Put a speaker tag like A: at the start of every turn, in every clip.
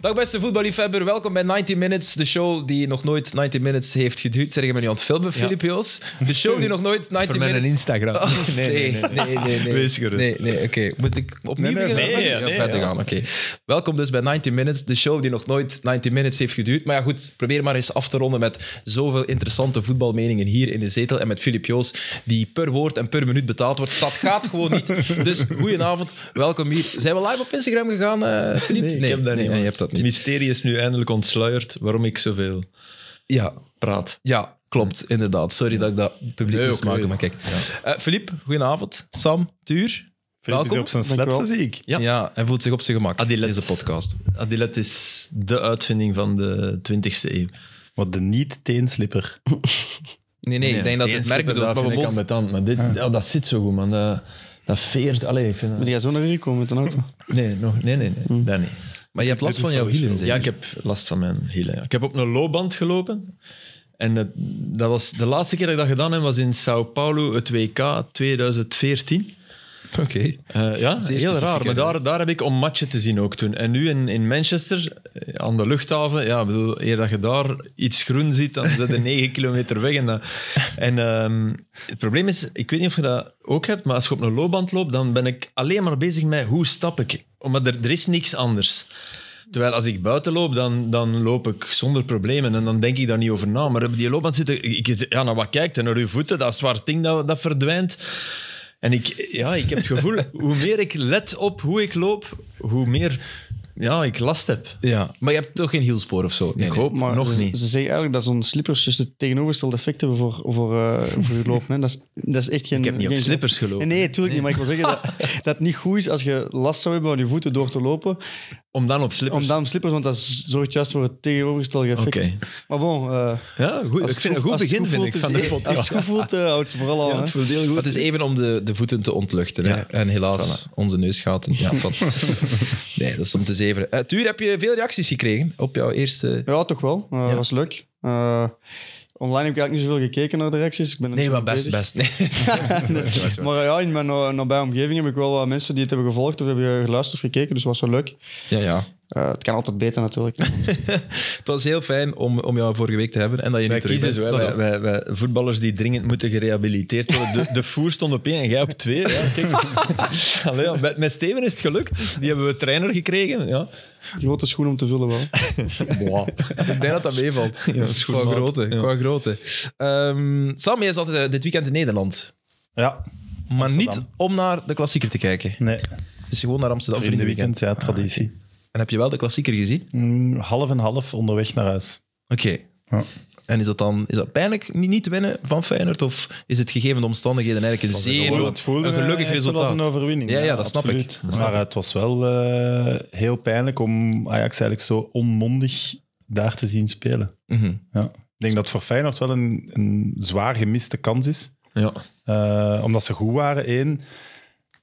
A: Dag beste voetballiefhebber, welkom bij 90 Minutes, de show die nog nooit 90 Minutes heeft geduurd. Zeg je me nu aan het filmen, Filip Joos? De show die nog nooit 90
B: Voor mijn
A: Minutes...
B: Instagram.
A: Oh, nee, nee, nee, nee, nee.
B: Wees gerust.
A: Nee, nee, oké. Moet ik opnieuw
B: Nee, nee,
A: beginnen?
C: nee,
A: Ja,
C: nee,
A: verder
C: ja.
A: gaan, oké. Welkom dus bij 90 Minutes, de show die nog nooit 90 Minutes heeft geduurd. Maar ja, goed, probeer maar eens af te ronden met zoveel interessante voetbalmeningen hier in de zetel en met Filip Joos, die per woord en per minuut betaald wordt. Dat gaat gewoon niet. Dus goedenavond, welkom hier. Zijn we live op Instagram gegaan, eh, Filip?
B: Nee, ik heb dat niet,
A: Nee,
B: man.
A: je hebt dat
B: Het
A: niet.
B: mysterie is nu eindelijk ontsluierd waarom ik zoveel
A: Ja,
B: praat.
A: ja, klopt, inderdaad. Sorry dat ik dat publiek
B: Nee,
A: moest
B: oké.
A: maken, maar kijk. Eh, Philippe, goedenavond. Sam, Tuur.
C: Filip is
A: Welkom.
C: op zijn
D: Dankjewel.
C: sletsen, zie ik.
A: Ja. Ah,
B: Ja.
A: hij voelt zich op zijn gemak in
B: Adilet.
A: deze podcast.
B: Adilet is de uitvinding van de 20e eeuw.
C: Wat de niet-teenslipper.
A: Nee, nee, ik denk dat het merk bedoelt. Maar we mogen-
B: ambetant, maar dit, oh, dat zit zo goed, man. Dat, dat veert... Allee, ik vind dat-
D: Wil jij zo naar hier komen met een auto?
B: Nee, nog, nee, nee, nee. dat niet.
A: maar je hebt last van jouw hielen, zeg
B: Ja, ik heb last van mijn hielen. ja. Ik heb op een loopband gelopen. En dat, dat was, de laatste keer dat ik dat gedaan heb, was in Sao Paulo, het WK 2014.
A: Oké.
B: Eh, ja,
A: Zeer
B: heel
A: specifiek,
B: raar.
A: hè?
B: Maar daar, daar heb ik om matchen te zien ook toen. En nu in, in Manchester, eh, aan de luchthaven, ja, ik bedoel, eer dat je daar iets groen ziet, dan zit je negen kilometer weg. En, dat- en ehm, het probleem is, ik weet niet of je dat ook hebt, maar als je op een loopband loopt, dan ben ik alleen maar bezig met hoe stap ik. Omdat er, er is niks anders. Terwijl als ik buiten loop, dan, dan loop ik zonder problemen en dan denk ik daar niet over na. Maar op die loopband zitten, ik, ja, naar wat kijkt en naar uw voeten, dat zwart ding dat, dat verdwijnt. En ik, ja, ik heb het gevoel, hoe meer ik let op hoe ik loop, hoe meer ja, ik last heb.
A: Ja, maar je hebt toch geen hielspoor of zo? Nee,
B: ik
A: nee.
B: hoop
D: Maar
B: nog
D: ze,
B: niet.
D: ze zeggen eigenlijk dat zo'n slippers dus het tegenovergestelde effect hebben voor, voor, eh, voor je lopen. Hè. Dat, is, dat is echt geen...
B: Ik heb niet op
D: geen-
B: slippers
D: Nee,
B: gelopen.
D: nee, tuurlijk niet. Maar ik wil zeggen dat, dat het niet goed is als je last zou hebben van je voeten door te lopen.
B: Om dan op slippers.
D: Om dan op slippers, want dat zorgt juist voor het tegenovergestelde effect.
B: Oké.
D: Maar bon, eh, als
B: Ja, goed.
D: het
B: Ik vind het een goed
D: als het
B: begin vind ik,
D: voelt,
B: van de
D: is- Als het
B: podcast.
D: goed voelt, eh, houdt ze vooral aan.
B: Ja,
D: hè.
B: het voelt heel goed.
A: Maar het is even om de, de voeten te ontluchten. Hè?
B: Ja.
A: En helaas, onze neusgaten. Ja, van. nee, dat is om te zeveren. Eh, Tuur, heb je veel reacties gekregen op jouw eerste...
D: Ja, toch wel. Eh
A: Ja.
D: was leuk. Eh, online heb ik eigenlijk niet zoveel gekeken naar de reacties. Ik ben er
A: Nee,
D: niet
A: maar
D: mee
A: best,
D: bezig.
A: best. Nee.
D: Maar eh, ja, in mijn eh, nabije omgeving heb ik wel wat mensen die het hebben gevolgd of hebben geluisterd of gekeken, dus was wel leuk.
A: Ja, ja.
D: Eh, het kan altijd beter natuurlijk.
A: Het was heel fijn om, om jou vorige week te hebben en dat je nu
B: Wij
A: terug
B: kiezen
A: bent.
B: zo, hè.
A: Nou ja.
B: wij, wij, wij- voetballers die dringend moeten gerehabiliteerd worden. De, de voer stond op één en jij op twee. Ja, kijk. Allee, ja, met, met Steven is het gelukt. Die hebben we trainer gekregen. Ja.
D: Grote schoen om te vullen wel.
A: Ik denk dat dat meevalt.
B: is goed,
A: qua,
B: maat.
A: grootte,
B: Ja.
A: qua grootte. Ehm, Sam, jij zat eh, dit weekend in Nederland.
C: Ja,
A: Maar niet
C: Amsterdam.
A: om naar de klassieker te kijken.
C: nee.
A: Het is gewoon naar Amsterdam voor
C: Vriendenweekend, ja, traditie.
A: En heb je wel de klassieker gezien?
C: Mm, Half en half onderweg naar huis.
A: Oké.
C: Ja.
A: En is dat dan is dat pijnlijk niet, niet te winnen van Feyenoord? Of is het gegeven de omstandigheden eigenlijk een zeer
C: Gewoon,
A: een gelukkig
C: eh, echt wel als
A: resultaat?
C: een overwinning.
A: Ja, ja, dat snap ik.
C: absoluut.
A: Dat snap
C: Maar het was wel eh, heel pijnlijk om Ajax eigenlijk zo onmondig daar te zien spelen.
A: Mhm.
C: Ja. Ik denk dat voor Feyenoord wel een, een zwaar gemiste kans is.
B: Ja.
C: Eh, omdat ze goed waren, één.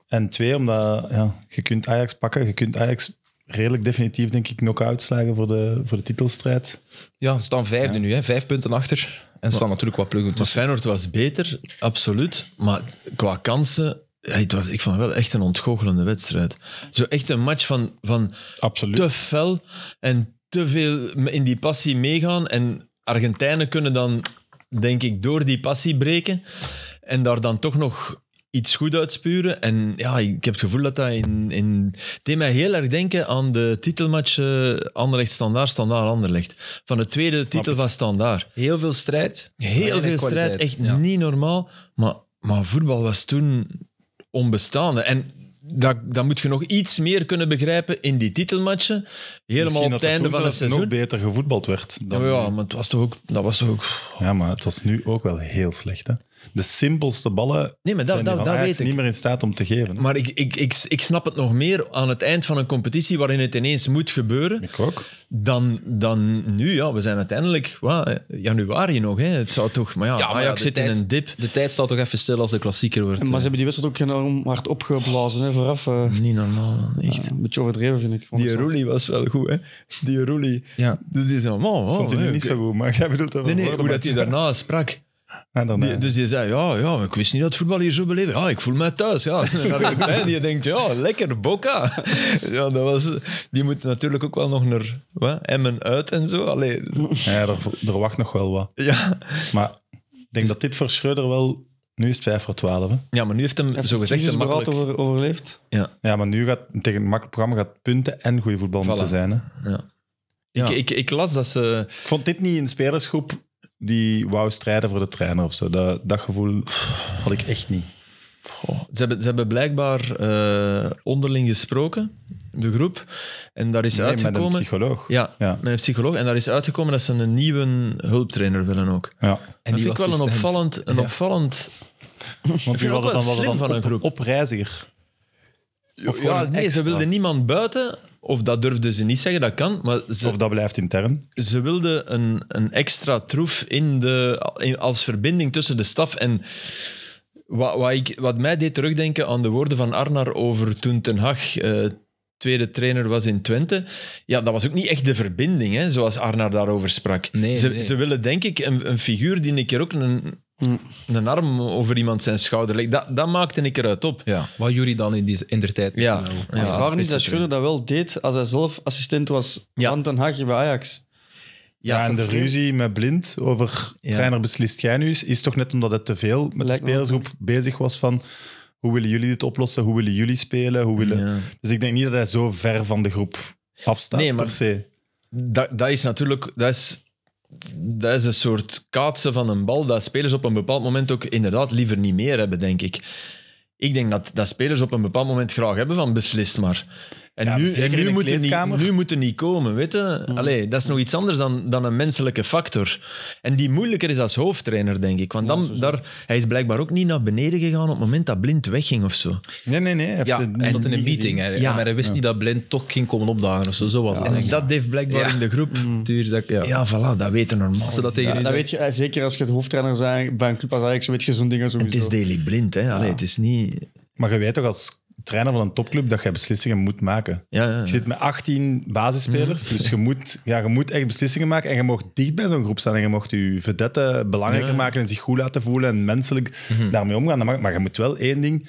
C: En twee, omdat ja, je kunt Ajax pakken. Je kunt Ajax redelijk definitief, denk ik, knock-out slagen voor de, voor de titelstrijd.
A: Ja, we staan vijfde nu, hè. vijf punten achter. En er staan natuurlijk wat pluggen Dus
B: Maar
A: tussen.
B: Feyenoord was beter, absoluut. Maar qua kansen, ja, het was, ik vond het wel echt een ontgoochelende wedstrijd. Zo echt een match van, van
C: Absoluut.
B: te fel en te veel in die passie meegaan. En Argentijnen kunnen dan, denk ik, door die passie breken. En daar dan toch nog iets goed uitspuren. En ja, ik heb het gevoel dat dat in... in het deed mij heel erg denken aan de titelmatch eh, Anderlecht-Standaard, Standaard-Anderlecht. Van de tweede titel van Standaard.
A: Heel veel strijd.
B: Heel veel
A: weinig
B: strijd,
A: kwaliteit.
B: echt
A: Ja.
B: niet normaal. Maar, maar voetbal was toen onbestaande. En dat, dat moet je nog iets meer kunnen begrijpen in die titelmatchen. Helemaal op het einde van het
C: nog
B: seizoen.
C: beter gevoetbald werd.
B: Ja,
C: Dan,
B: maar ja, maar het was toch ook, dat was toch ook...
C: Ja, maar het was nu ook wel heel slecht. Hè? De simpelste ballen
B: Nee, maar dat,
C: zijn die
B: dat,
C: van
B: dat
C: Ajax
B: weet ik.
C: niet meer in staat om te geven. hè.
B: Maar ik, ik, ik, ik snap het nog meer aan het eind van een competitie waarin het ineens moet gebeuren.
C: Ik ook.
B: Dan, dan nu, ja, we zijn uiteindelijk wat, januari nog. Hè. Het zou toch, maar ja,
A: Ja, maar ja,
B: Ajax
A: de
B: zit
A: tijd-
B: in een dip.
A: De tijd staat toch even stil als de klassieker wordt.
D: En, maar
A: eh.
D: ze hebben die wedstrijd ook enorm hard opgeblazen hè, vooraf. eh.
B: Niet normaal, man, echt.
D: Ja, een beetje overdreven vind ik. vond ik
B: Die
D: zelf.
B: Roelie was wel goed, hè? Die Roelie.
A: Ja.
B: Dus die is normaal.
C: Vond u nu niet zo goed, maar jij bedoelt dat
B: Nee,
C: we
B: nee,
C: voor de
B: hoe dat
C: match-
B: hij daarna sprak.
C: En dan,
B: Die-
C: eh,
B: dus die zei, ja, ja, ik wist niet dat voetbal hier zo beleven. Ja, ik voel mij thuis. Ja. En Argentijn, die denkt, ja, lekker, Boca. Ja, dat was, die moet natuurlijk ook wel nog naar wat, Emmen uit en zo. Allee,
C: eh, ja, er, er wacht nog wel wat.
B: ja.
C: Maar ik denk
B: Dus-
C: dat dit voor Schreuder wel... Nu is het 5 voor 12. Hè?
B: ja, maar nu heeft hem
D: Heeft
B: zo
D: het
B: gezegd een
D: crisisberaad
B: makkelijk...
D: over, overleefd?
C: Ja, maar nu gaat tegen een makkelijk programma gaat punten en goede voetbal moeten
B: Voilà.
C: zijn. Hè?
A: Ja.
B: Ik, ik, ik las dat ze...
C: Ik vond dit niet een spelersgroep die wou strijden voor de trainer of zo. Dat, dat gevoel had ik echt niet.
B: Goh, ze, hebben, ze hebben blijkbaar eh, onderling gesproken, de groep. En daar is
C: Nee, met een
B: uitgekomen...
C: psycholoog.
B: ja,
C: Ja.
B: met een psycholoog. En daar is uitgekomen dat ze een nieuwe hulptrainer willen ook.
C: Ja.
A: En
B: dat vind ik wel een opvallend, een
A: Ja.
B: opvallend
C: Want wie
B: dat
C: was
B: wel
C: het dan? Was het
B: slim
C: dan
B: van een
C: op-
B: groep.
C: Opreiziger. Of gewoon
B: ja,
C: een
B: nee, ze
C: extra.
B: wilden niemand buiten, of dat durfden ze niet zeggen, dat kan. Maar ze,
C: Of dat blijft intern.
B: ze wilden een, een extra troef in de, in- als verbinding tussen de staf. En wat, wat, ik, wat mij deed terugdenken aan de woorden van Arnar over toen Ten Hag... eh, tweede trainer was in Twente. Ja, dat was ook niet echt de verbinding, hè, zoals Arnar daarover sprak.
A: Nee,
B: ze,
A: nee.
B: ze willen denk ik een, een figuur die een keer ook een,
D: Hm.
B: een arm over iemand zijn schouder legt. Dat, dat maakte ik eruit op.
A: Ja, wat jullie dan in, die, in der tijd
B: Ja.
A: misschien wel.
B: Ja. als
D: het raar is dat
B: spitsentrainer.
D: Schreuder dat wel deed als hij zelf assistent was
B: Ja.
D: van Ten Hag bij Ajax.
C: Ja, en de ruzie met Blind over
B: Ja.
C: trainer beslist jij nu eens, is toch net omdat het te veel met de
D: Lijkt me wel,
C: spelersgroep bezig was van hoe willen jullie dit oplossen, hoe willen jullie spelen, hoe willen...
B: Ja.
C: Dus ik denk niet dat hij zo ver van de groep afstaat
B: Nee, maar-
C: per se.
B: dat, dat is natuurlijk. Dat is, dat is een soort kaatsen van een bal dat spelers op een bepaald moment ook inderdaad liever niet meer hebben, denk ik. Ik denk dat, dat spelers op een bepaald moment graag hebben van beslist maar. En
C: Ja,
B: nu,
C: zeker
B: en
C: in
B: nu,
C: de
B: moeten niet,
C: kleedkamer. Hmm.
B: nu moeten niet komen, weet je? Allee, dat is nog iets anders dan, dan een menselijke factor. En die moeilijker is als hoofdtrainer, denk ik. Want dan, daar, hij is blijkbaar ook niet naar beneden gegaan op het moment dat Blind wegging of zo.
C: Nee, nee, nee. hij heeft
A: Ja,
C: ze
A: hij
C: niet
A: zat in een
C: gezien.
A: meeting, hè,
B: Ja.
A: maar hij wist niet dat Blind toch ging komen opdagen of zo. Zo was het.
B: En
A: denk ik.
B: dat heeft blijkbaar
A: Ja.
B: in de groep...
C: Hmm.
A: Tuur, dat, ja.
B: Ja, voilà, dat weten normaal.
A: Als ze dat tegen
D: Ja,
A: u
D: dat
A: zegt.
D: weet je, eh, zeker als je het hoofdtrainer bent bij een club als Ajax, weet je zo'n dingen
B: Het
D: sowieso.
B: is Daily Blind, hè. Allee, het is niet...
C: Maar je weet toch als trainer van een topclub dat je beslissingen moet maken.
B: Ja, ja, Mhm. ja.
C: Je zit met 18 basisspelers, dus je moet, ja, je moet echt beslissingen maken. En je mag dicht bij zo'n groep staan en je mag je vedette belangrijker
B: Ja. Mhm.
C: maken en zich goed laten voelen en menselijk daarmee omgaan. Dat mag- Maar je moet wel één ding...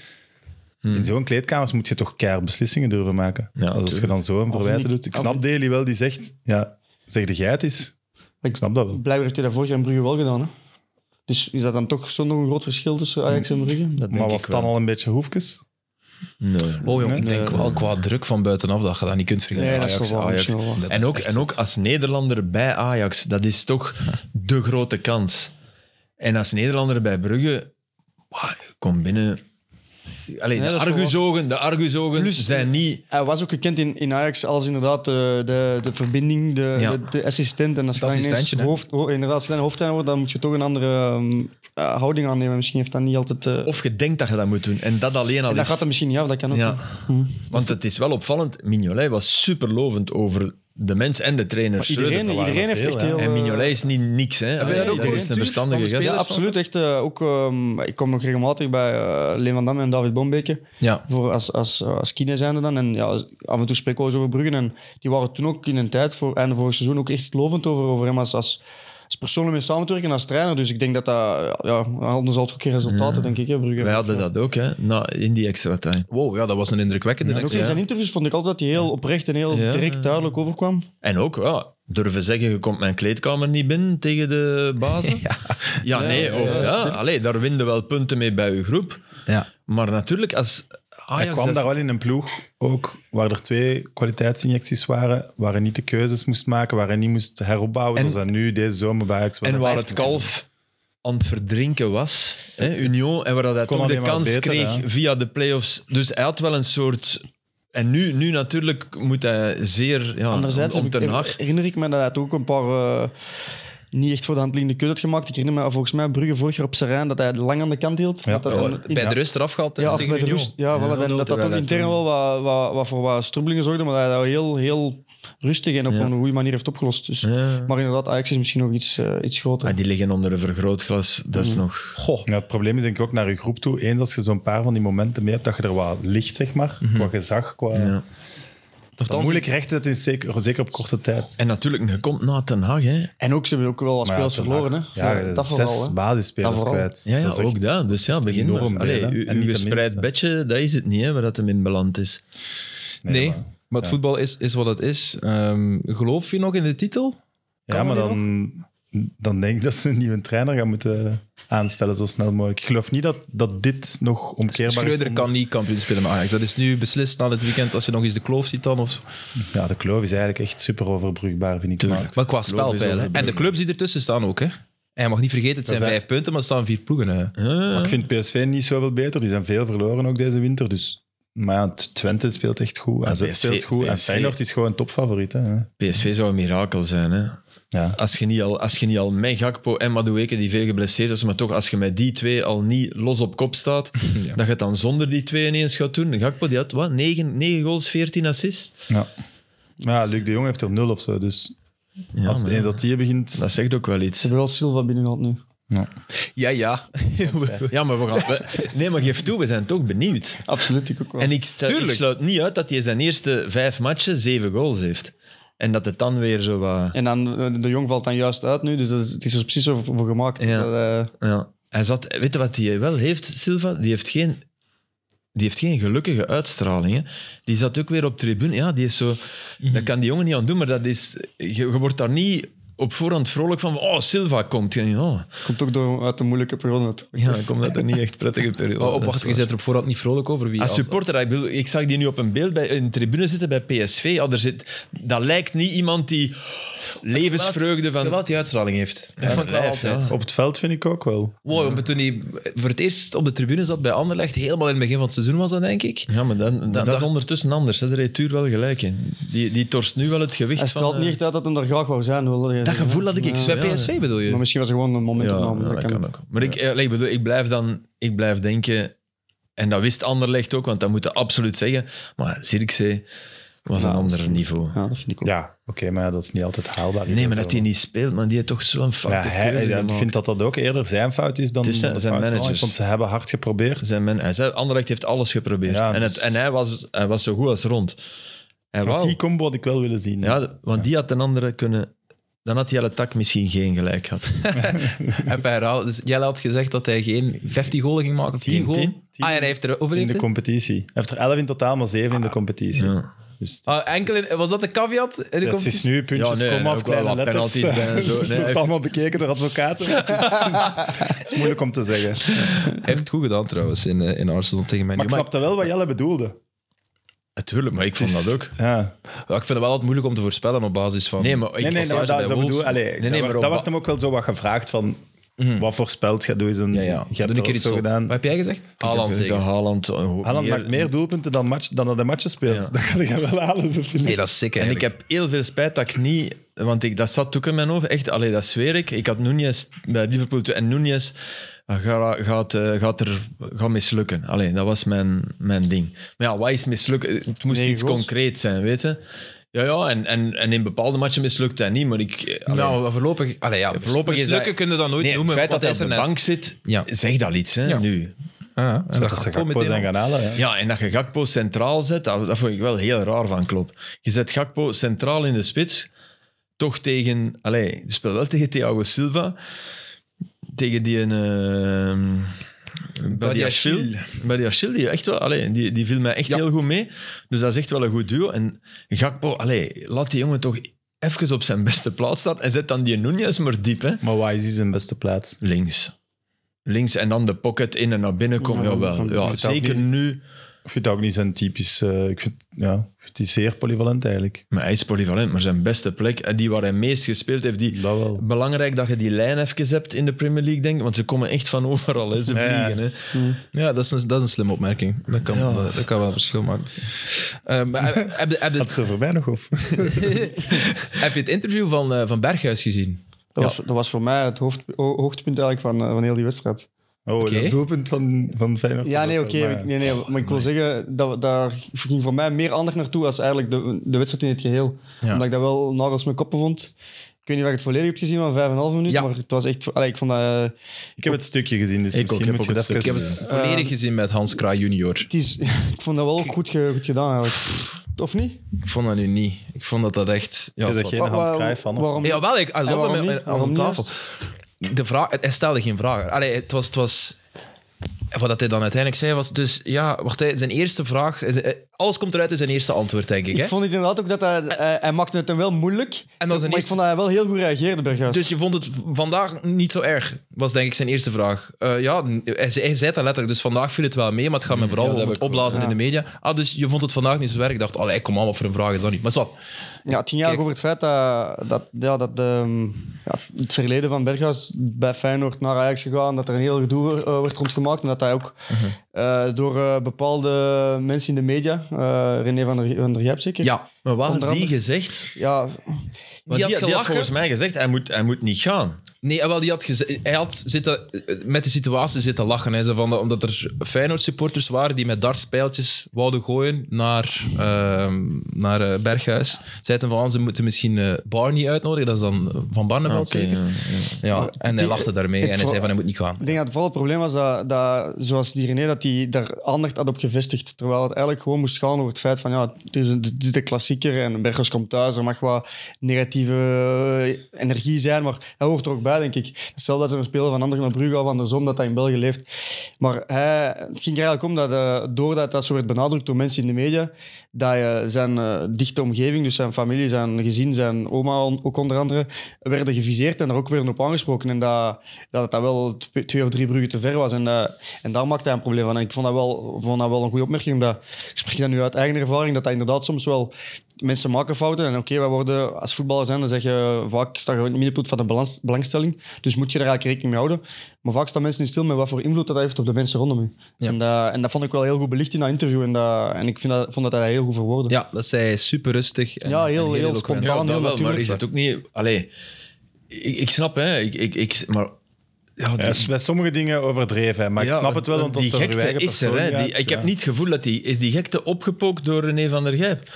C: In zo'n kleedkamers moet je toch keihard beslissingen durven maken. Dus
B: Ja,
C: als je
B: tuurlijk.
C: dan zo een verwijten
D: ik-
C: doet. Ik
D: of
C: snap
D: ik-
C: Daly wel, die zegt... Ja, zeg de geit is. Ik snap dat wel.
D: Blijkbaar heeft hij dat vorig jaar in Brugge wel gedaan. Hè? Dus is dat dan toch zo'n nog een groot verschil tussen Ajax en Brugge?
B: Dat denk
C: Maar
B: ik
C: was het
B: wel.
C: dan al een beetje hoefjes?
B: Nee.
A: Oh jong, ik
D: Nee,
A: denk
D: nee,
A: wel qua druk van buitenaf dat je dat niet kunt vergelijken.
D: Nee, dat is toch wel
A: Ajax.
D: misschien wel waar.
A: Dat
B: En
A: is
B: ook,
A: echt
B: en ook als Nederlander bij Ajax, dat is toch de grote kans. En als Nederlander bij Brugge, wauw, kom binnen. Allee,
D: Nee,
B: de
D: dat is wel
B: argusogen, de argusogen zijn niet...
D: Hij was ook gekend in, in Ajax als inderdaad de, de, de verbinding, de,
B: Ja.
D: de, de assistent. En als je
A: Het
D: dan ineens
A: assistentje, hè?
D: hoofd, ho- inderdaad, als je dan hoofdtrainer wordt, dan moet je toch een andere ehm, eh, houding aannemen. Misschien heeft dat niet altijd... eh,
B: Of je denkt dat je dat moet doen. En dat alleen al
D: en dat
B: is...
D: gaat er misschien niet af, dat kan ook.
B: Ja.
D: niet. Hm.
B: Want het is wel opvallend, Mignolet was superlovend over de mens en de trainer.
D: Maar
B: Schreuder.
D: iedereen,
C: waren
D: iedereen
C: er
D: heeft
C: veel,
D: echt
C: hè.
D: heel...
B: En
D: eh,
B: Mignolet is niet niks, hè.
A: je dat
B: Allee,
A: ook
B: dat
A: gehoord,
B: is een
A: Tuur,
B: verstandige
A: van de
B: gast.
D: Ja,
A: spelers?
D: absoluut. Echt, eh, ook, ehm, ik kom nog regelmatig bij eh Leeuwandam en David Bombeke.
A: Ja.
D: Voor als, als, als kine zijnde dan. En ja, af en toe spreken we eens over Bruggen. En die waren toen ook in een tijd, voor, einde vorig seizoen, ook echt lovend over, over hem als, als, als persoon om mee samen te werken en als trainer. Dus ik denk dat dat... Ja, anders had het ook geen resultaten, denk ik, hè, Brugge.
B: Wij hadden dat ook, hè, na, in die extra time.
A: Wow, ja, dat was een indrukwekkende.
D: En ook in zijn interviews vond ik altijd dat hij heel oprecht en heel
B: Ja.
D: direct duidelijk overkwam.
B: En ook, ja, durven zeggen, je komt mijn kleedkamer niet binnen tegen de bazen. Ja, nee, ook, ja, Allee, daar winden wel punten mee bij uw groep.
A: Ja.
B: Maar natuurlijk, als Ajax...
C: Hij kwam
B: als-
C: daar wel in een ploeg, ook waar er twee kwaliteitsinjecties waren, waar hij niet de keuzes moest maken, waar hij niet moest heropbouwen,
B: En-
C: zoals dat nu deze zomer bij Ajax wel
B: en waar
C: heeft.
B: het kalf aan het verdrinken was, hè, Union, en waar dat hij
C: Kon
B: toch de
C: alleen maar
B: kans
C: beter,
B: kreeg
C: hè.
B: via de play-offs. Dus hij had wel een soort... En nu, nu natuurlijk moet hij zeer... Ja,
D: Anderzijds
B: Ah, om, om
D: heb ik-
B: Ten Hag.
D: herinner ik me dat hij toch ook een paar eh, niet echt voor de hand liggende keuze had gemaakt. Ik herinner me volgens mij Brugge vorig jaar op Serijn dat hij lang aan de kant hield.
C: Ja.
D: Dat dat
A: Ja,
B: Oh,
D: dan in-
A: bij de rust eraf gehad.
D: ja,
A: Ja,
D: of bij de rust. Ja, voilà,
B: Ja,
D: dan-
B: nul-nul
D: dat dat
B: terwijl
D: ook
B: hij
D: intern
B: toen-
D: wel wat, wat, wat voor wat strubbelingen zorgde, maar dat hij dat heel, heel rustig en op
B: Ja.
D: een goede manier heeft opgelost. Dus.
B: Ja.
D: Maar inderdaad, Ajax is misschien nog iets, eh, iets groter.
B: Ah, die liggen onder een vergrootglas, dat is nog...
A: Goh,
C: Ja, het probleem is denk ik ook naar je groep toe.
D: Mhm.
C: Eens als je zo'n paar van die momenten mee hebt, dat je er wat ligt, zeg maar, qua gezag, qua...
B: Ja.
A: Nochtans-
C: Moeilijk rechten, dat is zeker, zeker op korte tijd.
B: En natuurlijk, je komt na Ten Haag. Hè.
D: En ook, ze hebben ook wel wat
C: Maar
D: spelers
C: ja, Ten Hag-
D: verloren. Hè?
C: Ja,
D: dat
C: zes
D: vooral. hè.
C: basisspelers
D: Dat vooral.
C: kwijt.
B: Ja, ja
C: Dat is
B: ook
C: echt-
B: dat. Dus
C: is
B: ja,
C: echt
B: begin maar.
C: enorm
B: Allee,
C: veel, hè.
B: uw- uw
C: En niet de
B: gespreid
C: minste.
B: bedje, dat is het niet, hè, waar dat hem in beland is.
A: Nee,
C: maar-
A: maar, het voetbal is, is wat het is. Ehm, geloof je nog in de titel?
C: Ja,
A: Kan
C: maar
A: dat
C: dan, dan denk ik dat ze een nieuwe trainer gaan moeten aanstellen zo snel mogelijk. Ik geloof niet dat, dat dit nog omkeerbaar is.
A: Schreuder
C: om-
A: kan niet kampioen spelen met Ajax. Dat is nu beslist na dit weekend. Als je nog eens de kloof ziet dan. Of...
C: Ja, de kloof is eigenlijk echt super overbrugbaar, vind ik. Maar
A: Maar qua spelpijl. hè. En de clubs die ertussen staan ook. Hè. En je mag niet vergeten, het zijn
C: Dat is-
A: vijf punten, maar er staan vier ploegen. Hè.
B: Ah.
C: ik vind PSV niet zoveel beter. Die zijn veel verloren ook deze winter. Dus. Maar ja, Twente speelt echt goed. AZ
B: PSV
C: speelt goed. En
B: PSV
C: Feyenoord is gewoon topfavoriet. Hè.
B: PSV zou een mirakel zijn. Hè.
C: Ja.
B: Als je niet al, als je niet al met Gakpo en Madueke, die veel geblesseerd is, maar toch als je met die twee al niet los op kop staat,
A: Ja.
B: dat je het dan zonder die twee ineens gaat doen. Gakpo die had wat? 9, 9 goals, 14 assists.
C: Ja. Maar ja, Luc de Jong heeft er nul of zo. Dus
B: Ja,
C: als het
B: maar
C: eens
B: ja,
C: dat die begint...
B: dat zegt ook wel iets.
D: Ze hebben wel Silva binnengehaald nu.
A: Ja, ja.
B: Ja, maar we gaan. we- nee, maar geef toe, we zijn toch benieuwd.
D: Absoluut, ik ook wel.
B: En ik, stel, ik
A: Tuurlijk.
B: sluit niet uit dat hij zijn eerste vijf matchen zeven goals heeft. En dat het dan weer zo wat...
D: En dan, eh, de jong valt dan juist uit nu, dus dat is, het is er precies zo voor, voor gemaakt.
B: Ja.
D: Dat, eh,
B: Ja. Hij zat, weet je wat hij wel heeft, Silva? Die heeft geen, die heeft geen gelukkige uitstraling. Hè? Die zat ook weer op tribune. Ja, die is zo...
A: Mhm.
B: Dat kan die jongen niet aan doen, maar dat is... Je, je wordt daar niet op voorhand vrolijk van... Oh, Silva komt. Je denkt, Oh,
D: komt ook door, uit de moeilijke periode.
B: ja, dan komt dat er niet echt prettige periode.
A: Maar Oh, op
B: Dat
A: wacht,
B: is
A: je
B: waar. Ah,
A: bent er op voorhand niet vrolijk over. Wie
B: Als supporter, ik, bedoel, ik zag die nu op een beeld bij een tribune zitten bij PSV. Ah, er zit, dat lijkt niet iemand die levensvreugde
A: Terwijl
B: van.
A: die uitstraling heeft. Dat vond ik wel
B: lijf, ja.
A: altijd.
C: Op het veld vind ik ook wel.
A: Wow, maar toen hij voor het eerst op de tribune zat bij Anderlecht, helemaal in het begin van het seizoen was dat, denk ik.
B: Ja, maar dan, dat,
A: dat-
B: is ondertussen anders. Hè. Daar heeft Tuur wel gelijk in. Die, die torst nu wel het gewicht
D: Hij
B: van...
D: straalt niet
B: eh,
D: echt uit dat hij er graag wou zijn. Wilde, hij
B: Dat
D: zeggen,
B: gevoel
D: hè.
B: had ik
D: Maar-
B: zo,
A: Bij
B: ja.
A: PSV bedoel je?
D: Maar misschien was er gewoon een moment
B: Ja,
D: opname,
B: ja,
D: dat
B: dat
D: kan
B: kan ook. Maar ik, eh, ik, bedoel, ik, blijf dan, ik blijf denken... En dat wist Anderlecht ook, want dat moeten we absoluut zeggen. Maar Zirkzee was
D: Ja,
B: een
D: dat is-
B: ander niveau.
D: Ja, dat vind ik ook.
C: Ja, oké, maar ja, dat is niet altijd haalbaar.
B: Nee, maar
C: Zo.
B: dat hij niet speelt, maar die heeft toch zo'n foute
C: Ja, hij,
B: keuze
C: ja, ik
B: gemaakt.
C: vind dat dat ook eerder zijn fout is dan
B: Het is zijn-
C: dan de
B: zijn
C: fout van Ajax,
B: managers.
C: Want ze hebben hard geprobeerd.
B: Zijn men, hij zei, Anderlecht heeft alles geprobeerd.
C: Ja,
B: en,
C: dus-
B: het, en hij, was, hij was zo goed als rond. Hij
C: Maar
B: wou.
C: die combo had ik wel willen zien.
B: ja, d- want die had een andere kunnen... Dan had Jelle Tak misschien geen gelijk gehad.
A: Even herhalen. Dus Jelle had gezegd dat hij geen 15 golen ging maken of 10,
C: Tien,
A: golen.
C: tien, tien.
A: Ah, en hij heeft er
C: in
A: overleefd.
C: de
A: hè?
C: competitie. Hij heeft er 11 in totaal, maar 7 in de competitie.
B: Ja,
C: Dus het is-
A: Ah, enkel in- was dat de caveat? In de
C: het is,
A: competitie?
C: nu puntjes,
B: Ja, nee,
C: comma's,
B: ook wel
C: kleine
B: wat
C: letters.
B: penalties bij en zo. Nee,
C: het
B: hij
C: wordt
B: heeft-
C: allemaal bekeken door advocaten. maar Het is, het is- het is moeilijk om te zeggen.
A: Hij heeft het goed gedaan trouwens in, eh, in Arsenal tegen Man U.
C: Maar ik snapte wel wat Jelle bedoelde.
B: natuurlijk, maar ik vond dat ook.
C: Ja.
A: Ja, ik vind het wel altijd moeilijk om te voorspellen op basis van...
B: Nee, maar ik,
C: Nee, nee,
A: passage
C: nee, dat,
A: bij
C: zo
A: Wolves.
C: bedoel, allee,
A: Nee, nee, maar
C: dat, werd,
A: op
C: dat
A: wa-
C: werd hem ook wel zo wat gevraagd van wat voorspelt gaat doen.
A: ja, ja.
C: Je hebt
A: Doe
C: dat
A: een keer
C: ook
A: iets
C: zo
A: zot.
C: gedaan.
A: Wat heb jij gezegd? Haaland
B: dat
A: zeker.
B: Haaland... eh,
C: Haaland
B: meer-
C: maakt meer doelpunten dan, match, dan dat de matchen speelt.
B: Ja.
C: Dat kan je wel halen, zo vind ik.
A: Nee, dat is sick
B: En ik
A: eigenlijk.
B: heb heel veel spijt dat ik niet... Want ik, dat zat ook in mijn hoofd. Echt, allee, dat zweer ik. Ik had Nunez bij Liverpool toe, en Nunez gaat, gaat, eh, gaat er gaat mislukken. Allee, dat was mijn, mijn ding. Maar ja, wat is mislukken? Het moest
D: Negen
B: iets
D: goals.
B: concreets zijn, weet je? Ja, ja, en, en, en in bepaalde matchen mislukte hij niet, maar ik... eh, allee,
A: Nou, maar voorlopig... Allee, ja,
B: voorlopig
A: voorlopig
B: is
A: mislukken
B: hij-
A: kunnen we dat nooit
B: nee,
A: noemen.
B: het feit dat
A: want
B: hij
A: hij
B: op de
A: is er
B: bank
A: net.
B: zit,
A: Ja.
B: zegt al iets, hè,
A: Ja.
B: nu.
A: Ah, en dat
C: dat
A: gaat
C: ze
A: Gakpo
C: Gakpo
A: meteen
C: zijn
A: al.
C: gaan halen. Ja.
B: Ja, en dat je Gakpo centraal zet, dat, dat vond ik wel heel raar van Klopp. Je zet Gakpo centraal in de spits, toch tegen... Allee, je speelt wel tegen Thiago Silva, tegen die... eh, een Badiachil. Badiachil, die, echt wel, allee, die, die viel mij echt
A: Ja.
B: heel goed mee. Dus dat is echt wel een goed duo. En Gakpo, allee, laat die jongen toch even op zijn beste plaats staan en zet dan die Nunez maar diep, hè.
C: Maar waar is hij zijn beste plaats?
B: Links. Links en dan de pocket in en naar binnen komen.
D: Ja,
B: jawel.
D: van-
B: Ja,
C: vertel
B: zeker
C: niet.
B: nu...
C: Ik vind dat ook niet zijn typisch... eh, ik, vind, ja, ik vind die zeer polyvalent eigenlijk.
B: Maar hij is polyvalent, maar zijn beste plek, en die waar hij meest gespeeld heeft, die...
C: Dat wel.
B: Belangrijk dat je die lijn even hebt in de Premier League, denk ik. Want ze komen echt van overal, hè. ze
C: Ja, ja.
B: vliegen. Hè.
A: Ja, dat is, een, dat is een slimme opmerking. Dat kan, dat, dat kan wel een verschil maken. Eh, maar heb, heb, heb,
C: Had het er voor mij nog of?
A: heb je het interview van, eh, van Berghuis gezien?
D: Dat, was, dat was voor mij het hoofd, ho- hoogtepunt eigenlijk van, eh, van heel die wedstrijd.
C: Oh,
A: Oké.
C: dat doelpunt van, van Feyenoord.
D: Ja, nee, oké.
C: Maar-
D: nee, nee, maar ik wil zeggen, dat, daar ging voor mij meer aandacht naartoe als eigenlijk de, de wedstrijd in het geheel.
A: Ja.
D: Omdat ik dat wel nagels mijn koppen vond. Ik weet niet of ik het volledig heb gezien van 5,5 minuten,
A: Ja.
D: maar het was echt... Allee, ik vond dat... eh,
C: Ik heb het stukje gezien, dus
B: Ik ook,
C: misschien
B: ik heb
C: moet
B: ook
C: je dat
B: het
C: even...
A: Ik heb het volledig gezien met Hans Kraai junior.
D: het is, ik vond dat wel ook goed, ge- goed gedaan eigenlijk. of niet?
A: Ik vond dat nu niet. Ik vond dat dat echt... Ja,
C: Is dat
A: zwart.
C: geen
D: Wa- wa-
C: Hans Cruijff van? of-
D: Waarom niet?
A: Jawel, ik I
D: En
A: love
D: waarom
A: hem
D: niet?
A: aan-
D: Waarom
A: aan
D: niet
A: tafel. De vraag, hij stelde geen vragen. Allee, het was, het was... Wat dat hij dan uiteindelijk zei was dus... Ja, wacht, hij- zijn eerste vraag... Alles komt eruit in zijn eerste antwoord, denk ik. Hè?
D: Ik vond het inderdaad ook dat hij... hij, hij maakte het hem wel moeilijk.
A: is een
D: maar ik
A: eerste-
D: vond dat hij wel heel goed reageerde, Berghuis.
A: Dus je vond het v- vandaag niet zo erg, was denk ik zijn eerste vraag. Eh, ja, n- hij, ze- hij zei dat letterlijk, dus vandaag viel het wel mee, maar het gaat me vooral
B: ja, dat
A: om
B: heb
A: het
B: ik
A: opblazen
D: gehoord,
A: in de media. Ah, dus je vond het vandaag niet zo erg. Ik dacht, allee, kom aan, wat voor een vraag is dat niet? Maar zo,
D: Ja, het ging eigenlijk
A: Kijk.
D: over het feit dat, dat, ja, dat ehm, ja, het verleden van Berghuis bij Feyenoord naar Ajax gegaan, dat er een heel gedoe eh, werd rondgemaakt en dat hij ook
A: Mhm.
D: eh, door eh, bepaalde mensen in de media, eh, René van der, van der Gijp zeker?
A: ja.
B: Maar wat had
D: Onder
B: die
D: andere-
B: gezegd?
D: Ja,
B: Want
A: had
B: die, die
A: gelachen.
B: volgens mij gezegd, hij moet, hij moet niet gaan.
A: Nee, eh, wel, die had geze- hij had zitten, eh, met de situatie zitten lachen. Hij zei van, dat- omdat er Feyenoord-supporters waren die met dartspijltjes wouden gooien naar, ehm, naar eh, Berghuis. Zeiden van, ah, ze moeten misschien eh, Barney uitnodigen. Dat is dan eh, Van Barneveld
C: Ah,
B: Oké,
A: zeker.
B: ja,
A: Ja, en hij
D: die-
A: lachte daarmee
D: het
A: en hij zei
D: voor-
A: van, hij moet niet gaan.
D: ik denk dat vooral het probleem was dat, dat zoals die René, dat hij daar aandacht had op gevestigd, terwijl het eigenlijk gewoon moest gaan over het feit van ja, het is, een, het is de klassieker en Berghuis komt thuis, er mag wat negatieve eh, energie zijn, maar hij hoort er ook bij, denk ik. Hetzelfde als er een speler van Anderlecht naar Brugge of andersom, dat hij in België leeft. Maar hij, het ging er eigenlijk om dat eh, doordat dat zo werd benadrukt door mensen in de media, dat je zijn eh, dichte omgeving, dus zijn familie, zijn gezin, zijn oma on- ook onder andere, werden geviseerd en daar ook weer op aangesproken. En dat dat, het dat wel tw- twee of drie bruggen te ver was. En, eh, en daar maakte hij een probleem van. En ik vond dat wel, vond dat wel een goede opmerking. Omdat, ik spreek dat nu uit eigen ervaring, dat dat inderdaad soms wel... Mensen maken fouten. En oké, wij worden als voetballer zijn, dan zeg je vaak sta je in het middenpunt van de balans, belangstelling. Dus moet je daar eigenlijk rekening mee houden. Maar vaak staan mensen niet stil met wat voor invloed dat, dat heeft op de mensen rondom u.
A: Ja.
D: En, dat, en dat vond ik wel heel goed belicht in dat interview. En, dat, en ik vind dat, vond dat hij dat heel goed verwoordde.
A: Ja, dat zei super rustig. En,
D: Ja, heel-
A: en
D: heel
A: eloquent.
D: spontaan.
A: Ja,
D: Ja, heel
B: maar
D: natuurlijk.
B: is het ook niet... Allee, ik, ik snap, hè. Ik, ik, ik, maar... Ja,
C: Ja, is bij sommige dingen overdreven, hè, maar ik
B: Ja, eh,
C: snap het wel, want als
B: die
C: het over uw
B: gekte
C: eigen
B: is er. Hè.
C: persoon
B: Die,
C: gaat,
B: ik heb
C: ja.
B: niet het gevoel dat die... Is die gekte opgepookt door René van der Gijp?
A: dat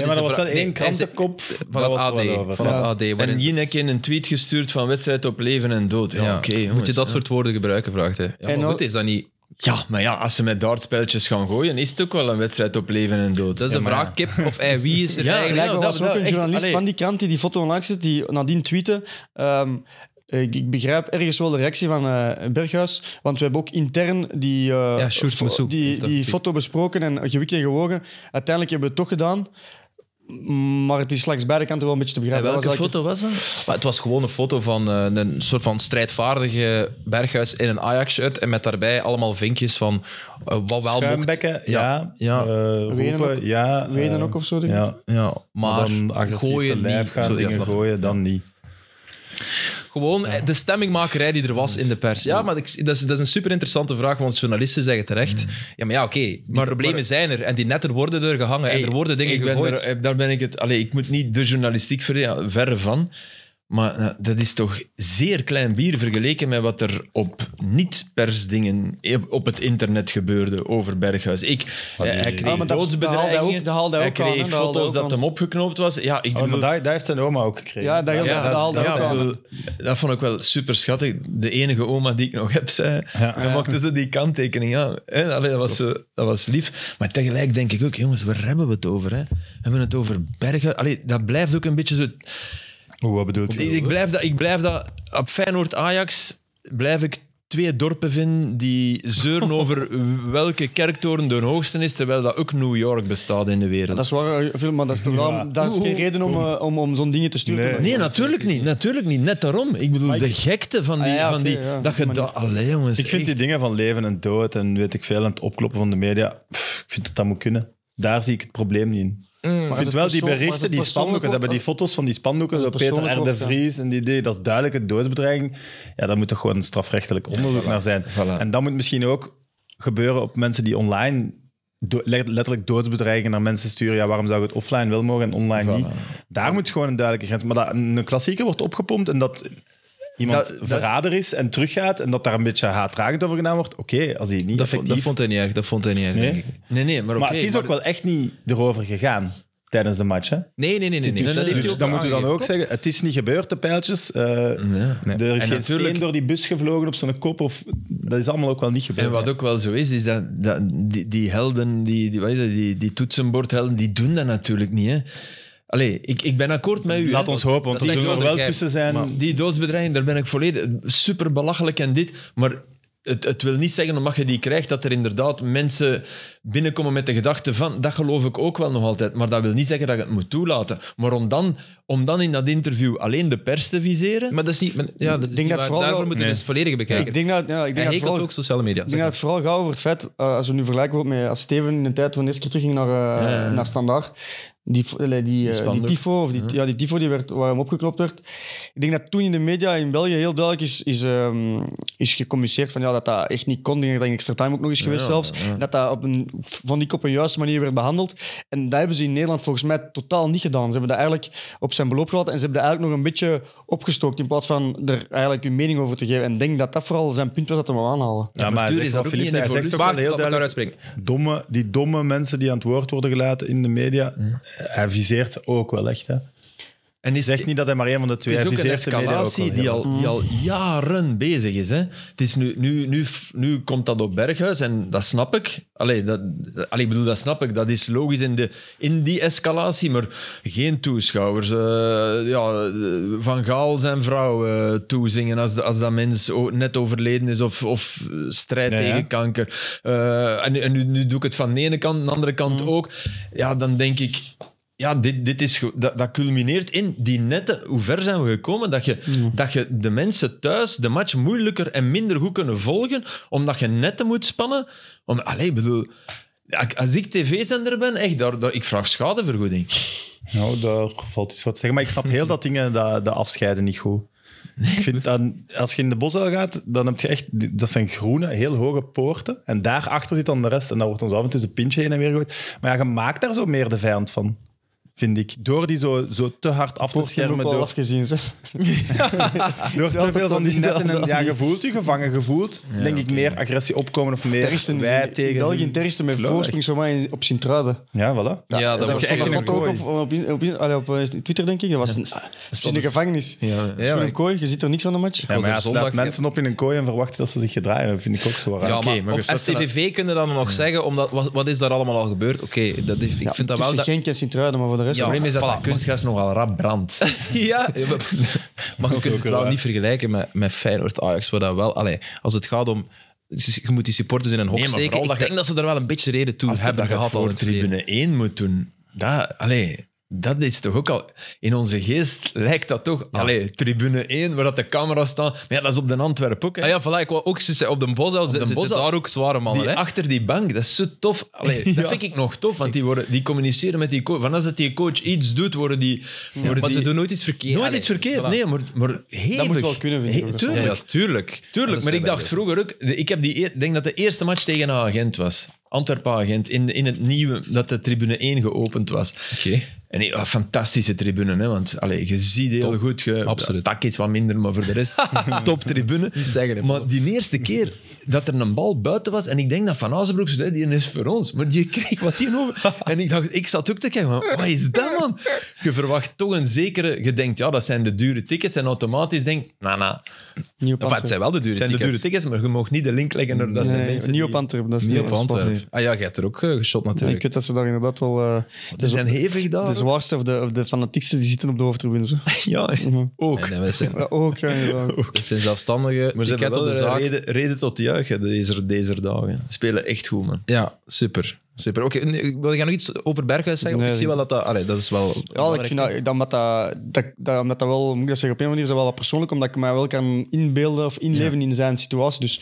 C: Nee,
A: is
C: maar
A: de
C: dat was
A: vraag.
C: wel
A: Nee,
C: één
A: en ze-
C: krantenkop.
A: Van
C: Daar
A: het
C: was er
A: AD.
C: wel over.
A: Van het
D: Ja.
A: AD. waarin-
B: En Jinek in een tweet gestuurd van wedstrijd op leven en dood. Ja,
A: ja,
B: oké,
A: moet je
B: jongens,
A: dat
B: ja.
A: soort woorden gebruiken, vraagt hij. Ja,
D: En
A: maar
D: al-
A: goed, is dat niet...
B: Ja, maar ja, als ze met dartspeltjes gaan gooien, is het ook wel een wedstrijd op leven en dood.
A: Dat is
B: Ja,
A: de
B: maar
A: vraag, kip of ei, wie is er
B: Ja,
A: eigenlijk?
D: Blijkbaar
B: dat-
D: was er ook
B: dat-
D: een
B: echt,
D: journalist
B: allee.
D: van die krant die die foto online zet, die nadien tweette. ehm, ik, ik begrijp ergens wel de reactie van eh, Berghuis, want we hebben ook intern die, eh,
A: Ja, Sjoerd
D: fo-
A: Moussou
D: die,
A: heeft dat
D: die
A: getweet.
D: foto besproken en gewikt en gewogen. Uiteindelijk hebben we het toch gedaan, maar het is langs beide kanten wel een beetje te
B: Ja,
D: begrijpen.
B: welke
D: Dat was eigenlijk-
B: foto was dat?
A: Maar het was gewoon een foto van eh, een soort van strijdvaardige Berghuis in een Ajax-shirt en met daarbij allemaal vinkjes van eh, wat wel mocht.
C: Schuimbekken, ja.
A: Ja.
C: ja.
D: Wenen
C: roepen,
D: ook.
C: ja.
D: Wenen
C: eh,
D: ook of zo, denk ik.
C: Ja.
A: Ja, maar
C: dan agressief
A: Ah, gooien
C: te lijf
A: niet.
C: gaan,
A: Zo, ja,
C: dingen
A: snap ik.
C: gooien, dan niet.
D: Oh,
A: Gewoon eh, de stemmingmakerij die er was in de pers. Ja, maar ik- dat is, dat is een super interessante vraag, want journalisten zeggen terecht. Ja, maar ja, oké, die problemen zijn er en die netten worden er gehangen en er worden dingen
B: ik ben
A: gegooid.
B: er- eh, daar ben ik het... Allee, ik moet niet de journalistiek verdedigen, verre van. Maar nou, dat is toch zeer klein bier vergeleken met wat er op niet-persdingen eh, op- op het internet gebeurde over Berghuis. Ik, eh, hij kreeg
D: Ah, maar dat- dat haalde hij ook-
B: doodsbedreigingen,
D: dat haalde hij
B: hij
D: ook aan, hè,
B: kreeg
D: dat haalde hij
B: foto's
D: ook
B: dat
D: aan.
B: hem opgeknoopt was. Ja, ik
C: Oh, maar
B: bedoel,
C: daar, daar heeft zijn oma ook gekregen.
D: Ja, dat, dat haalde hij ook
B: ik
D: aan.
B: bedoel, dat vond ik wel super schattig. De enige oma die ik nog heb, zei. Dan maakte ze die kanttekening aan. Hè? Allee, dat, was, zo- dat was lief. Maar tegelijk denk ik ook, jongens, waar hebben we het over? Hè? Hebben we het over bergen? Allee, dat blijft ook een beetje zo.
C: Hoe, wat bedoelt
B: Ik, ik
C: u?
B: blijf dat, ik blijf dat op Feyenoord-Ajax blijf ik twee dorpen vinden die zeuren over welke kerktoren de hoogste is, terwijl dat ook New York bestaat in de wereld.
D: Dat is waar, eh, Phil, maar dat is, toch wel-
C: Ja.
D: dat is geen reden om, eh, om, om zo'n dingen te sturen.
C: Nee.
D: Maar-
B: Nee, nou, natuurlijk niet. Natuurlijk niet. Net daarom. Ik bedoel, de gekte van die...
D: Ah, ja,
B: van die
D: oké, ja,
B: dat
D: op
B: je
D: die manier.
B: dat... Allee, jongens.
C: Ik vind die dingen van leven en dood en weet ik veel, en het opkloppen van de media, pff, ik vind dat dat moet kunnen. Daar zie ik het probleem niet in.
A: Mm.
C: Ik
D: Maar
C: vind
D: is
C: wel
D: het
C: die
D: persoon- maar is
C: berichten,
D: het
C: die spandoeken, ze
D: persoonlijk
C: hebben die foto's van die spandoeken,
D: Is
C: zo
D: het
C: Peter
D: persoonlijk
C: R. de
D: ook, ja.
C: Vries en die idee, dat is duidelijk een doodsbedreiging. Ja, daar moet toch gewoon een strafrechtelijk onderzoek naar zijn.
B: voilà.
C: En dat moet misschien ook gebeuren op mensen die online do- le- letterlijk doodsbedreigingen naar mensen sturen. Ja, waarom zou je het offline wel mogen en online niet? Daar moet gewoon een duidelijke grens. Maar dat een klassieker wordt opgepompt en dat iemand
A: Dat- dat is-
C: verrader is en teruggaat en dat daar een beetje haatdragend over gedaan wordt, oké, als hij niet
A: Dat, vond-
C: effectief...
A: dat vond hij niet erg, dat vond hij niet erg,
C: Nee?
A: denk ik.
B: Nee, nee, maar oké.
C: maar het is ook wel echt niet erover gegaan. tijdens de match. Hè?
A: Nee, nee, nee. nee, nee.
C: Dus-
A: dat heeft hij
C: dus
A: ook
C: dan moet u dan
A: aangegeven.
C: ook zeggen, het is niet gebeurd, de pijltjes. Eh,
B: Ja.
A: Nee.
C: Er is
B: En
C: geen
B: natuurlijk-
C: steen door die bus gevlogen op zijn kop. Of, dat is allemaal ook wel niet gebeurd.
B: En wat ook wel zo is, is dat, dat die, die helden, die, die, wat is dat, die, die toetsenbordhelden, die doen dat natuurlijk niet. Hè. Allee, ik, ik ben akkoord met u.
C: Laat
B: hè.
C: ons hopen, want
A: Dat is
C: er
A: echt
C: zullen er
A: wel
C: wel
A: de grijp,
C: tussen zijn.
A: maar-
B: Die doodsbedreiging, daar ben ik volledig super belachelijk en dit. Maar het, het wil niet zeggen, omdat je die krijgt, dat er inderdaad mensen binnenkomen met de gedachte van. Dat geloof ik ook wel nog altijd. Maar dat wil niet zeggen dat je het moet toelaten. Maar om dan, om dan in dat interview alleen de pers te viseren.
A: Maar dat is niet... maar- Ja, dat is
D: Ik
A: niet
D: denk dat
A: waar.
D: vooral-
A: Daarvoor moeten we
C: Nee.
A: het volledige bekijken.
D: Ik denk dat, ja, ik denk
A: Hij
D: dat
A: hekelt
D: vooral-
A: ook sociale media.
D: Ik denk dat het vooral gaat over het feit, eh, als we nu vergelijken wordt met als Steven in de tijd van de eerste keer terugging naar, eh,
B: Ja, ja, ja.
D: naar Standaard, die, f- allee, die, eh, die
B: spandoek.
D: tifo, of die, ja. die tifo die werd, waar hem opgeknopt werd. Ik denk dat toen in de media in België heel duidelijk is, is, ehm, is gecommuniceerd van ja, dat dat echt niet kon. Ik denk dat in extra time ook nog is geweest zelfs. En Dat dat op een, van die kop een juiste manier werd behandeld. En dat hebben ze in Nederland volgens mij totaal niet gedaan. Ze hebben dat eigenlijk op zijn beloop gelaten en ze hebben dat eigenlijk nog een beetje opgestookt in plaats van er eigenlijk hun mening over te geven. En ik denk dat dat vooral zijn punt was dat we hem aanhalen.
C: Ja, maar hij
B: natuurlijk
C: zegt
B: is dat
C: wel,
B: ook
C: Philippe,
B: niet in
C: hij zegt
B: evolutie.
C: ook wel
A: Waard,
C: heel
A: laat me
C: duidelijk,
A: daaruit spreken.
C: domme, die domme mensen die aan het woord worden gelaten in de media, hij viseert ze ook wel echt. Hè.
B: Hm. En is,
C: Zeg niet dat hij maar één van de twee
B: Het is ook een
C: viseert de media
B: escalatie
C: wel Mm.
B: die
C: heel
B: al, die al jaren bezig is. Hè. Het is nu, nu, nu, nu komt dat op Berghuis en dat snap ik. Allee, dat, allee, ik bedoel, dat snap ik. Dat is logisch in, de, in die escalatie, maar geen toeschouwers. Eh, ja, van Gaal zijn vrouw eh, toezingen als, als dat mens o- net overleden is of, of strijd
C: Ja, ja.
B: tegen kanker. Eh, en nu- en nu, nu doe ik het van de ene kant, aan de andere kant ook. Ja, dan denk ik... Ja, dit, dit is, ge- dat, dat culmineert in die nette. Hoe ver zijn we gekomen dat je, dat je de mensen thuis de match moeilijker en minder goed kunnen volgen, omdat je netten moet spannen? Om, allee, ik bedoel, a- als ik tv-zender ben, echt, daar, daar- ik vraag schadevergoeding.
C: Nou, daar valt iets wat te zeggen. Maar ik snap heel dat dingen, dat, dat afscheiden niet goed. ik vind dat, als je in de bosuil gaat, dan heb je echt... Dat zijn groene, heel hoge poorten. En daarachter zit dan de rest. En daar wordt ons af en toe een pintje heen en weer gegooid. Maar ja, je maakt daar zo meer de vijand van, vind ik. Door die zo, zo te hard af te
D: Wordt hem ook
C: schermen.
D: wel
C: Door,
D: afgezien, zeg.
C: door te
D: altijd
C: veel van
D: aan
C: die
D: die-
C: netten. En,
D: aan
C: ja,
D: die-
C: je voelt je gevangen. Je voelt, denk ik, meer agressie opkomen of meer
D: Tersten
C: wij
D: is in-
C: tegen...
D: in België
C: hun.
D: een terroristen met
C: Geloof
D: voorsprong zo maar in- op Sint-Truiden.
C: Ja, voilà.
A: Ja, dat
D: was
A: wordt echt
D: echt
A: in
D: een
A: een
D: ook op, op, in- op, in- allee, op, eh, Twitter, denk ik. Dat was een, het is een gevangenis. Ja,
A: Ja, maar
D: een kooi, je ziet er niks van de match.
C: Ja,
A: was
C: maar
A: er
C: ja, ze
A: zondag-
C: laat mensen op in een kooi en verwachten dat ze zich gedragen. Dat vind ik ook zo raar.
A: Ja,
B: Oké,
A: maar,
B: maar
A: op
B: je staat
A: STVV kunnen dan nog zeggen, omdat, wat, wat is daar allemaal al gebeurd? Oké, dat heeft- ik vind dat wel...
D: Tussen
A: Dat,
D: Genk en Sint-Truiden, maar voor de rest...
A: Ja.
B: Het probleem is dat
A: voilà.
B: dat kunstgras nogal rap brandt.
A: ja, maar je kunt het wel
C: waar.
A: niet vergelijken met, met Feyenoord-Ajax, waar dat wel... Allee, als het gaat om... Je moet die supporters in een hok
B: Nee, maar
A: steken.
B: vooral
A: Ik
B: dat je-
A: denk dat ze daar wel een beetje reden toe
B: Als
A: hebben
B: dat
A: gehad al in
B: voor
A: het verleden.
B: tribune 1 moet doen, dat, allee, dat is toch ook al... In onze geest lijkt dat toch... Allee, tribune 1, waar dat de camera's staan. Maar ja, dat is op de Antwerp ook. Hè.
A: Ah ja, voilà, ik wou ook zo zeggen, op de Bosel zit-
B: de
A: zitten
B: Bosel.
A: daar ook zware mannen.
B: Die
A: hè?
B: achter die bank, dat is zo tof. Allee, Dat vind ik nog tof, want die, worden, die communiceren met die coach. Van als dat die coach iets doet, worden die... worden
A: maar ze
B: die-
A: doen nooit iets verkeerd.
B: nooit
A: Allee,
B: iets verkeerd,
A: voilà.
B: nee, maar, maar hevig.
D: moet wel kunnen, vind ik,
B: He-
D: op de
A: Ja,
B: tuurlijk,
A: ja, tuurlijk.
B: tuurlijk.
A: Dat
B: maar ik
A: zijn
B: dacht
A: wij.
B: vroeger ook... de- Ik heb die eer- denk dat de eerste match tegen een agent was. Antwerpen-agent, in, in het nieuwe, dat de tribune 1 geopend was.
A: Oké.
B: En een fantastische tribune, hè, want allee, je ziet heel goed. Je,
A: absoluut.
B: Tak is wat minder, maar voor de rest top tribune.
A: zeggen, hè,
B: maar die eerste keer dat er een bal buiten was, en ik denk dat Van Azenbroek zei, die is voor ons, maar die kreeg wat die over. En ik dacht, ik zat ook te kijken, maar wat is dat man? Je verwacht toch een zekere, je denkt, ja, dat zijn de dure tickets, en automatisch denk nou, nou,
D: Niet op
A: Enfin, het zijn wel de dure
B: het zijn de
A: tickets.
B: dure tickets, maar je mag niet de link leggen naar dat zijn
D: Nee,
B: mensen
D: niet
B: die-
D: op Antwerpen, dat is
A: Niet
D: niet
A: op
D: dat is
A: Antwerpen. Ah
D: waar.
A: ja, jij hebt er ook eh, geshot
D: Ja, Ik
A: natuurlijk.
D: weet dat ze daar inderdaad wel... eh,
B: Die
D: de,
B: zijn hevig daar.
D: de
B: ook.
D: zwaarste of de, of de fanatiekste, die zitten op de hoofdtribunes. hè.
B: Ja, ook.
A: Nee, nee, maar dat, zijn,
D: Ja, ook, ja, inderdaad.
A: dat zijn zelfstandigen.
B: Maar ze
A: ticket
B: hebben
A: op
B: wel
A: de
B: een
A: zaak.
B: reden, reden tot juichen deze, deze dagen. Ze spelen echt goed, man.
A: Ja, super. Super. Oké, nu, wil jij nog iets over Berghuis zeggen? Want
D: Nee,
A: ik zie wel dat dat... Allee, dat is wel...
D: Ja, ik vind dat, dat, omdat dat, dat, dat, omdat dat wel, moet ik dat zeggen, op een manier is dat wel wat persoonlijk, omdat ik mij wel kan inbeelden of inleven in zijn situatie. Dus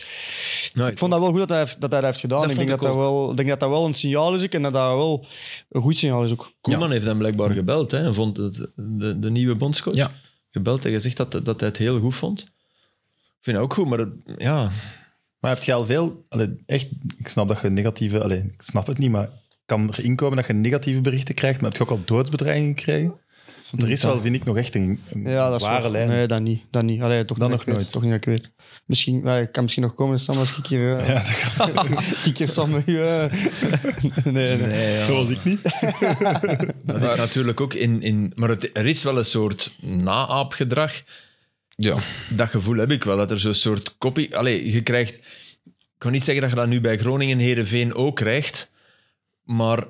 D: ik vond dat wel goed dat hij, heeft- dat hij dat heeft gedaan.
A: Dat
D: ik denk
A: vond
D: dat,
A: ik
D: dat wel, ik denk dat dat wel een signaal is ook, en dat dat wel een goed signaal is ook.
B: Koeman heeft hem blijkbaar gebeld hè, en vond het, de, de nieuwe bondscoach
A: Ja.
B: gebeld en gezegd dat, dat hij het heel goed vond. Ik vind dat ook goed, maar het- ja,
C: Maar heb je al veel... allee, echt, ik snap dat je negatieve... Allee, ik snap het niet, maar kan er inkomen dat je negatieve berichten krijgt, maar heb je ook al doodsbedreigingen gekregen? Want er is wel, vind ik, nog echt een, een
D: Ja, dat is
C: zware
D: waar.
C: lijn.
D: Nee, dat niet. Dat niet. Allee, toch
C: Dan
D: niet
C: nog
D: dat ik
C: nooit.
D: weet. Toch niet dat ik weet. Misschien, ja, ik kan misschien nog komen, Sam, als ik hier... eh die keer Sam met u... eh. nee, nee.
C: Dat was ik niet.
B: Dat is natuurlijk ook in... in maar het, er is wel een soort naaapgedrag.
A: Ja.
B: Dat gevoel heb ik wel, dat er zo'n soort kopie... Allee, je krijgt... Ik kan niet zeggen dat je dat nu bij Groningen Herenveen ook krijgt, maar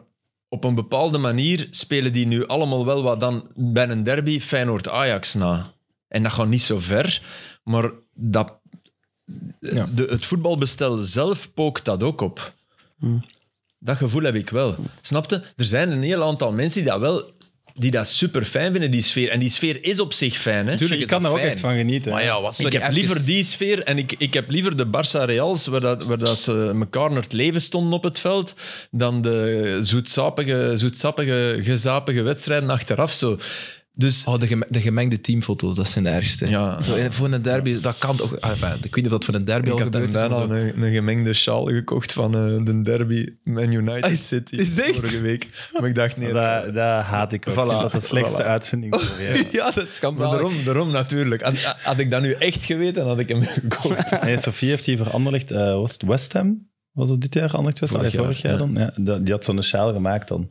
B: op een bepaalde manier spelen die nu allemaal wel wat dan bij een derby Feyenoord-Ajax na. En dat gaat niet zo ver, maar dat,
A: Ja.
B: de, het voetbalbestel zelf pookt dat ook op. Dat gevoel heb ik wel. Snapte? Er zijn een heel aantal mensen die dat wel die dat super fijn vinden, die sfeer. En die sfeer is op zich fijn. Hè?
A: Tuurlijk
C: Je
A: is
C: kan
A: dat
C: daar ook
A: fijn.
C: echt van genieten.
A: Maar ja, wat zou
B: ik
A: die
B: heb
A: even-
B: liever die sfeer en ik, ik heb liever de Barça Reals, waar, dat, waar dat ze elkaar naar het leven stonden op het veld, dan de zoetsappige, zoetsappige gezapige wedstrijden achteraf. Zo. Dus
A: Oh, de, gem- de gemengde teamfoto's, dat zijn de ergste.
B: Ja.
A: Zo, in- voor een derby, dat kan toch... ah, enfin, ik weet niet of dat voor een derby al
B: ik had hem
A: gebeurd is. maar
B: daarna
A: zo-
B: een, een gemengde sjaal gekocht van eh, de derby Man United City
A: is het echt?
B: vorige week. Maar ik dacht, nee,
C: Dat, dat haat ik ook.
B: Voilà.
C: Ik vind dat de slechtste
B: Voilà.
C: uitvinding. voor je.
A: Ja, dat is
B: Maar
A: schandalig.
B: daarom, daarom natuurlijk. Had, had ik dat nu echt geweten, had ik hem gekocht.
C: Nee, Sofie heeft die voor Anderlecht, eh, was het West Ham? Was het dit jaar Anderlecht West Ham?
B: Vorig
C: Vorig, vorig jaar,
B: jaar,
C: dan? Ja, dat- die had zo'n sjaal gemaakt dan.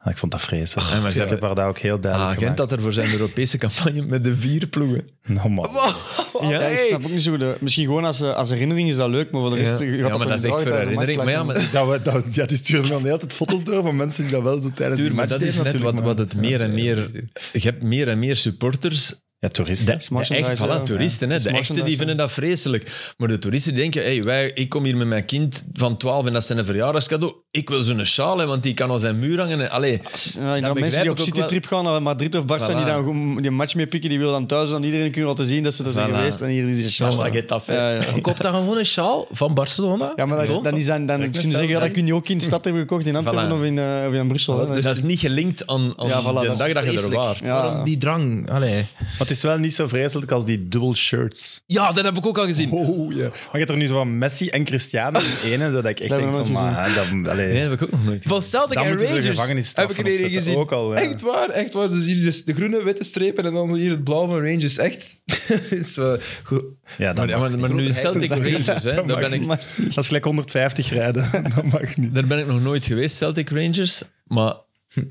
C: Ah, ik vond dat vreselijk.
B: ja, maar ze
C: ik heb haar daar ook heel
B: Ah,
C: duidelijk
B: Gent had er voor zijn Europese campagne met de vier ploegen.
C: gemaakt. Nou, man.
D: Ja, ik snap ook niet zo goed. eh, Misschien gewoon als, eh, als herinnering is dat leuk, maar voor de rest... eh, je
B: Ja,
D: gaat
B: maar
D: toch
B: dat is
D: niet
B: echt voor
D: dragen tijdens een
B: herinnering. Maar ja,
D: match,
B: maar
C: Dat we, dat, ja, die sturen dan de hele tijd foto's door van mensen die dat wel zo tijdens
B: Tuur,
C: de
B: maar
C: match
B: dat
C: deden
B: is net
C: natuurlijk,
B: wat,
C: maar-
B: wat het meer en meer... Je hebt meer en meer supporters.
C: Ja, toeristen.
B: De,
D: is
B: de echt,
D: merchandise,
B: voilà,
D: ja.
B: toeristen.
D: Ja,
B: Hè,
D: het
B: de
D: is
B: echten die
D: merchandise,
B: vinden dat vreselijk. Maar de toeristen denken, hey, wij, ik kom hier met mijn kind van 12 en dat is zijn verjaardagscadeau. Ik wil zo'n sjaal, hè, want die kan aan zijn muur hangen. hè. Allee,
D: Ja, en
B: Dat
D: dan mensen
B: begrijp
D: die
B: ik
D: op
B: ook
D: citytrip gaan naar Madrid of Barça,
B: Voilà.
D: die dan gewoon die een match mee pikken, die wil dan thuis aan iedereen kunnen laten zien dat ze er zijn
B: Voilà.
D: geweest. En hier is een
B: dan
D: chance.
B: zag je dat. hè.
D: Ja, ja.
A: Ik koop daar gewoon een sjaal van Barcelona.
D: ja, maar dat is, dan is dan, dan kun je zeggen, ja, dat kun je ook in de stad hebben gekocht, in Antwerpen
B: Voilà.
D: of, in, eh, of in Brussel. hè.
B: Dat is- dat is niet gelinkt aan, aan
D: Ja, voilà,
B: de
D: dat is
B: dag dat je er
A: Vreselijk.
B: waart.
D: Ja.
A: Waarom die drang? Allee.
C: Maar het is wel niet zo vreselijk als die dubbel shirts.
A: Ja, dat heb ik ook al gezien.
C: Oh, ja. Maar je hebt er nu zo van Messi en Cristiano in één, en zo dat ik echt
D: Dat
C: denk
D: hebben
C: van,
D: we nooit
C: maar, dat, allee,
B: Nee, dat heb ik ook nog nooit
A: Van Celtic
C: Dan
A: en
C: moeten ze de
A: Rangers
C: gevangenisstraf
A: heb ik er
C: van
A: een
C: opzetten.
A: gezien.
C: Ook al, ja.
A: Echt waar, echt waar. Dus hier dus de groene, witte strepen en dan zo hier het blauw van Rangers. Echt. is wel goed.
C: Ja,
B: Maar,
C: dat mag.
B: ja, maar, maar nu is Celtic Rangers, hè.
C: Dat
B: Daar,
C: mag
B: ben ik,
C: niet. Dat is gelijk 150 rijden. Dat mag niet.
B: daar ben ik nog nooit geweest, Celtic Rangers. Maar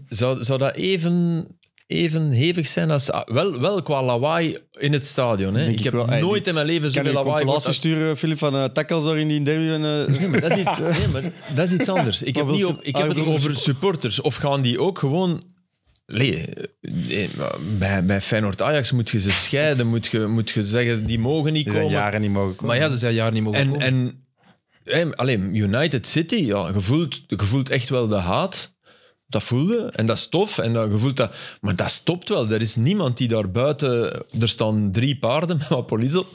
B: zou, zou dat even, even hevig zijn als... ah, Wel, wel qua lawaai in het stadion, hè. Ik
D: ik
B: heb
D: wel. Hey,
B: nooit in mijn leven
D: Ik kan je
B: zoveel
D: een
B: lawaai gehoord
D: compilatie
B: als-
D: sturen, Philip, van eh tackles daar in die derby. En, eh,
B: Nee, maar dat is iets, nee, maar dat is iets anders. Ik
D: Wat
B: heb,
D: wilt
B: niet
D: je-
B: op, ik
D: Ah,
B: heb
D: je
B: het
D: bedoelt
B: over supporters. Of gaan die ook gewoon... Nee, nee, maar bij, bij Feyenoord-Ajax moet je ze scheiden. Moet je, moet je zeggen, die mogen niet
C: Die zijn
B: komen.
C: jaren niet mogen komen.
A: Maar ja, ze zijn jaar niet mogen
B: En,
A: komen.
B: en hey, alleen United City, ja, je, voelt, je voelt echt wel de haat. Dat voelde en dat is tof. En dat, je voelt dat, maar dat stopt wel. Er is niemand die daar buiten. Er staan drie paarden met wat police op.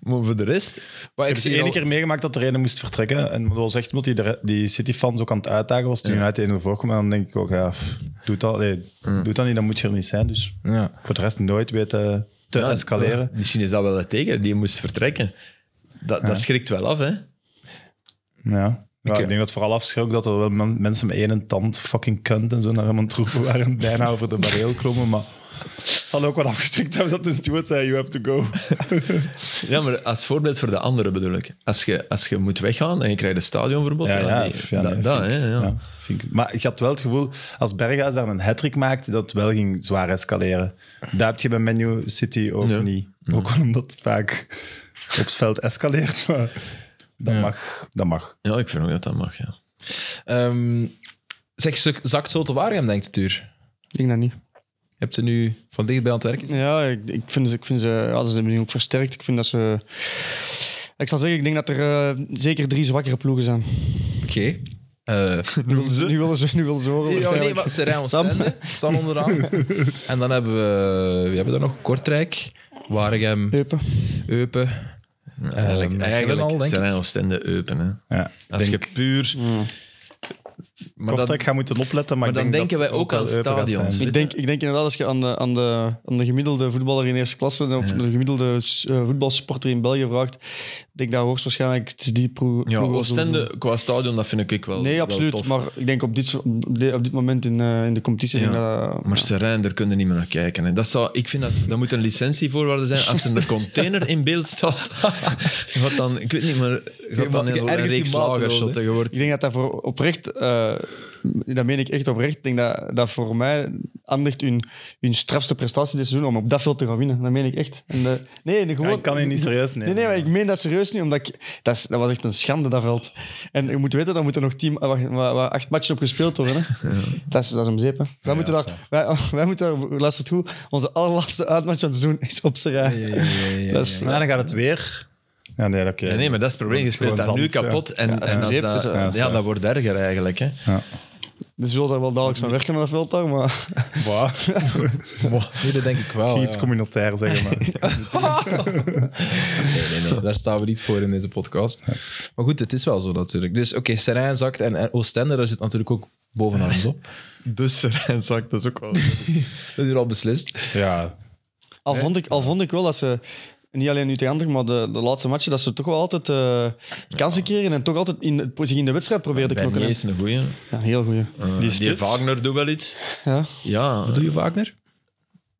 B: Maar voor de rest.
A: maar ik
C: Ik heb
A: zie
C: de ene
A: al-
C: keer meegemaakt dat er een moest vertrekken. En dat was echt omdat die, de- die City-fans ook aan het uitdagen was. Toen United in voorkwam. En dan denk ik ook, ja, pff, doe dat, nee, doe dat niet, dan moet je er niet zijn. Dus
A: Ja.
C: voor de rest nooit weten te
B: ja,
C: escaleren.
B: Misschien is dat wel het tegen. Die moest vertrekken. Dat, dat schrikt wel af, hè?
C: Ja. Ja,
A: Ik-
B: eh,
C: ik denk dat vooral afschrok dat er wel men- mensen met één en tand fucking kunt en zo naar hem aan het roepen waren. en Bijna over de bareel klommen, maar het zal ook wel afgeschrikt hebben dat de steward zei, you have to go.
B: Ja, maar als voorbeeld voor de anderen bedoel ik. Als je, als je moet weggaan en je krijgt een stadionverbod.
C: Ja, ja,
B: nee,
C: f- ja,
B: dat,
C: nee,
B: dat,
C: vind
B: hè,
C: ik-
B: ja.
C: ja, vind ik- Maar ik had wel het gevoel, als Berghuis daar een hat-trick maakte, dat het wel ging zwaar escaleren. Dat heb je bij Menu City ook
B: Nee.
C: niet. Ook wel omdat het vaak op het veld escaleert, maar dat mag. Dat mag.
B: Ja, ik vind ook dat dat mag. Ja.
A: Ehm, zeg, ze- zakt zo te Waregem, denkt het uur.
D: ik denk dat niet.
A: Je hebt ze nu van dichtbij aan het werk. gezien.
D: Ja, ik, ik vind ze, ik vind ze, ja, ze zijn misschien ook versterkt. Ik vind dat ze... Ik zal zeggen, ik denk dat er eh, zeker drie zwakkere ploegen zijn.
A: Oké. Eh
D: Nu willen ze, nu willen ze horen.
A: Ja, nee,
D: waarschijnlijk.
A: maar Serijn
D: Sam.
A: Oostende staan onderaan. En dan hebben we... Wie hebben we daar nog? Kortrijk, Waregem,
D: Eupen.
A: Eupen.
B: Eigenlijk,
A: Ehm,
B: eigenlijk
A: Gillen al, denk ik.
B: zijn Oostende open. Hè.
C: Ja.
B: Als je puur...
A: Maar dat-
C: Kortrijk gaan moeten opletten, maar,
B: maar
C: ik
B: dan
C: denk
B: denken
C: dat
B: wij ook
C: wel
B: aan
C: Eupen gaat
B: stadions.
C: zijn.
B: Weet
D: Ik denk, ik denk inderdaad, als je aan de, aan, de, aan de gemiddelde voetballer in eerste klasse of de gemiddelde s- eh, voetbalsupporter in België vraagt, ik denk dat hoogst waarschijnlijk het is die pro
B: Ja,
D: ploeg-
B: Oostende qua stadion, dat vind ik wel
D: Nee,
B: wel
D: absoluut.
B: tof.
D: maar ik denk op dit, soort- op di- op dit moment in, eh, in de competitie...
B: Ja.
D: denk ik dat-
B: Maar Serijn, daar kunnen niet meer naar kijken. Hè. Dat zou, ik vind dat, dat moet een licentievoorwaarde zijn als er een container in beeld staat. Wat dan, ik weet niet, maar
A: Je
B: gaat dan
A: ma- je
B: een, een
A: ergert je
B: reeks
A: maat
B: lagershotten. Je wordt
D: Ik denk dat dat voor oprecht, eh, dat meen ik echt oprecht, ik denk dat, dat voor mij Anderlecht hun, hun strafste prestatie dit seizoen om op dat veld te gaan winnen. Dat meen ik echt. En de, nee, de,
C: Ja,
D: gewoon,
C: ik kan je niet serieus
D: Nee,
C: nemen.
D: nee, maar ik meen dat serieus niet, omdat ik, dat, is- dat was echt een schande, dat veld. En je moet weten, daar moeten nog team, wacht, waar, waar acht matchen op gespeeld worden. Hè. Dat, is, dat is om zeep. hè. Wij, moeten daar, wij, wij moeten daar, luister het goed, onze allerlaatste uitmatch van het seizoen is op z'n rij.
B: Ja, ja, ja, ja,
D: Dat is-
C: Maar dan gaat het weer. Ja, nee, oké.
B: Ja, nee, maar dat is het probleem. Je speelt
C: Gewoon
B: dat nu
C: zand, ja.
B: kapot en,
D: Ja, dat is
B: en
D: een
B: als
D: zeep,
B: dat,
D: dus, eh,
B: ja,
C: dat is waar.
B: dat wordt erger eigenlijk. Hè.
C: Ja.
D: Dus we zullen daar wel dadelijk aan werken aan dat veld daar, maar...
C: Wow.
A: Nee, dat denk ik wel.
C: Ging
A: ja.
C: iets communautair zeggen, maar...
A: Nee, nee, nee, daar staan we niet voor in deze podcast. Maar goed, het is wel zo natuurlijk. Dus oké, Serijn zakt en, en Oostende, daar zit natuurlijk ook bovenaan ons op.
B: Dus Serijn zakt, dat is ook wel...
A: Dat is hier al beslist.
C: Ja.
D: Al vond ik, al vond ik wel dat ze, niet alleen nu tegen Anderlecht, maar de, de laatste matchen, dat ze toch wel altijd eh, kansen kregen en toch altijd in, het- zich in de wedstrijd probeerden te knokken.
B: Bernier
D: hè.
B: is een goeie.
D: Ja, heel goeie.
B: Eh,
C: Die
B: die,
C: spits.
B: Wagner doet wel iets.
D: Ja.
B: Ja.
A: Wat doe je Wagner?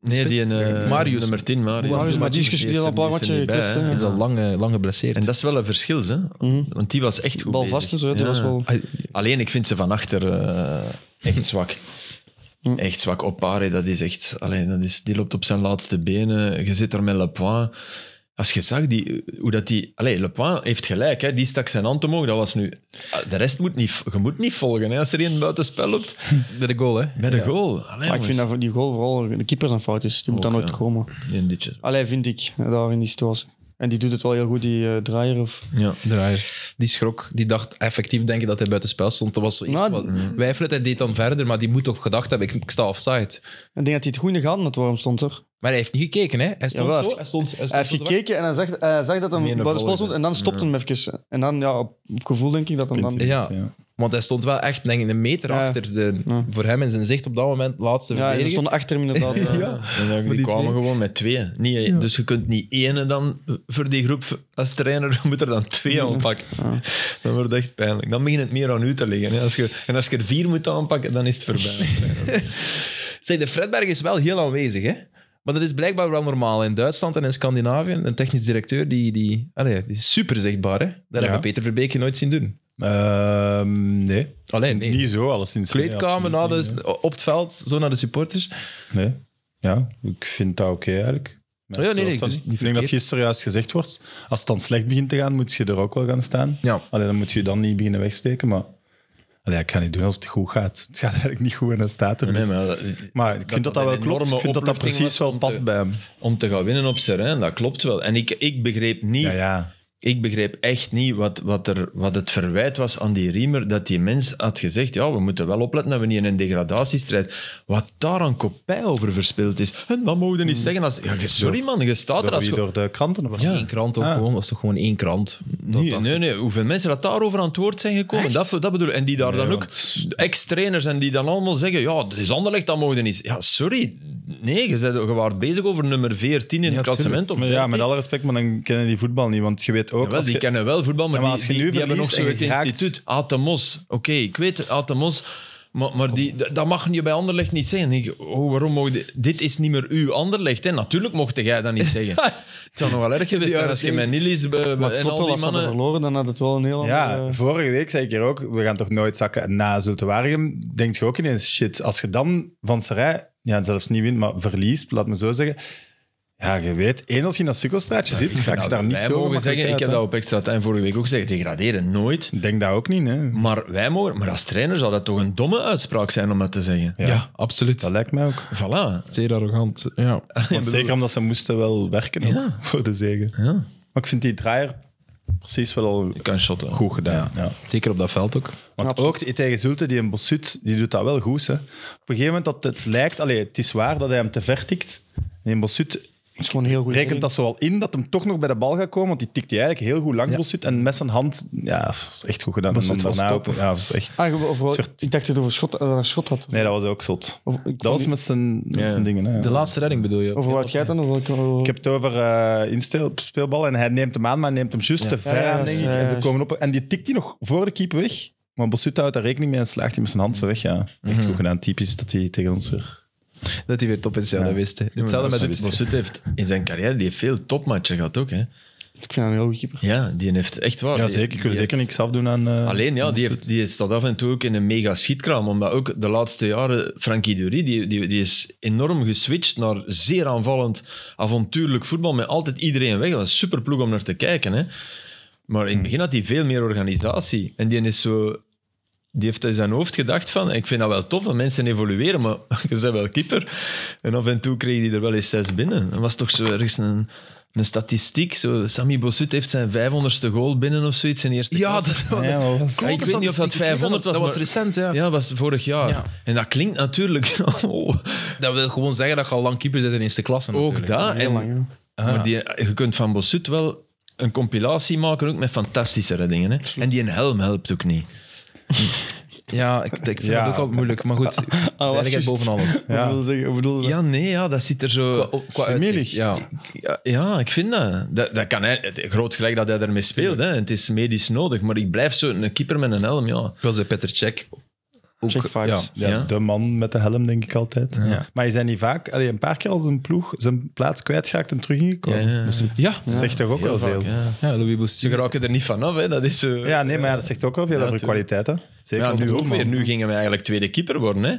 B: Nee, die een, eh,
A: Marius.
B: nummer 10, Marius.
D: Marius
B: Die
D: Magicus, die al een paar
B: is er
D: matchen
B: niet bij,
D: gekust,
B: hè.
D: hè.
A: Is al lang, eh, lang geblesseerd.
B: En dat is wel een verschil, hè? want die was echt goed
D: Mhm. Bal
B: bezig.
D: vast en zo, hè. die
B: Ja.
D: was wel...
A: Ah,
B: Alleen, ik vind ze van achter eh, echt zwak.
D: Mhm.
B: Echt zwak. Opare, dat is echt... Alleen, dat is, die loopt op zijn laatste benen. Je zit daar met Le Point. Als je zag die, hoe dat die... Allee, Le Point heeft gelijk. Hè. Die stak zijn hand omhoog. Dat was nu... ah, De rest moet niet... Je moet niet volgen. Hè. Als er één buitenspel loopt,
A: Bij de goal, hè?
B: bij de goal. Allee,
D: Maar ik vind dat voor die goal vooral de keeper zijn fout is. Die moet
B: Ook,
D: dan nooit
B: ja.
D: komen.
B: Een ditje.
D: Allee, vind ik, daar in die situatie. En die doet het wel heel goed, die eh, draaier. Of...
B: Ja.
A: Draaier. Die schrok, die dacht effectief denk ik dat hij buiten spel stond. Dat was zo eerst
D: Nou,
A: wat wijfelend. Hij deed dan verder, maar die moet toch gedacht hebben, ik, ik sta offside.
D: Ik denk dat hij het goed in de gaten had waarom stond er.
A: Maar hij heeft niet gekeken, hè? Hij stond
D: Jawel,
A: zo,
D: hij-
A: hij stond, hij stond
D: Hij heeft
A: zo te
D: gekeken en hij zag, hij zag dat hij
B: Nee, naar
D: bij de spel
B: voren.
D: stond en dan stopte hem even. En dan, ja, op, op gevoel denk ik dat hem dan...
A: Punt. Ja. wachten. Want hij stond wel echt denk ik, een meter
D: Ja.
A: achter de,
D: Ja.
A: voor hem in zijn zicht op dat moment, laatste
D: Ja, ze
A: verdediger.
D: stonden achter hem inderdaad. eh.
B: Ja. En dan, die,
A: die
B: kwamen
A: twee-
B: gewoon met twee. Niet, eh, Dus je kunt niet ene dan eh, voor die groep als trainer moet er dan twee aanpakken. Dan wordt het echt pijnlijk. Dan begint het meer aan u te liggen. Hè. Als je, en als je er vier moet aanpakken, dan is het voorbij.
A: Zeg, de Fredberg is wel heel aanwezig, hè? Maar dat is blijkbaar wel normaal in Duitsland en in Scandinavië. Een technisch directeur die, die, allee, die is super zichtbaar, hè? Dat hebben we Peter Verbeek nooit zien doen.
C: Ehm, nee.
A: Alleen, nee.
C: Niet zo, alleszins. Nee,
A: Kleedkamer nou,
C: absoluut
A: na
C: niet,
A: de, op het veld, zo naar de supporters.
C: nee. Nee. Ja, ik vind dat oké eigenlijk. Mij
A: Oh ja, nee,
C: stoort
A: nee,
C: dat
A: dus
C: niet.
A: niet
C: ik denk dat
A: verkeerd.
C: gisteren juist gezegd wordt, als het dan slecht begint te gaan, moet je er ook wel gaan staan.
A: Ja.
C: Alleen dan moet je dan niet beginnen wegsteken, maar... Allee, ik ga niet doen alsof het goed gaat. Het gaat eigenlijk niet goed en dat staat er
B: Nee,
C: niet.
B: maar, eh,
C: dus- Maar ik vind dat dat,
B: dat
C: wel
B: een
C: klopt.
B: enorme
C: Ik vind dat dat
B: opluchting was
C: precies wel
B: om
C: past
B: te-
C: bij hem.
B: om te gaan winnen op Serijn, dat klopt wel. En ik, ik begreep niet...
C: Ja, ja.
B: Ik begreep echt niet wat, wat, er, wat het verwijt was aan die Riemer. Dat die mens had gezegd: ja, we moeten wel opletten dat we niet in een degradatiestrijd. Wat daar aan kopij over verspeeld is. En dat mogen we
C: Mm.
B: niet zeggen. Als, ja, ge- sorry man, je staat
C: Door,
B: er als.
C: wie,
B: ge-
C: door de kranten was
A: Eén krant ook
C: Ah.
A: gewoon, was toch gewoon één krant? Dat
B: Nee,
A: dacht
B: nee,
A: ik.
B: nee, hoeveel mensen dat daarover aan het woord zijn gekomen, dat, dat bedoel ik. En die daar dan ook, ex-trainers, en die dan allemaal zeggen, ja, dat is Anderlecht, dat mogen we niet. Ja, sorry, nee, je, bent, je waart bezig over nummer 14 in het klassement. Of
C: Maar ja,
B: 13.
C: met alle respect, maar dan kennen die voetbal niet. Want je weet ook...
B: Jawel,
C: als
B: die
C: je-
B: kennen wel voetbal, maar,
C: Ja, maar
B: die,
C: als je
B: die,
C: nu
B: die hebben nog
C: verliest
B: zo
C: en
B: het
C: je raakt-
B: instituut. Atemos. Oké, ik weet Atemos. Maar, maar die, d- dat mag je bij Anderlecht niet zeggen. Dan denk ik, oh, waarom mogen die- dit is niet meer uw Anderlecht. Hè? Natuurlijk mocht jij dat niet zeggen. het zou nog wel erg geweest zijn als je met Nilis be- be-
D: Maar het
B: en al
D: klopt wel,
B: die
D: als ze hadden
B: mannen...
D: verloren, dan had het wel een heel andere...
C: Ja,
B: eh,
C: vorige week zei ik hier ook, we gaan toch nooit zakken. En na Zulte Waregem denk je ook ineens, shit, als je dan van Serij, ja, zelfs niet wint, maar verliest, laat me zo zeggen. Ja, je weet, eens als je in dat sukkelstraatje zit, ga je
B: Nou,
C: daar niet
B: wij
C: zo
B: mogen
C: makkelijk
B: zeggen, ik
C: uit,
B: heb
C: hè.
B: dat op extra time vorige week ook gezegd, degraderen nooit.
C: Ik denk dat ook niet, hè.
B: Maar wij mogen... Maar als trainer zou dat toch een domme uitspraak zijn om dat te zeggen.
C: Ja,
A: Ja, absoluut.
C: dat lijkt mij ook.
B: Voilà.
A: Zeer arrogant, ja.
C: Want zeker omdat ze moesten wel werken ook
B: Ja.
C: voor de zegen.
B: Ja,
C: Maar ik vind die draaier precies wel al
B: je kan shotten.
C: goed gedaan. Ja.
A: Zeker op dat veld ook.
C: Want
D: Absoluut.
C: ook die- tegen Zulte, die een Bossut, die doet dat wel goed. Hè. Op een gegeven moment dat het lijkt... Allee, het is waar dat hij hem te ver tikt. En Bossut
D: is gewoon een heel goed.
C: rekent dat zo al in dat hem toch nog bij de bal gaat komen, want die tikt hij eigenlijk heel goed langs Bossut. En met zijn hand, ja, dat is echt goed gedaan.
A: Bossut
C: En dan
A: was
C: daarna
A: top,
C: ook- Ja, dat is echt...
D: Ah, ge- of, wel-
C: Soort-
D: ik dacht dat het over schot, dat hij een schot had.
C: Nee, dat was ook zot.
D: Of, ik
C: Dat was
D: vond-
C: met zijn, met
B: Ja.
C: zijn dingen. Hè.
A: De laatste redding bedoel je?
D: Over wat jij dan? Over, welke- over-
C: Ik heb het over eh inspeelbal en hij neemt hem aan, maar hij neemt hem juist te ver
D: Ja,
C: aan,
D: juist,
C: denk ik.
D: ja,
C: en ze
D: juist.
C: komen op en die tikt hij nog voor de keeper weg. Maar Bossut houdt daar rekening mee en slaagt hij met zijn hand zo weg. Ja. Echt
D: Mhm.
C: goed gedaan. Typisch dat hij tegen ons weer...
A: Dat hij weer top is, ja, dat wist hij. Hetzelfde met
B: Bossut-
A: het...
B: Bossut heeft in zijn carrière die heeft veel topmatchen gehad ook. Hè.
D: Ik vind hem een heel goed keeper.
B: Ja, die heeft echt waar.
C: Ja,
B: die-
C: zeker. Ik
B: die
C: wil zeker niks afdoen aan... eh,
B: Alleen ja, die, heeft, die staat af en toe ook in een mega schietkraam. Omdat ook de laatste jaren, Frankie Dury, die, die, die is enorm geswitcht naar zeer aanvallend, avontuurlijk voetbal. Met altijd iedereen weg. Dat was een super ploeg om naar te kijken. Hè. Maar in het begin had hij veel meer organisatie. En die is zo. Die heeft in zijn hoofd gedacht van, ik vind dat wel tof dat mensen evolueren, maar je bent wel keeper. En af en toe kreeg hij er wel eens zes binnen. Dat was toch zo ergens een, een statistiek. Zo, Sami Bossut heeft zijn 500ste goal binnen of zoiets in de eerste
A: Ja,
B: klasse.
A: dat,
C: Ja, ja, wel.
A: Klote
B: Ik weet niet of dat
A: statistiek. Ik weet
B: 500 was,
A: Dat was
B: maar-
A: recent, ja.
B: Ja, dat was vorig jaar.
A: Ja.
B: En dat klinkt natuurlijk. Oh,
A: Dat wil gewoon zeggen dat je al lang keeper zit in eerste klasse.
B: ook
A: natuurlijk.
B: dat.
D: Heel
B: En, Ah.
D: lang, ja.
B: maar die, je kunt van Bossut wel een compilatie maken, ook met fantastische reddingen. Hè? En die een helm helpt ook niet.
A: Ja, ik, ik vind
C: Ja.
A: dat ook altijd moeilijk. Maar goed, veiligheid
D: juist.
A: boven alles.
C: Ja.
D: Wat bedoel je? Wat bedoel je?
B: Ja, nee, ja, dat zit er zo.
A: Qua- qua uitzicht,
C: Melig.
A: Ja.
B: Oh, Ja, ja, ik vind dat. dat, dat kan hij, het- groot gelijk dat hij daarmee speelt. Hè. Het is medisch nodig, maar ik blijf zo een keeper met een helm. Ja.
A: Ik was bij Peter Cech. Ook,
D: Cech vibes.
A: ja.
C: Ja,
B: Ja.
C: de man met de helm, denk ik altijd.
A: Ja.
C: Maar je zijn niet vaak... Allee, een paar keer als een ploeg zijn plaats kwijtgeraakt en terug ingekomen.
B: Ja, ja, ja.
C: Bossut.
A: Ja.
C: Dat zegt toch ook wel
B: Heel
C: veel.
B: vaak, ja.
A: ja, Louis
B: Ze
A: Boussu.
B: geraken er niet vanaf. Hè. Dat is, zo-
C: Ja, nee, maar ja, dat zegt ook wel veel
B: Ja,
C: over
B: tuurlijk.
C: kwaliteit. Hè. Zeker
B: Ja,
C: als
B: nu ook
C: doelman.
B: weer. Nu gingen we eigenlijk tweede keeper worden. Hè?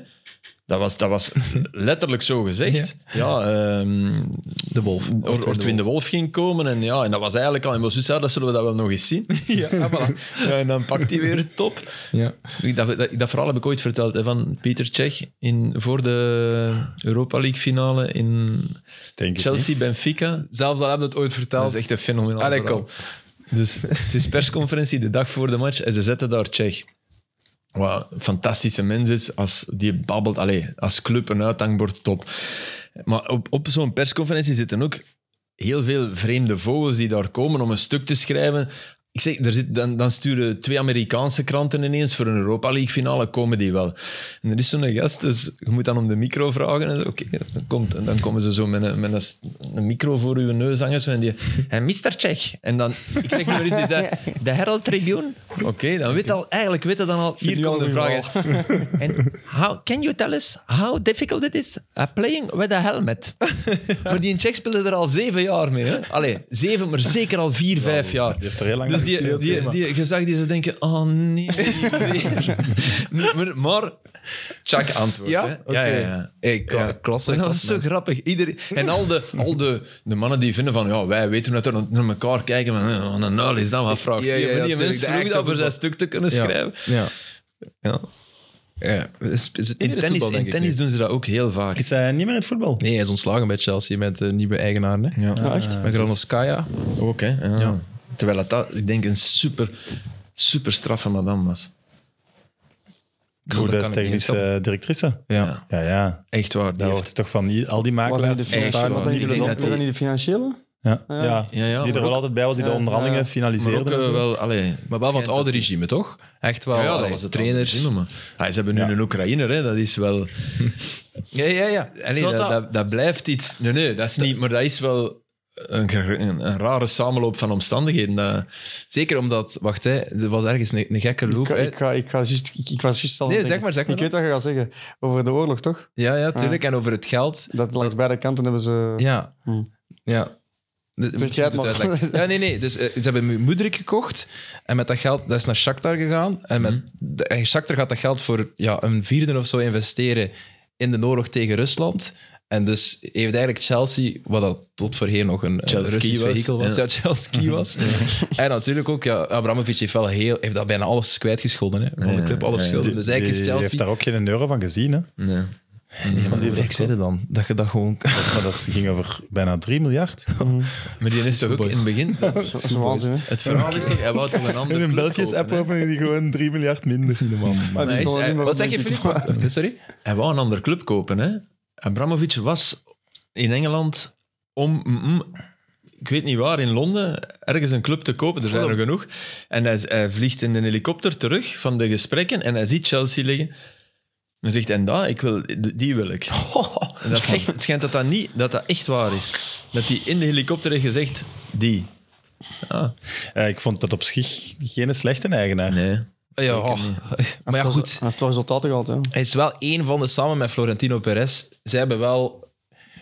B: Dat, was, dat was letterlijk zo gezegd. Ja, ehm
A: De Wolf.
B: Or- Ortwin de Wolf ging komen. En, ja, en dat was eigenlijk al in Bossut. Dat zullen we dat wel nog eens zien. ja, voilà. Ja, en dan pakt hij weer het top.
A: Ja.
B: Ik- Dat, dat, dat verhaal heb ik ooit verteld hè, van Pieter Cech in, voor de Europa League finale in
C: Denk ik niet.
B: Chelsea-Benfica.
A: Zelfs al hebben we het ooit
B: Dat
A: verteld.
B: is echt een fenomenaal
A: Allee,
B: verhaal.
A: kom.
B: Dus het is persconferentie de dag voor de match en ze zetten daar Tsjech. Wat een fantastische mens is, als, die babbelt allee, als club een uithangbord top. Maar op, op zo'n persconferentie zitten ook heel veel vreemde vogels die daar komen om een stuk te schrijven. Ik zeg, er zit, dan, dan sturen twee Amerikaanse kranten ineens voor een Europa League finale, komen die wel. En er is zo'n gast, dus je moet dan om de micro vragen. En zo, oké, dan, komt, en dan komen ze zo met een, met een, s- een micro voor uw neus hangen. Zo, en die, en Mr. Czech. En dan, ik zeg maar iets, is dat de Herald Tribune? Oké, dan weet al, eigenlijk weet je dan al, hier
D: Vind je al
B: komen de
D: een
B: vragen. En how, can you tell us how difficult it is uh, playing with a helmet? maar die in Czech speelde er al zeven jaar mee. Hè? Allee, zeven, maar zeker al vier, vijf jaar.
C: Die heeft er heel lang
B: Dus
C: aan
B: die,
C: gespeeld, hè,
B: die,
C: maar-
B: die, je zag die zo denken, oh nee, niet weer. Nee, maar, maar Chuck antwoord.
A: Ja?
B: hè.
A: Oké.
B: Ja, ja, ja.
A: Hey, kla-
B: Ja.
A: klasse,
B: Maar dat was
A: klasse,
B: zo grappig. Iedereen, en al, de, al de, de mannen die vinden van, ja, wij weten dat er naar elkaar kijken, maar eh, wat een nul is dat, wat vraagt
A: Ja, ja,
B: die? Maar
A: ja,
B: die
A: tuurlijk,
B: mens
A: de
B: vroeg
A: echte
B: dat voor zijn
A: voetbal-
B: stuk te kunnen schrijven.
A: Ja.
B: Ja.
A: ja. Is, is het
B: In tennis, in tennis doen ze dat ook heel vaak.
C: Is hij niet meer in het voetbal?
A: Nee, hij is ontslagen bij Chelsea met de nieuwe eigenaar. Hè?
B: Ja.
D: Ja, echt?
A: Met Granovskaya.
B: Ook, hè? Ja.
A: Ja.
B: Ah, Terwijl dat, dat, ik denk, een super, super straffe madame was.
A: dat kan
C: Goede
A: ik niet
C: technische directrice.
A: Ja.
C: Ja, ja.
B: Echt waar. Die
C: Daar
B: heeft,
C: wordt toch van i- al die
D: Was dat niet de
C: makelaars.
B: echt
D: financiële?
B: waar.
D: Was dat niet de-
B: Ik denk dat
D: was dat niet de financiële?
C: Ja,
D: Ja.
C: ja.
B: Ja, ja,
C: die
B: maar
C: er wel altijd bij was, die de
D: ja, ja.
C: onderhandelingen
B: maar
C: finaliseerden.
B: ook
C: en
B: eh,
C: zo.
B: wel, allee,
A: Maar wel van het
B: schijnt
A: oude regime, toch? Echt wel.
B: Ja, ja, dat
A: allee,
B: was het
A: trainers.
B: andere regime, maar- Ah, ze hebben nu
C: Ja.
B: een Oekraïner, hè, dat is wel...
A: Ja, ja, ja.
B: Allee,
A: Snap
B: dat, dat, dat blijft iets... Nee, nee, dat is niet... Maar dat is wel een, een, een rare samenloop van omstandigheden. Dat,
A: Zeker omdat, wacht, hè, er was ergens een, een gekke
D: Ik,
A: loop.
D: ga,
A: hè.
D: ik, ga, ik, ga juist, ik, ik was juist al aan
A: Nee,
D: het
A: zeg maar, zeg maar
D: Ik weet wat je gaat zeggen. Over de oorlog, toch?
A: Ja, ja, tuurlijk.
B: Ah.
A: En over het geld.
D: Dat langs beide kanten hebben ze...
A: Ja.
D: Hm.
A: Ja. De- misschien
D: jij het
A: moet
D: maar.
A: uitleggen. Ja, nee, nee. Dus eh, ze hebben Mu- Moederik gekocht. En met dat geld, dat is naar Shakhtar gegaan. En, met, de- en Shakhtar gaat dat geld voor ja, een vierde of zo investeren in de oorlog tegen Rusland. En dus heeft eigenlijk Chelsea, wat dat tot voorheen nog een, een
B: Chelsea
A: Russisch
B: was.
A: vehikel was,
B: Ja.
A: ja, Chelsea was. En natuurlijk ook, ja, Abramovic heeft, wel heel, heeft dat bijna alles kwijtgescholden, hè, van
B: Ja,
A: de club, alles
B: ja, ja.
A: schulden. Dus eigenlijk is
C: Die heeft
A: Chelsea...
C: daar ook geen euro van gezien. Hè?
B: nee.
A: Nee, maar hoe rijk zijn ze dan? Dat je dat gewoon...
C: Maar dat ging over bijna 3 miljard.
B: Maar die is toch ook in het begin...
D: Dat is waanzin, Mhm. hè?
B: Het verhaal is toch... Hij wou toch een ander
C: In
B: club
C: België
B: kopen,
C: app
B: hè.
C: openen die gewoon 3 miljard minder. Niet normaal. Maar
D: die
B: hij is-
D: zal er
B: hij-
D: niet meer
A: Wat
D: op
A: zeg je, Filip?
D: denken.
A: Wacht, wacht, Sorry?
B: Hij wou een ander club kopen, hè. Abramovic was in Engeland om, mm, mm, ik weet niet waar, in Londen ergens een club te kopen. Er zijn er genoeg. En hij, hij vliegt in een helikopter terug van de gesprekken en hij ziet Chelsea liggen. En zegt, en dat, ik wil, die wil ik. En dat schijnt, het schijnt dat dat, niet, dat dat echt waar is. Dat hij in de helikopter heeft gezegd, die.
C: Eh, ik vond dat op zich geen slechte eigenaar.
B: Nee.
A: Ja, oh. maar ja, goed.
D: Hij heeft wel resultaten gehad, hè.
A: Hij is wel één van de, samen met Florentino Perez, zij hebben wel,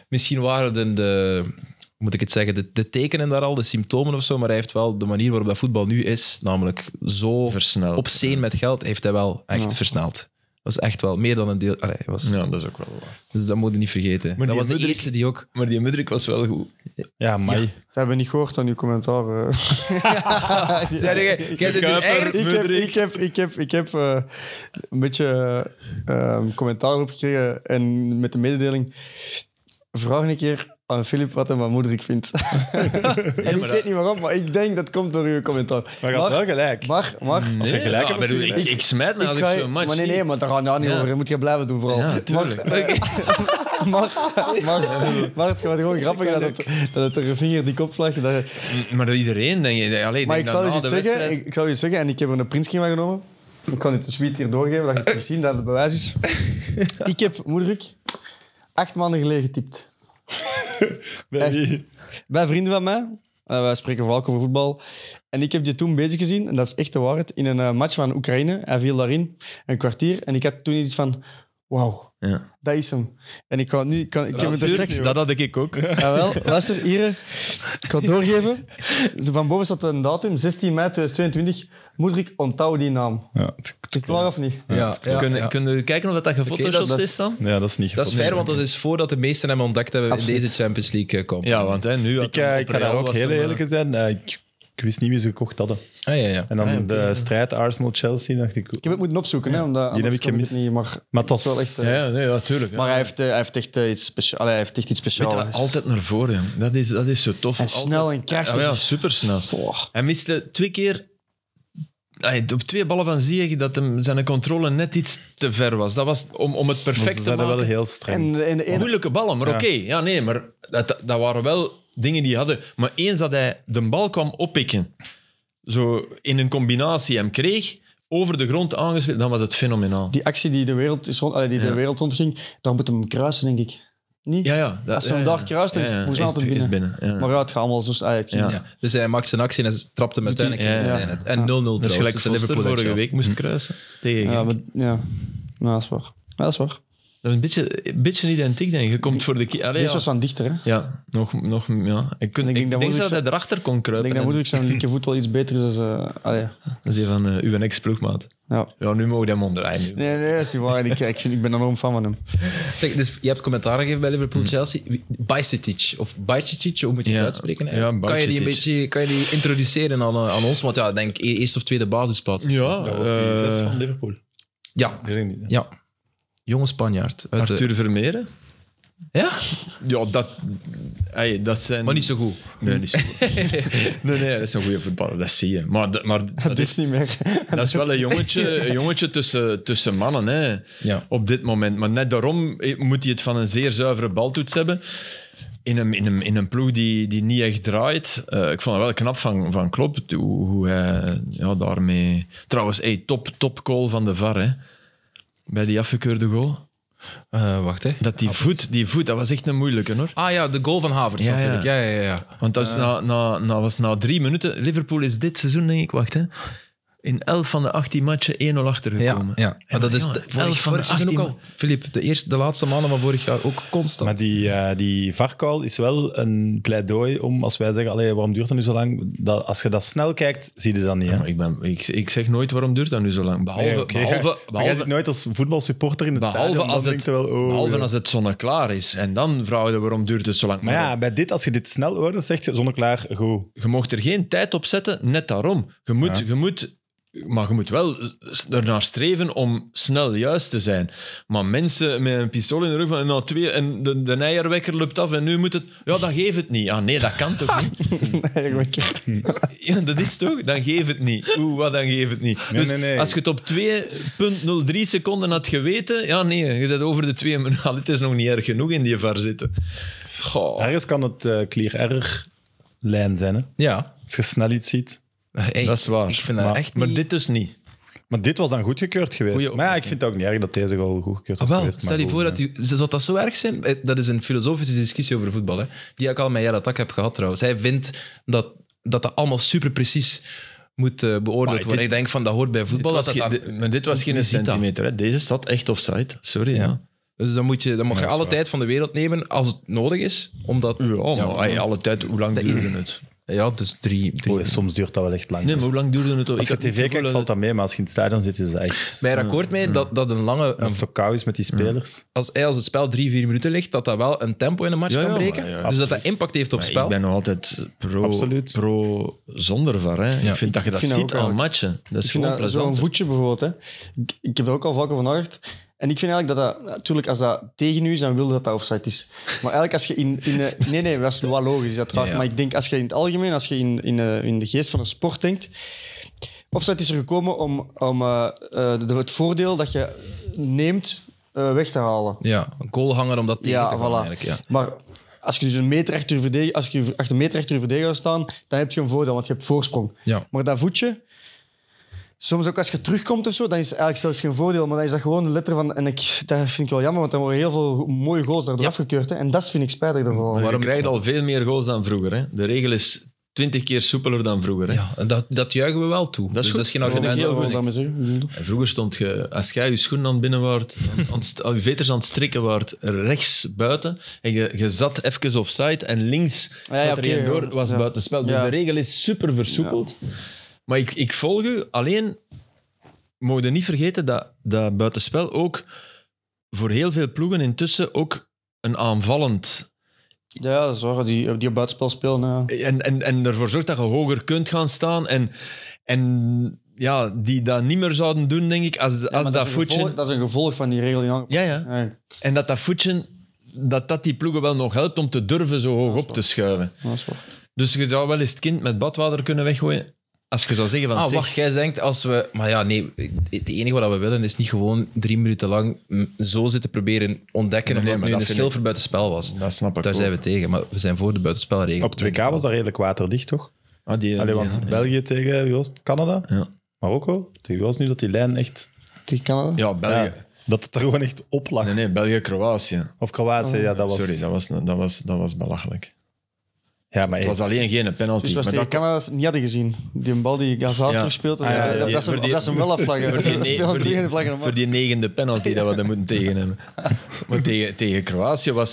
A: misschien waren de, de hoe moet ik het zeggen, de, de tekenen daar al, de symptomen of zo, maar hij heeft wel de manier waarop dat voetbal nu is, namelijk zo
B: Versneld.
A: op zee met geld, heeft hij wel echt
D: Ja.
A: versneld. Dat is echt wel meer dan een deel. Allee, hij was,
B: Ja, dat is ook wel waar.
A: Dus dat moet je niet vergeten.
B: die
A: dat was de
B: Mudrik-
A: eerste die ook.
B: Maar die Mudrik was wel goed.
C: Ja, maar
D: Dat hebben we niet gehoord aan uw commentaar. eh.
A: Zij zeggen, jij zit dus
B: Kuiper.
A: eigenlijk
D: ik heb,
B: Mudrik.
D: ik heb, ik heb, ik heb eh, een beetje eh, ehm, commentaar opgekregen en met de mededeling: vraag een keer aan Filip wat hij van Moederik vindt. en ik weet niet waarom, maar ik denk dat komt door uw commentaar.
C: maar je had wel gelijk.
D: maar, maar,
C: Als je gelijk hebt,
B: bedoel, ik,
C: natuurlijk.
B: ik smijt me als ik,
D: ga je-
B: zo'n match
D: Maar nee,
B: zie.
D: nee, maar daar gaan we niet
B: Ja.
D: over. Je moet je blijven doen, vooral.
B: Ja, tuurlijk.
D: Maar, eh, maar, maar, maar het gaat gewoon grappig dat het, dat het er een vinger die kop lag. Dat,
B: Maar iedereen, denk je. Allee,
D: Maar
B: denk
D: ik zal,
B: dan
D: je
B: na
D: iets
B: de
D: zeggen,
B: wedstrijd-
D: ik, ik zal je iets zeggen, en ik heb er een printscreen van genomen. Ik kan het de suite hier doorgeven, dat je het kunt zien, dat het bewijs is. ik heb, moederik, acht maanden geleden getypt.
C: Bij
D: Echt.
C: wie?
D: Bij vrienden van mij, eh, wij spreken vooral ook over voetbal, en ik heb die toen bezig gezien, en dat is echt de waarheid, in een eh, match van Oekraïne. Hij viel daarin, een kwartier, en ik had toen iets van, wauw,
B: Ja.
D: dat is hem. En ik ga nu, ik, kan, ik heb het er straks...
B: Dat had ik ook.
D: Jawel, luister, hier. Ik ga het doorgeven. Zo Van boven staat een datum, 16 mei 2022. Moederik, onthoud die naam.
C: Ja,
D: Is het waar of niet?
A: Ja, ja,
B: kunnen,
A: ja.
B: kunnen we kijken of dat, dat gefotoshopt
A: dat is-
B: is dan?
C: ja, dat is niet
A: Dat is
C: goed.
A: fair, want dat is voordat de meesten hem ontdekt hebben in
D: Absoluut.
A: deze Champions League eh, komt.
B: Ja, want hè, nu... had
C: Ik, eh,
B: hem
C: ik
B: op
C: ga daar
B: Real
C: ook
B: was
C: heel
B: hem, eh,
C: eerlijk in zijn. Eh, ik, ik wist niet wie ze gekocht hadden.
A: Ah, ja, ja.
C: En dan
B: Ah, oké,
C: de
B: ja.
C: strijd Arsenal-Chelsea, dacht ik...
D: Ik heb het moeten opzoeken, hè, omdat
C: Die heb
D: anders
C: ik
D: kon het
C: gemist.
D: Niet, maar,
C: Maar het was...
D: Het is wel echt, eh,
B: Ja, nee, ja, tuurlijk. ja.
D: maar hij, heeft, eh, hij, heeft echt, eh, iets speciaals, allee, hij heeft echt iets
B: Weet je,
D: speciaals.
B: altijd naar voren, jong. dat is, dat is zo tof.
D: En
B: Altijd-
D: snel en krachtig.
B: Ja, ja, supersnel.
D: Boah.
B: Hij miste twee keer... Ay, op twee ballen van Ziyech dat hem, zijn controle net iets te ver was. Dat was om, om het
C: Maar
B: perfect
C: ze
B: te
C: zijn
B: maken.
C: wel heel streng.
D: En, eh, en de ene-
B: Moeilijke ballen, maar
C: Ja.
B: oké. Ja, nee, maar dat, dat waren wel dingen die hij hadden. Maar eens dat hij de bal kwam oppikken, zo in een combinatie hem kreeg, over de grond aangespeeld, dan was het fenomenaal.
D: die actie die de wereld, is rond, allee, die
B: Ja.
D: de wereld rondging, daar moet hem kruisen, denk ik. Niet?
B: Ja, ja. dat-
D: Als ze hem
B: ja, ja.
D: daar kruist, dan is het
B: Ja, ja,
D: volgens mij altijd
B: is binnen, ja.
D: Maar ja, het gaat allemaal zo snel. Het ging-
B: Ja.
A: Ja. Dus hij maakt zijn actie en trapte hem uiteindelijk in.
B: Ja, ja.
A: zijn het. En 0-0 trouwens.
B: Dat is gelijk
A: tussen
B: Foster
A: Liverpool en
B: vorige
A: Chelsea.
B: week moest kruisen. Tegen
D: Ja,
B: Genk.
D: maar, ja. ja, dat is waar. Ja, dat is waar.
B: Dat is een beetje, een beetje identiek, denk ik. Je komt voor de... ki- Allee,
D: Deze
B: ja.
D: was van dichter, hè?
B: ja, nog... nog ja. Ik, kun,
D: Ik denk
B: ik
D: dat
B: denk,
D: Modric
B: dat hij
D: zijn-
B: erachter kon
D: Ik
B: kruipen.
D: denk
B: en-
D: dat moederlijk zijn linkervoet wel iets beter is dan... eh, allee,
B: Dat is die van eh, uw ex-ploegmaat.
D: ja.
B: Ja, nu mogen we hem onderrijden.
D: Nee, nee, dat is niet waar. Ik, ik, vind, ik ben enorm fan van hem.
A: Zeg, dus je hebt commentaar gegeven bij Liverpool-Chelsea. Bajcetic, of Bajcetic, hoe moet je het
B: Hmm. Ja.
A: uitspreken?
B: Ja,
A: eigenlijk? kan, je die een
B: Bajcetic.
A: beetje, kan je die introduceren aan, eh, aan ons? Want ja, ik denk e- eerste of tweede basisplaats.
B: Ja,
C: Dat was die
B: eh,
C: zes van Liverpool.
A: Ja,
C: Ik denk niet.
A: ja. Jonge Spanjaard. Uit de-
B: Arthur Vermeeren?
A: Ja?
B: Ja, dat... Hey, dat zijn...
A: Maar niet zo goed.
B: Nee, niet zo goed. nee, nee, dat is een goede voetballer, dat zie je. Maar, dat- maar dat,
D: Dat
B: is,
D: is niet meer.
B: dat is wel een jongetje, een jongetje tussen, tussen mannen, hè,
A: Ja.
B: op dit moment. Maar net daarom eh, moet hij het van een zeer zuivere baltoets hebben. In een, in een, in een ploeg die, die niet echt draait. Eh, ik vond het wel knap van, van Klopp, hoe, hoe hij ja, daarmee... Trouwens, hey, top, top goal van de VAR, hè. Bij die afgekeurde goal.
A: Eh, wacht, hè.
B: Dat die voet, die voet, dat was echt een moeilijke, hoor.
A: Ah ja, de goal van Havertz
B: Ja,
A: natuurlijk. Ja, ja, ja. ja.
B: Want dat is na, na, na, was na drie minuten. Liverpool is dit seizoen, denk ik, wacht hè. In 11 van de 18 matchen 1-0
A: Ja,
B: achtergekomen.
A: ja. Maar
B: En
A: dat is
B: jongen,
A: de,
B: elf
A: vorig,
B: van de
A: vorig seizoen ook
B: 18
A: al. Filip, de, eerste, de laatste maanden van vorig jaar ook constant.
C: Maar die, eh die varkuil is wel een pleidooi om, als wij zeggen, allee, waarom duurt dat nu zo lang? Dat, als je dat snel kijkt, zie je dat niet. Hè?
B: Maar ik, ben, ik, ik zeg nooit waarom duurt dat nu zo lang. Behalve,
C: Nee, oké.
B: behalve,
C: maar jij zit
B: behalve,
C: nooit als voetbalsupporter in het
B: behalve,
C: stadion, dan
B: als,
C: denk
B: het,
C: je wel, oh,
B: behalve
C: ja.
B: als het zonneklaar is. En dan vragen we waarom duurt het zo lang.
C: Maar ja, bij dit, als je dit snel hoort, dan zeg je zonneklaar, goed.
B: je mocht er geen tijd op zetten, net daarom. Je moet,
C: Ja.
B: je moet Maar je moet wel s- ernaar streven om snel juist te zijn. Maar mensen met een pistool in de rug van en nou twee, en de, de eierwekker loopt af en nu moet het. Ja, dan geef het niet. Ah nee, dat kan toch niet?
D: Eigenlijk.
B: Ja, dat is toch? Dan geef het niet. Oeh, wat dan geef het niet.
C: Nee,
B: dus
C: nee, nee.
B: als je het op 2,03 seconden had geweten, ja, nee, je bent over de 2 minuten. Allee, Het is nog niet erg genoeg in die var zitten. Goh.
C: Ergens kan het eh clear erg lijn zijn. Hè?
A: Ja.
C: Als je snel iets ziet.
A: Hey,
B: Dat is waar.
A: Ik vind dat
C: Maar-
A: echt
B: Maar
A: niet-
B: dit dus niet.
C: Maar dit was dan goedgekeurd geweest.
B: Goeie
C: maar ja, ik vind het ook niet erg dat deze al goedgekeurd
A: Ah,
C: is
A: wel,
C: geweest. maar
A: stel je
C: goed,
A: voor
C: ja.
A: dat die, zou dat zo erg zijn? Eh, Dat is een filosofische discussie over voetbal, hè, die ik al met Jelle Tak heb gehad trouwens. Hij vindt dat dat, dat allemaal super precies moet eh, beoordeeld
B: dit-
A: worden. Ik denk van dat hoort bij voetbal.
B: Dit
A: Dat
B: was
A: dat,
B: ge-
A: dat-
B: di- maar dit was geen
A: Wie ziet dat?
B: centimeter. Hè. Deze staat echt offside. Sorry. Ja.
A: ja. Dus dan moet je, dan mag je
C: dat is
A: alle
C: waar.
A: tijd van de wereld nemen als het nodig is. Omdat,
B: Ja, maar
A: ja,
B: ay, alle tijd, hoe lang duurde het?
A: ja, dus drie. drie.
C: Oh, ja, soms duurt dat wel echt lang.
B: Nee, maar hoe lang duurde het?
C: als je
B: heb het
C: tv
B: gevoel
C: kijkt, valt dat mee. Maar als je in het stadion zit, is dat echt...
A: ben je er akkoord
B: Mm.
A: mee dat, dat een lange.
C: Als het zo koud is met die spelers.
A: als, hij als het spel drie, vier minuten ligt, dat dat wel een tempo in een match
B: Ja,
A: kan
B: ja,
A: breken.
B: maar ja,
A: dus dat dat impact heeft op
B: Maar
A: het spel.
B: Ik ben nog altijd pro,
C: Absoluut.
B: pro zonder var. Hè.
A: Ja.
B: Ik vind dat je dat
D: vind dat
B: ziet
D: ook
B: aan
D: eigenlijk.
B: matchen. Dat is
D: Ik vind
B: gewoon
D: dat zo'n
B: plezant.
D: voetje bijvoorbeeld. Hè. Ik, ik heb er ook al vaker van gehoord. En ik vind eigenlijk dat dat... Natuurlijk, als dat tegen u is, dan wil dat dat offside is. Maar eigenlijk als je in... in eh, nee, nee, dat is wel logisch. Dat raakt.
A: ja.
D: Maar ik denk, als je in het algemeen, als je in, in, eh, in de geest van de sport denkt... Offside is er gekomen om, om eh, eh, de- het voordeel dat je neemt eh, weg te halen.
A: Ja, een goalhanger om dat tegen
D: Ja,
A: te gaan.
D: voilà.
A: Eigenlijk, ja.
D: Maar als je dus een meter achter je verdediger, als je achter een meter achter je verdediger gaat staan, dan heb je een voordeel, want je hebt voorsprong.
A: Ja.
D: Maar dat voetje, soms ook als je terugkomt of zo, dan is het eigenlijk zelfs geen voordeel, maar dan is dat gewoon de letter van. En ik, dat vind ik wel jammer, want dan worden heel veel go- mooie goals daardoor
A: Ja.
D: afgekeurd. Hè. En dat vind ik spijtig daarvoor.
B: Maar
A: Waarom-
B: je krijgt al veel meer goals dan vroeger. Hè. De regel is twintig keer soepeler dan vroeger. Hè.
A: Ja, en dat, dat juichen we wel toe. dus
B: goed.
A: dat is geen
B: Dat vind ik
A: argument.
B: heel
D: wil
B: goed.
D: daarmee zeggen.
B: En vroeger stond je, als jij je schoenen aan het binnen waart, aan, aan, het st- aan je veters aan het strikken waart, rechts buiten, en je, je zat even offside, en links
D: Ja, Ah, ja,
B: dat er
D: oké,
B: één door
D: ja.
B: was
D: Ja.
B: buitenspel. Dus
D: Ja.
B: de regel is super versoepeld. Maar ik, ik volg u, alleen mogen we niet vergeten dat, dat buitenspel ook voor heel veel ploegen intussen ook een aanvallend
D: Ja, dat is waar, die, die op buitenspel spelen. eh. Ja.
B: en, en, en ervoor zorgt dat je hoger kunt gaan staan. En, en ja, die dat niet meer zouden doen, denk ik, als,
D: Ja,
B: als
D: maar
B: dat,
D: dat, is een
B: voetje...
D: gevolg, dat is een gevolg van die regel. die hangt-
B: Ja, ja.
D: Ja,
B: En dat dat voetje, dat dat die ploegen wel nog helpt om te durven zo hoog op te schuiven.
D: dat is waar.
B: Dus je zou wel eens het kind met badwater kunnen weggooien. Als je zou zeggen van,
A: Ah,
B: zeg,
A: wacht, jij denkt als we... Maar ja, nee, het enige wat we willen is niet gewoon drie minuten lang mm, zo zitten proberen ontdekken
B: Nee, nee,
A: omdat
B: maar
A: nu
B: dat
A: een
B: vind
A: schilfer buitenspel was.
B: Dat snap ik
A: Daar
B: ook.
A: zijn we tegen, maar we zijn voor de buitenspelregel.
C: Op 2K was dat redelijk waterdicht, toch?
B: Ah, die,
C: Allee,
B: die-
C: want
B: ja.
C: België tegen wie was het? Canada,
B: Ja.
C: Marokko, tegen wie was het nu dat die lijn echt...
D: Tegen Canada?
B: Ja, België.
C: Ja, dat het er gewoon echt op lag.
B: Nee, nee, België-Kroatië.
C: Of Kroatië, ja, dat was...
B: Sorry, dat was, dat, was, dat was belachelijk.
C: Ja, maar
B: Het was alleen geen penalty.
D: Dus was
B: maar
D: tegen
B: dat
D: Canada dat ze het niet hadden gezien. Die bal die Hazard
B: Ja.
D: terugspeelt.
C: Ah, ja, ja,
D: dat,
B: ja.
D: is hem,
B: Voor die-
D: dat is hem wel afvlaggen.
B: Voor die,
D: Dat
B: ne-
D: spelen
B: voor die-
D: tegen de vlaggen, maar-
B: voor die negende penalty dat we dan moeten tegen hebben. Maar tegen, tegen Kroatië was...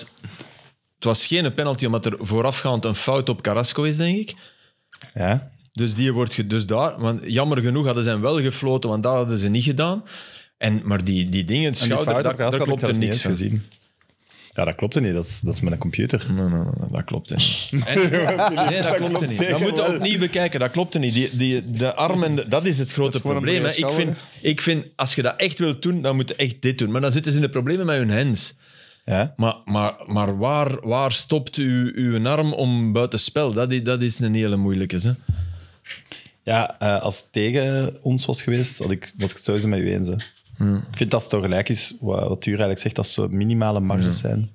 B: Het was geen penalty, omdat er voorafgaand een fout op Carrasco is, denk ik.
C: Ja.
B: Dus die wordt ge- dus daar... Want jammer genoeg hadden ze hem wel gefloten, want dat hadden ze niet gedaan. En, maar die, die dingen,
C: En die fout
B: schouder,
C: op
B: dat,
C: Carrasco
B: dat
C: had ik
B: klopt er
C: zelfs niet
B: niks
C: eens
B: van.
C: gezien. Ja, dat klopte niet. Dat is, dat is met een computer.
B: Nee, nee, nee, dat klopt niet. nee, dat klopt niet.
C: zeker
B: Dat moeten we
C: wel.
B: opnieuw bekijken. Dat klopt niet. Die, die, de arm en de- dat is het grote
D: gewoon een
B: probleem. Hè.
D: brede
B: Ik, vind,
D: schouder.
B: ik vind, als je dat echt wilt doen, dan moet je echt dit doen. Maar dan zitten ze in de problemen met hun hands.
C: Ja.
B: Maar, maar, maar waar, waar stopt u uw arm om buitenspel? Dat is, dat is een hele moeilijke. Hè.
C: Ja, eh, als het tegen ons was geweest, had ik, was ik het sowieso met u eens. Hè. Ik vind dat het zo gelijk is, wat, wat u eigenlijk zegt, dat zo minimale marges zijn.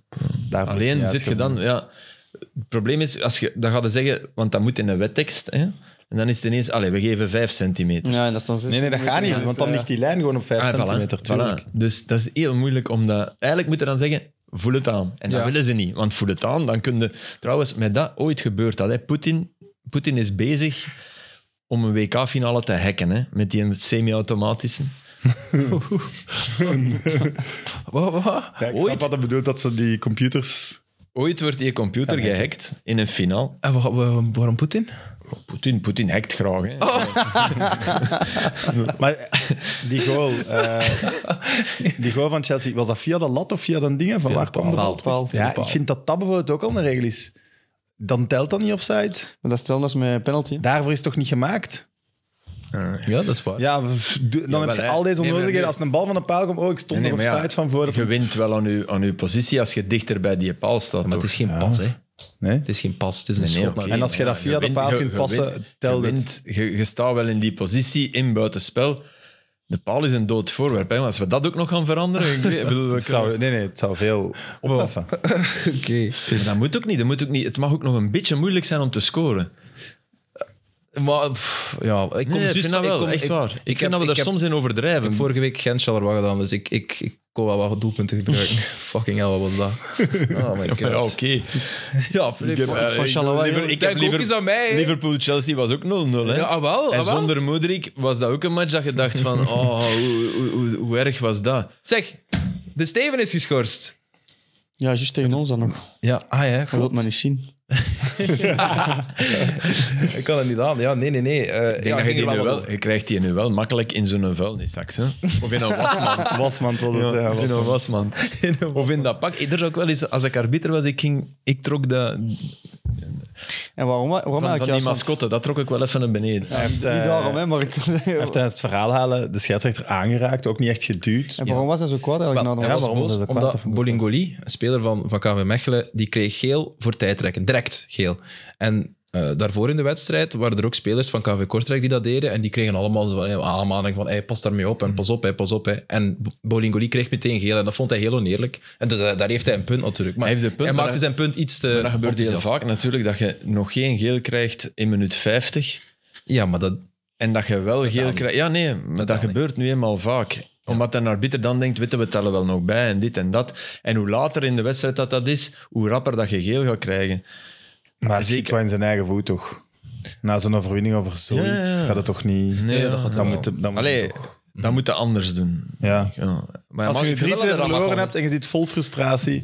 C: Daarvoor is het
B: Alleen
C: niet
B: zit je
C: uitgevonden.
B: dan... Ja, het probleem is, als je, dan gaan ze zeggen... Want dat moet in een wettekst. Hè. En dan is het ineens... Allee, we geven vijf centimeter.
D: Ja, en dat is dan zes
C: Nee, nee, dat gaat niet,
D: centimeter.
C: want dan ligt die lijn gewoon op 5
B: Ah, voilà,
C: centimeter.
B: voilà.
C: tuurlijk.
B: Dus dat is heel moeilijk om dat... Eigenlijk moet je dan zeggen, voel het aan. En dat
A: Ja.
B: willen ze niet, want voel het aan, dan kun je... Trouwens, met dat ooit gebeurt dat. Hè. Poetin, Poetin is bezig om een WK-finale te hacken, hè. met die semi-automatische.
A: Wat, wat?
C: Ja, ik
B: Ooit.
C: snap wat dat bedoelt, dat ze die computers...
B: Ooit wordt die computer gehackt in een finale.
A: En wa- wa- waarom Poetin?
B: Poetin, Poetin hackt graag. Hè.
C: Maar die goal, eh, die goal van Chelsea, was dat via de lat of via de dingen? Van waar kwam de bal?
D: Paal.
C: Ja, ik vind dat dat bijvoorbeeld ook al een regel is. Dan telt dat niet offside.
D: Maar dat is hetzelfde als met penalty. hè.
C: Daarvoor is het toch niet gemaakt?
B: Ja, dat is waar.
C: Ja, pff, doe- dan
B: Jawel,
C: heb je
B: hè.
C: al deze
B: Nee, maar
C: onnodigheden.
B: nee.
C: Als een bal van een paal komt, oh, ik stond
B: Nee,
C: nog
B: nee,
C: op
B: maar ja,
C: site van voor.
B: Je wint wel aan je, aan uw positie als je dichter bij die paal staat.
A: Maar het
B: toch?
A: is geen
C: Ja.
A: pas, hè. Het
C: Nee?
A: is geen pas, het is een
B: Nee,
A: schot
B: oké.
A: naar
C: En als je dat
B: Ja,
C: via de
B: wint-
C: paal
B: je-
C: kunt
B: je
C: passen,
B: wint-
C: telt
B: je,
C: het.
B: wint. je, je staat wel in die positie in buitenspel. De paal is een dood voorwerp. Hè. Maar Als we dat ook nog gaan veranderen, ik weet- ik bedoel, we
C: Het zou, nee, nee, het zou veel opheffen.
A: Oké.
B: kunnen- maar dat moet ook niet. Dat moet ook niet. Het mag ook nog een beetje moeilijk zijn om te scoren.
A: Maar pff, ja, ik kom
B: Nee, ik
A: juist-
B: vind dat wel,
A: ik kom,
B: echt
A: ik-
B: waar. Ik,
A: ik
B: vind
A: heb-
B: dat we
A: ik
B: daar
A: heb-
B: soms in
A: Ik heb
B: overdrijven.
A: vorige week Gent Charleroi gedaan, dus ik, ik, ik kon wel wat doelpunten gebruiken. Fucking hell, wat was dat? Oh my god.
B: Ja, oké.
A: Ja, Filip,
B: heb, eh,
A: voor
B: ik
A: Charleroi.
B: heb liever-
A: joh.
B: ik heb
A: Denk ook
B: liever-
A: eens aan mij. hè.
B: Liverpool-Chelsea was ook 0-0. hè.
A: Ja, ah, wel, ah,
B: en
A: wel.
B: zonder Modric was dat ook een match dat je dacht van, oh, hoe, hoe, hoe, hoe erg was dat?
A: Zeg, de Steven is geschorst.
D: Ja, juist tegen ons dan nog.
A: Ja, ah ja,
D: Dat wil
A: klopt.
D: men niet zien.
A: Ik kan het niet aan. Ja, nee, nee, nee. Eh,
B: Ik denk
A: ja,
B: dat je,
A: ging
B: die
A: er
B: nu
A: wel wat
B: wel,
A: over.
B: je krijgt die nu wel makkelijk in zo'n vuilniszak. Hè? Of in een wasmand.
C: Wasmand was het. ja,
B: Ja, in
C: wasmand.
B: een wasmand. Of in dat pak. Er is ook wel eens, als ik arbiter was, ik, ging, ik trok dat, van,
D: En waarom, waarom
B: van
A: Ah,
D: eigenlijk?
B: die
D: juist? Want-
B: mascotte, dat trok ik wel even naar beneden.
D: Ja, niet
C: Hij heeft, eh,
D: daarom, hè, maar ik
C: Hij heeft tijdens het verhaal halen de scheidsrechter aangeraakt, ook niet echt geduwd.
D: En waarom was hij zo kwaad eigenlijk?
A: Wel,
D: na de
A: hij
D: match?
A: was
C: waarom
A: boos
C: was hij kwaad?
A: omdat
C: Dat vond ik
A: Bolingoli, een speler van, van KV Mechelen, die kreeg geel voor tijdrekken. Direct geel. En eh, daarvoor in de wedstrijd waren er ook spelers van KV Kortrijk die dat deden. En die kregen allemaal zo van, eh, aanmaning van hey, pas daarmee op en pas op, hey, pas op. Hey. En Bo- Bolingoli kreeg meteen geel en dat vond hij heel oneerlijk. En dus, eh, daar heeft hij een punt natuurlijk. Maar
B: Hij
A: hij,
B: heeft een punt, maar
A: maakte
B: dat-
A: zijn punt iets te...
B: dat gebeurt heel
A: enthousiast.
B: vaak natuurlijk, dat je nog geen geel krijgt in minuut 50.
A: Ja, maar dat...
B: En dat je wel geel
A: niet.
B: krijgt. Ja, nee, maar dat,
A: dat niet.
B: gebeurt nu eenmaal vaak. Omdat een arbiter dan denkt, weten we tellen wel nog bij en dit en dat. En hoe later in de wedstrijd dat dat is, hoe rapper dat je geel gaat krijgen.
A: Oh
C: Maar hij schiet
B: Zeker.
C: wel in zijn eigen voet, toch? Na zo'n overwinning over zoiets
B: Ja, ja, ja.
C: gaat het toch niet...
B: Nee,
A: dat gaat
C: dan
A: wel.
C: moet, het- dan moet het
B: Allee,
C: toch-
B: dat moet je anders doen.
C: ja.
B: Ja. Maar
C: Als
B: maar
C: je
B: ik vind wel dat
C: 3-2
B: er allemaal
C: verloren
B: kan.
C: hebt en je zit vol frustratie,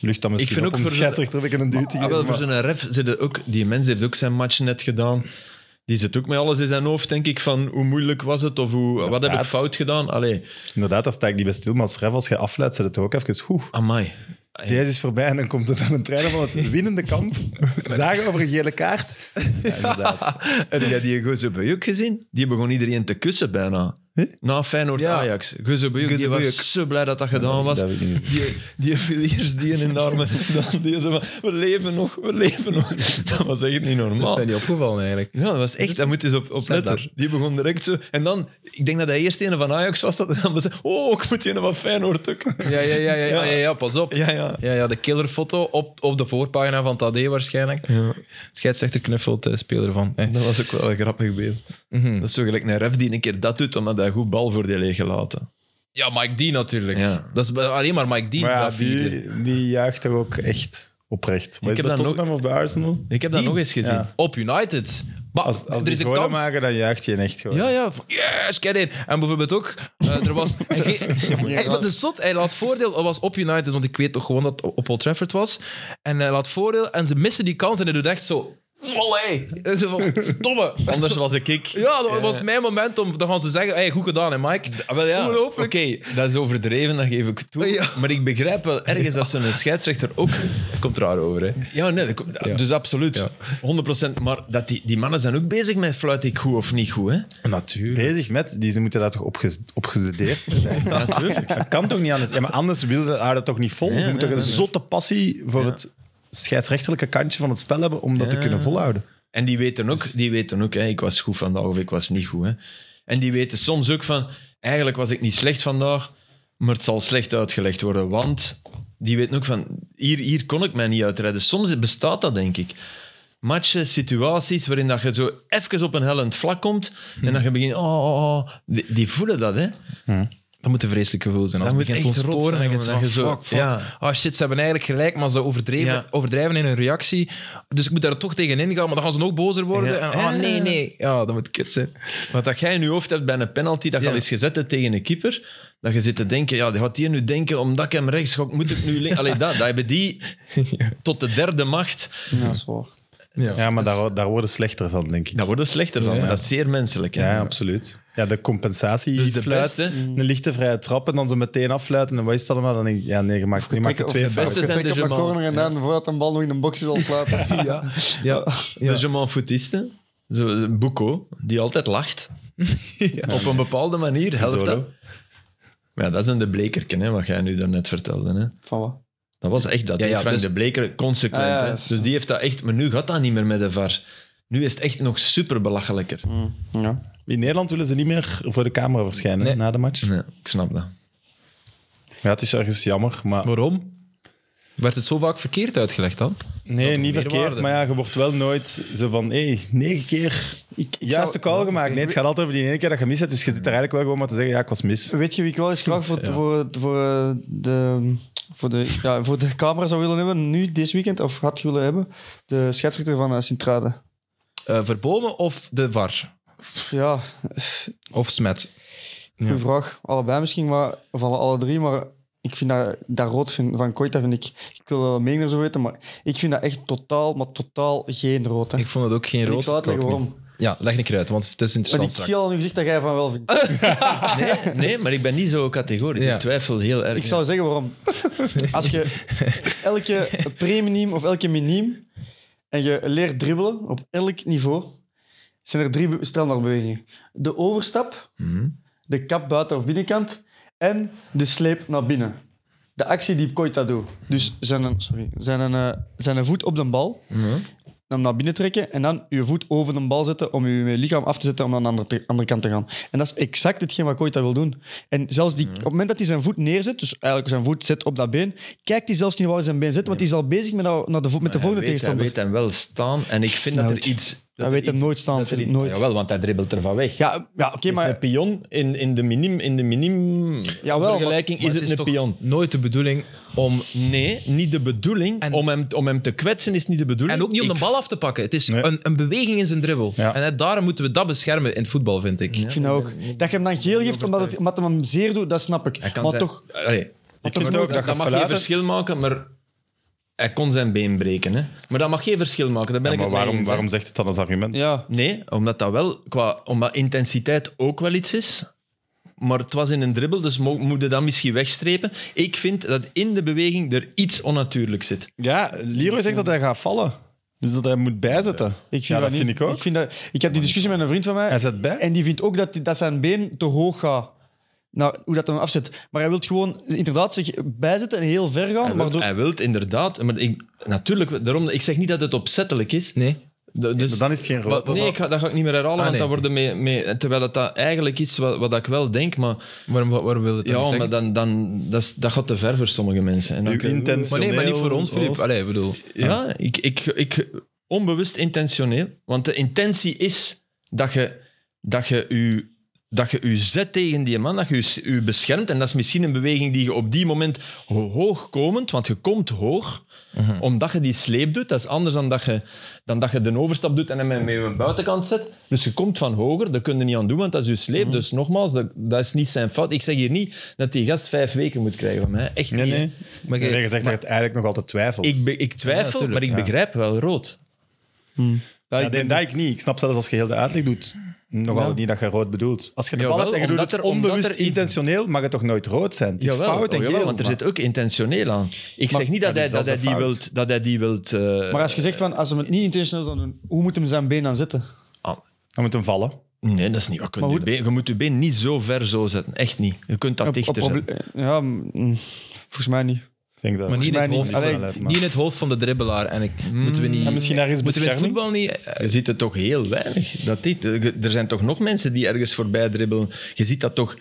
C: lucht dan misschien
B: Ik vind
C: op
B: ook
C: om de
B: voor-
C: scheidsrechter even een duw te
B: Ah,
C: geven.
B: wel, voor
C: maar-
B: zo'n ref zitten ook... Die mens heeft ook zijn match net gedaan. Die zit ook met alles in zijn hoofd, denk ik, van hoe moeilijk was het of hoe, wat heb ik
C: Inderdaad.
B: fout gedaan? Allee,
C: Inderdaad, daar sta ik niet bij stil, maar als ref, als je afleidt, zet het toch ook even... Oeh,
B: amai.
C: deze is voorbij en dan komt het aan een trainer van het winnende kamp. Zagen over een gele kaart. Ja, inderdaad.
B: Heb jij die Gozebeuk gezien? Die begon iedereen te kussen bijna. Na Feyenoord-Ajax. Gozebeuk, die
A: Gözebujuk.
B: was zo blij dat dat gedaan was.
C: dat weet ik niet.
B: Die, die viel eerst die in de armen. Dan die zo van, we leven nog, we leven nog. Dat was echt niet
A: Dat is
B: normaal.
A: mij niet opgevallen eigenlijk.
B: Ja, dat was echt, daar moet je eens op, op
A: Zet
B: letten. Die begon direct zo. En dan, ik denk dat hij eerst een van Ajax was. Dat, en dan zei oh, ik moet een van Feyenoord ook.
A: Ja, ja, ja, ja, ja, ja, ja, pas op.
B: Ja, ja.
A: Ja, ja, de killerfoto op, op de voorpagina van Tadé waarschijnlijk. Scheidsrechter knuffelt de speler van. eh.
B: Dat was ook wel een grappig beeld.
A: Mhm.
B: Dat is zo gelijk een ref die een keer dat doet, omdat hij een goed balvoordeel heeft gelaten.
A: Ja, Mike Dean natuurlijk.
B: Ja.
A: Dat is alleen maar Mike Dean.
C: Maar ja,
A: dat vierde.
C: die, die juicht toch ook echt oprecht. Maar
B: Ik heb
C: ik
B: dat
C: heb bij Tottenham of bij Arsenal?
B: Ik heb dat
A: Die?
B: nog eens gezien.
C: Ja.
A: Op United. Maar
C: Als, als
A: er is
C: die
A: een
C: golen
A: kans.
C: maken, dan juicht je echt gewoon.
A: Ja, ja. v- Yes, get in. En bijvoorbeeld ook, eh, er was... hij ge- hij- Wat is zot? Hij laat voordeel... Het was op United, want ik weet toch gewoon dat het op Old Trafford was. En hij laat voordeel en ze missen die kans en hij doet echt zo... Olé! En ze van, Verdomme!
B: Anders was ik ik.
A: Ja, dat was mijn moment om dan gaan ze zeggen, hey, goed gedaan hè Mike.
B: Ah, wel ja, oké,
A: Ongelooflijk.
B: dat is overdreven, dat geef ik toe. Maar ik begrijp wel ergens dat zo'n scheidsrechter ook...
A: Komt raar over hè.
B: Ja, nee, dat komt- dus absoluut. 100%. Maar dat die, die mannen zijn ook bezig met fluit ik goed of niet goed, hè?
A: Natuurlijk.
C: Bezig met, die ze moeten daar toch opges- opgestudeerd mee zijn.
B: Natuurlijk.
C: Dat kan toch niet anders? Ja, maar anders wil je haar dat toch niet vol?
B: Nee,
C: je moet
B: nee,
C: toch een
B: nee, nee.
C: zotte passie voor het scheidsrechtelijke kantje van het spel hebben om dat te
B: Ja.
C: kunnen volhouden.
B: En die weten ook, die weten ook hè, ik was goed vandaag of ik was niet goed. Hè. En die weten soms ook van, eigenlijk was ik niet slecht vandaag, maar het zal slecht uitgelegd worden. Want die weten ook van, hier, hier kon ik mij niet uitrijden. Soms bestaat dat, denk ik. Matchen, situaties waarin dat je zo even op een hellend vlak komt en dat je begint, oh, oh, oh. Die, die voelen dat, hè.
A: Dat moet een vreselijk gevoel zijn. Als
B: Dat
A: het
B: moet
A: begint te
B: echt rot
A: ontsporen en
B: zijn,
A: je denkt
B: jongen,
A: van,
B: dat je zo-
A: fuck, fuck.
B: ja.
A: Ah shit, ze hebben eigenlijk gelijk, maar ze overdrijven,
B: Ja.
A: overdrijven in hun reactie. Dus ik moet daar toch tegen ingaan, maar dan gaan ze nog bozer worden.
B: Ja.
A: En, ah nee, nee. Ja, dat moet kut zijn.
B: Wat dat jij in je hoofd hebt bij een penalty, dat je
A: Ja.
B: al eens gezet hebt tegen een keeper, dat je zit te denken, ja, die gaat hier nu denken, omdat ik hem rechts gok, moet ik nu links... Allee, dat, dat hebben die tot de derde macht.
D: Ja, dat is waar.
C: Ja, maar daar, daar worden slechter van, denk ik.
B: Daar worden we slechter van,
C: Ja.
B: maar dat is zeer menselijk. hè.
C: Ja, absoluut. Ja, de compensatie,
B: Dus de
C: de fluit,
B: beste-
C: een lichte vrije trap en dan zo meteen affluiten. En wat is dat allemaal? Dan denk ik, ja, nee, je maakt, je maakt er
D: Of
C: twee
D: de
B: beste
C: fouten.
B: zijn
D: Ik
B: de
D: heb mijn
B: Jamal.
D: corner gedaan voordat een bal nog in een box is al plaatsen.
A: Ja. ja.
B: De je m'en foutiste, zo, Boeko, die altijd lacht. Op een bepaalde manier helpt
C: Zorro.
B: dat. Maar ja, dat is een de blekerken, hè, wat jij nu daarnet vertelde. Hè.
D: Van wat?
B: Dat was echt dat.
A: Ja,
B: die
A: ja,
B: Frank
A: dus-
B: de Bleker, consequent.
D: Ah, ja,
B: hè.
D: ja.
B: Dus die heeft dat echt... Maar nu gaat dat niet meer met de VAR. Nu is het echt nog super belachelijker.
D: Mm, ja.
C: In Nederland willen ze niet meer voor de camera verschijnen
A: Nee.
C: na de match.
B: Nee, ik snap dat.
C: Ja, het is ergens jammer, maar...
A: Waarom? Werd het zo vaak verkeerd uitgelegd dan?
C: Nee,
A: om
C: niet
A: meer
C: verkeerd,
A: waarde.
C: maar ja, je wordt wel nooit zo van, hé, hey, negen keer
D: Ik, ik
C: juist
D: zou-
C: de call gemaakt. Nee, het gaat altijd over die ene keer dat je mis hebt, dus je zit er eigenlijk wel gewoon maar te zeggen, ja, ik was mis.
D: Weet je wie ik wel eens graag voor, voor, voor, eh, de, voor, de, ja, voor de camera zou willen hebben, nu, dit weekend, of had willen hebben? De scheidsrechter van eh, Sint-Truiden.
A: Eh Verbomen of de VAR?
D: Ja,
A: Of Smet?
D: goede vraag. Allebei misschien, maar, of alle, alle drie, maar ik vind dat, dat rood vind, van Koita, vind ik, ik wil dat meer zo weten, maar ik vind dat echt totaal, maar totaal geen rood. Hè.
A: Ik vond het ook geen
D: En ik
A: rood.
D: zal uitleggen
A: Ook niet.
D: waarom.
A: Ja, leg een keer uit, want het is
D: Want
A: interessant
D: ik zie al nu gezegd dat jij van wel vindt.
B: Nee, nee, maar ik ben niet zo categorisch.
A: Ja.
B: Ik twijfel heel erg.
D: Ik zou zeggen waarom. Als je elke preminiem of elke miniem en je leert dribbelen op elk niveau, zijn er drie be- standaardbewegingen. De overstap,
B: Mhm.
D: de kap buiten of binnenkant en de sleep naar binnen. De actie die Koita doet. Dus zijn, een, sorry, zijn, een, eh, zijn een voet op de bal,
B: Mhm.
D: hem naar binnen trekken en dan je voet over de bal zetten om je lichaam af te zetten om naar de andere, te- andere kant te gaan. En dat is exact hetgeen wat Koita wil doen. En zelfs
B: Mhm.
D: die, op het moment dat hij zijn voet neerzet, dus eigenlijk zijn voet zet op dat been, kijkt hij zelfs niet waar hij zijn been zet, want hij is al bezig met, dat- naar de, vo- met de
B: Hij
D: volgende
B: weet-
D: tegenstander.
B: Hij weet hem wel staan. En ik vind
D: Ja,
B: dat
D: het-
B: er iets... Dat,
D: Hij
B: er
D: weet hem
B: iets-
D: nooit staan,
B: dat er
D: Philippe,
B: iets-
D: nooit.
B: Jawel, want hij dribbelt er van weg.
D: Ja, ja oké,
B: Is
D: maar...
B: een pion in, in de minim, in de minim
D: Jawel,
B: vergelijking
A: Maar
B: is het,
A: is
B: een
A: toch
B: pion.
A: nooit de bedoeling om...
B: Nee, niet de bedoeling.
A: En-
B: om, hem, om hem te kwetsen is niet de bedoeling.
A: En ook niet om
B: Ik
A: de bal af te pakken. Het is
C: Nee.
A: een, een beweging in zijn dribbel.
C: Ja.
A: En hè, daarom moeten we dat beschermen in het voetbal, vind ik.
D: Ik vind dat ook. Dat je hem dan geel geeft omdat het, omdat het hem zeer doet, dat snap ik.
B: kan
D: Maar
B: zijn-
D: toch,
B: Allee,
D: maar toch
C: vind
D: nooit-
C: ook
B: dat
C: dat
B: mag geen
C: verlaten.
B: verschil maken, maar hij kon zijn been breken. Hè. Maar dat mag geen verschil maken. Daar ben
C: Ja,
B: ik
C: maar
B: het mee
C: waarom,
B: eens, hè.
C: waarom zegt het dan als argument?
D: Ja,
B: Nee, omdat dat wel, qua, omdat intensiteit ook wel iets is. Maar het was in een dribbel, dus mo- moet je dat misschien wegstrepen. Ik vind dat in de beweging er iets onnatuurlijk zit.
C: Ja, Leroy zegt dat hij gaat vallen. Dus dat hij moet bijzetten.
D: ik vind
C: Ja, dat
D: niet-
C: vind ik ook.
D: Ik, vind dat, ik heb die discussie met een vriend van mij.
C: Hij zet bij.
D: En die vindt ook dat, die- dat zijn been te hoog gaat. Nou, hoe dat hem afzet. Maar hij wil gewoon inderdaad zich bijzetten en heel ver gaan.
B: Hij
D: maar
B: wilt,
D: door,
B: hij wilt inderdaad, maar ik, natuurlijk, daarom, ik zeg niet dat het opzettelijk is.
A: Nee?
B: De- dus,
C: Maar dan is het geen rood.
A: Wat-
B: nee, ik ga, dat ga ik niet meer herhalen,
A: Ah,
B: want
A: nee.
B: dat worden mee, mee, terwijl dat, dat eigenlijk is wat, wat ik wel denk, maar,
A: Waarom, waarom wil je het dan
B: ja,
A: niet
B: maar
A: zeggen?
B: dan, dan, dat, is- dat gaat te ver voor sommige mensen. En dan
C: Uw
B: kun je-
A: Maar nee, maar niet voor ons, Filip.
C: Oost.
A: Allee, ik bedoel...
B: Ja, ik, ik, ik, onbewust intentioneel. Want de intentie is dat je dat je, u, dat je u zet tegen die man, dat je u, s- u beschermt. En dat is misschien een beweging die je op die moment ho- hoogkomend, want je komt hoog,
C: Mhm.
B: omdat je die sleep doet. Dat is anders dan dat je, dan dat je de overstap doet en hem met je buitenkant zet. Dus je komt van hoger, daar kun je niet aan doen, want dat is je sleep.
C: Mhm.
B: Dus nogmaals, dat, dat is niet zijn fout. Ik zeg hier niet dat die gast vijf weken moet krijgen van mij. Echt
C: Nee,
B: niet. hè.
C: nee.
A: Maar
C: Nee,
A: jij-
C: je zegt dat je het eigenlijk nog altijd twijfelt.
B: Ik, be- ik
A: Ja,
B: twijfel,
A: tuurlijk,
B: maar ik
A: ja. Hmm.
B: begrijp wel rood.
C: Ja, ik denk dat ik niet. Ik snap zelfs als je heel de uitleg doet, nog altijd niet dat je rood bedoelt. Als je de bal
B: Jawel,
C: hebt en je doet
B: omdat
C: het
B: er- omdat
C: onbewust
B: er iets-
C: intentioneel, mag het toch nooit rood zijn? Het is
B: Jawel,
C: fout en
B: oh, jawel,
C: geel,
B: want er
C: maar-
B: zit ook intentioneel aan. Ik
C: Maar-
B: zeg niet
C: ja,
B: dat
C: dus
B: hij,
C: dat
B: dat
C: is
B: hij,
C: een
B: die,
C: fout.
B: wilt, dat hij die wilt... eh,
D: maar als je zegt van, als ze hem het niet intentioneel zou doen, hoe moet hem zijn been dan zetten?
C: Dan moet hem vallen.
B: ah, Nee, dat is niet waar. Je,
D: Maar
B: kunt
D: hoe-
B: je been- je moet je been niet zo ver zo zetten. Echt niet. Je kunt dat
D: Een- een
B: dichter
D: proble-
B: zetten.
D: Ja, mm, volgens mij niet.
C: Ik denk dat
A: Maar niet in,
D: mij
A: het
D: niet.
A: hoofd, allee,
C: Snelheid, maar-
A: niet in het hoofd van de dribbelaar. En ik,
B: Mm.
A: moeten we niet,
C: En misschien ergens
A: moeten we in het
C: bescherming?
A: voetbal niet... eh,
B: Je ziet het toch heel weinig. Dat dit, er zijn toch nog mensen die ergens voorbij dribbelen. Je ziet dat toch...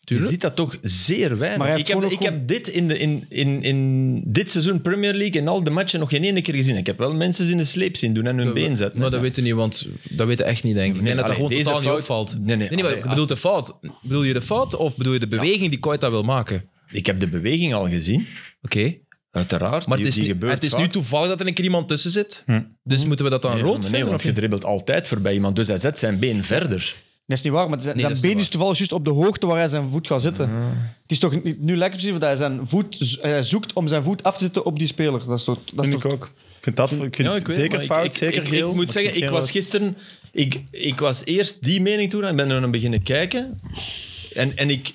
B: Je ziet dat toch zeer weinig.
D: Maar hij heeft
B: ik heb,
D: gewoon
B: ik
D: ook gewoon-
B: heb dit in, de, in, in, in dit seizoen Premier League in al de matchen nog geen ene keer gezien. Ik heb wel mensen in de sleep zien doen en hun
A: dat we-
B: been zetten.
A: Maar Nou, dat weten niet, want dat weten echt niet, denk ik. Ik denk dat dat
B: allee,
A: gewoon
B: deze
A: totaal niet
B: fout-
A: opvalt.
B: Nee, nee,
A: maar
B: allee,
A: ik bedoel de fout. Bedoel je de fout of bedoel je de beweging die Koita wil maken? Oké.
B: Ik heb de beweging al gezien. Uiteraard.
A: Maar
B: die,
A: het is,
B: die
A: niet-
B: gebeurt
A: het is
B: vaak.
A: nu toevallig dat er een keer iemand tussen zit. Dus moeten we dat dan
B: Ja,
A: rood
B: maar nee,
A: vinden?
B: want
A: of
B: je
A: niet?
B: dribbelt altijd voorbij iemand, dus hij zet zijn been verder.
D: Dat is niet waar, maar zijn,
A: Nee,
D: zijn
A: dat is
D: been
A: niet
D: is toevallig juist op de hoogte waar hij zijn voet gaat zetten. Het is toch, niet- nu lijkt het precies dat hij zijn voet z- hij zoekt om zijn voet af te zetten op die speler. Dat is toch, dat is
C: vind ik
D: toch
C: ook. Ik vind, dat, ik vind
B: Ja,
C: het
B: ik weet,
C: zeker
B: maar ik-
C: fout,
B: ik-
C: zeker
B: ik,
C: geel.
B: Ik,
C: maar
B: moet zeggen,
C: vind
B: ik
C: geen
B: was
C: rood.
B: gisteren... Ik, ik was eerst die mening toen en ben er aan beginnen kijken. En, en ik,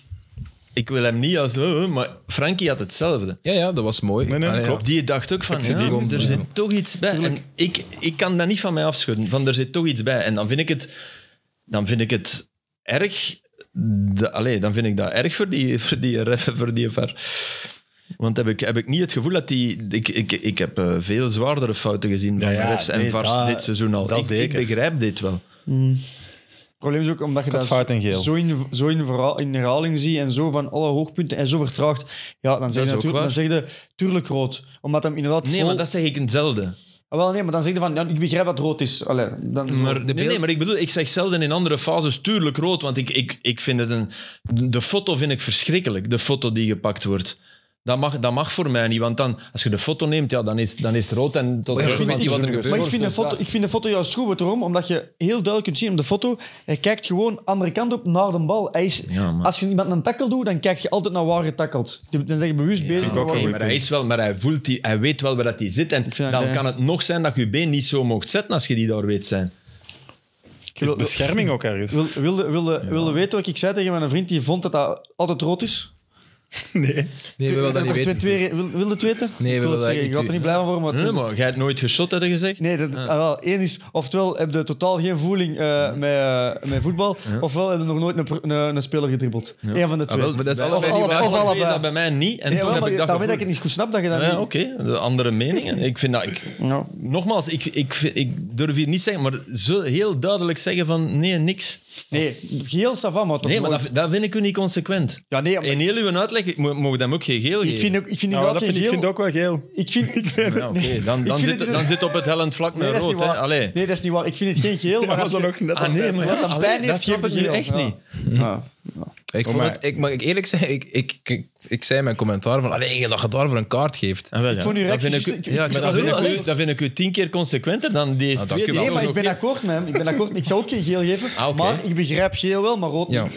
B: ik wil hem niet als... eh, eh, maar Frankie had hetzelfde.
A: Ja, ja, dat was mooi.
C: Nee, nee,
A: Allee, ja.
C: klopt.
B: Die dacht ook van,
A: Heb je
B: ja,
A: gezien?
B: er zit toch iets bij. En ik, ik kan dat niet van mij afschudden, van er zit toch iets bij. En dan vind ik het... Dan vind ik het erg. Da- allee, dan vind ik dat erg voor die, voor die ref en voor die VAR. Want heb ik, heb ik niet het gevoel dat die... Ik, ik, ik heb eh, veel zwaardere fouten gezien van
C: Ja, ja,
B: refs en
C: nee,
B: VARs
C: dat-
B: dit seizoen al.
C: dat
B: ik, ik
C: zeker.
B: begrijp dit wel.
D: Het probleem is ook omdat je
C: Kat,
D: dat
C: fout en geel.
D: zo, in, zo in, verhaal- in herhaling ziet en zo van alle hoogpunten en zo vertraagd. Ja, dan zeg
B: is
D: je
B: ook
D: natuurlijk dan
B: waar.
D: zeg je, tuurlijk rood. Omdat hem inderdaad
B: Nee,
D: vol...
B: maar dat zeg ik zelden.
D: Ah, wel, nee, maar dan zeg je van, ja, ik begrijp dat rood is. Allee, dan,
B: Maar, nee, nee, maar ik bedoel, ik zeg zelden in andere fases tuurlijk rood, want ik, ik, ik vind het een... De foto vind ik verschrikkelijk, de foto die gepakt wordt. Dat mag, dat mag voor mij niet, want dan, als je de foto neemt, ja, dan, is, dan is het rood en... Tot
A: Maar ja, ik vind
B: want-
A: niet wat er
B: want-
A: gebeurt.
D: Maar ik vind, de foto, ik vind de foto juist goed, weet je waarom? Omdat je heel duidelijk kunt zien op de foto, hij kijkt gewoon andere kant op naar de bal. Hij is,
B: Ja, maar-
D: als je iemand een tackle doet, dan kijk je altijd naar waar je tackelt. Dan ben je bewust
B: Oké,
D: bezig. met waar je-
B: maar hij is wel, maar hij voelt die, hij weet wel waar dat hij zit. En
D: vind dat
B: dan
D: hij-
B: kan het nog zijn dat je je been niet zo mocht zetten als je die daar weet zijn.
C: Is het bescherming ook ergens?
D: Wil, wilde, wilde, wilde weten wat ik zei tegen mijn vriend die vond dat dat altijd rood is?
C: Nee.
A: Nee, we willen dat niet
D: Nog twee-
A: weten.
D: twee- wil, wilde het weten?
A: Nee, we
D: ik
A: willen
D: wil het
A: dat
D: zeggen.
A: niet
D: Ik had er niet blij van worden. maar het-
B: Nee, maar jij hebt nooit geschot, hadden gezegd?
D: Nee, dat, ah, wel, één is, oftewel heb je totaal geen voeling eh, met, eh, met voetbal, ofwel heb je nog nooit een, pr- een, een speler gedribbeld. Eén van de
B: Ah,
D: twee.
A: Ah, wel, maar dat is
D: Of
A: allebei niet
D: alle-
A: waar.
D: Of
B: Is dat
D: allebei.
B: bij mij niet. En
D: Ja,
B: toen
D: wel,
B: heb
D: maar
B: ik dat
D: daarmee dat ik het
B: gevoel.
D: niet goed snap dat je dat
B: Ja,
D: niet...
B: Oké, de andere meningen. Ik vind dat... Ik,
D: Ja.
B: nogmaals, ik, ik, vind- ik durf hier niet zeggen, maar zo heel duidelijk zeggen van nee, niks.
D: Nee, geel, ça va, maar toch
B: Nee, maar
D: nooit.
B: dat, dat vind ik u niet consequent.
D: Ja, nee, maar
B: In heel uw uitleg mo- mogen we hem ook geen geel geven.
D: ik vind, ook- ik vind
C: Nou,
D: inderdaad
C: dat vind ik,
D: geen
C: ik vind
D: geel.
C: het ook wel geel.
D: Ik vind... Ik vind
B: Ja, oké, dan, dan,
D: vind
B: zit,
D: het-
B: dan zit op het hellend vlak
D: nee,
B: met
D: dat is
B: rood.
D: niet
B: hè.
D: waar.
B: Allee.
D: Nee, dat is niet waar. Ik vind het geen geel, maar
C: Dat was
D: als
C: dan
D: je-
C: ook net
B: Ah, nee, maar
D: Wat
B: ja,
D: een
B: allee,
D: pijn
B: dat
D: heeft,
B: snap
D: geeft
B: ik
D: het
B: nu
D: geel.
B: echt
D: Ja.
B: niet.
D: Ja.
A: Ik, vond
C: maar-
A: het, ik mag ik eerlijk zeggen, ik, ik, ik, ik zei in mijn commentaar van alleen dat je daarvoor een kaart geeft.
B: Ah, wel, ja.
D: Ik vond uw
B: dat
D: reactie
B: vind ik,
D: juist- ik-
B: ja,
D: ik Nou,
B: maar
D: snap
B: dat, vind ik
D: heel
B: u,
D: erg.
B: dat vind ik u tien keer consequenter dan deze
A: dank
B: twee.
A: u
B: die
A: wel.
D: Nee,
B: ook
D: maar ik
B: nog
D: ben
B: heel-
D: akkoord met hem. Ik ben akkoord. Ik zou ook geen geel geven,
B: Ah, oké.
D: maar ik begrijp geel wel, maar rood
A: Ja.
D: niet.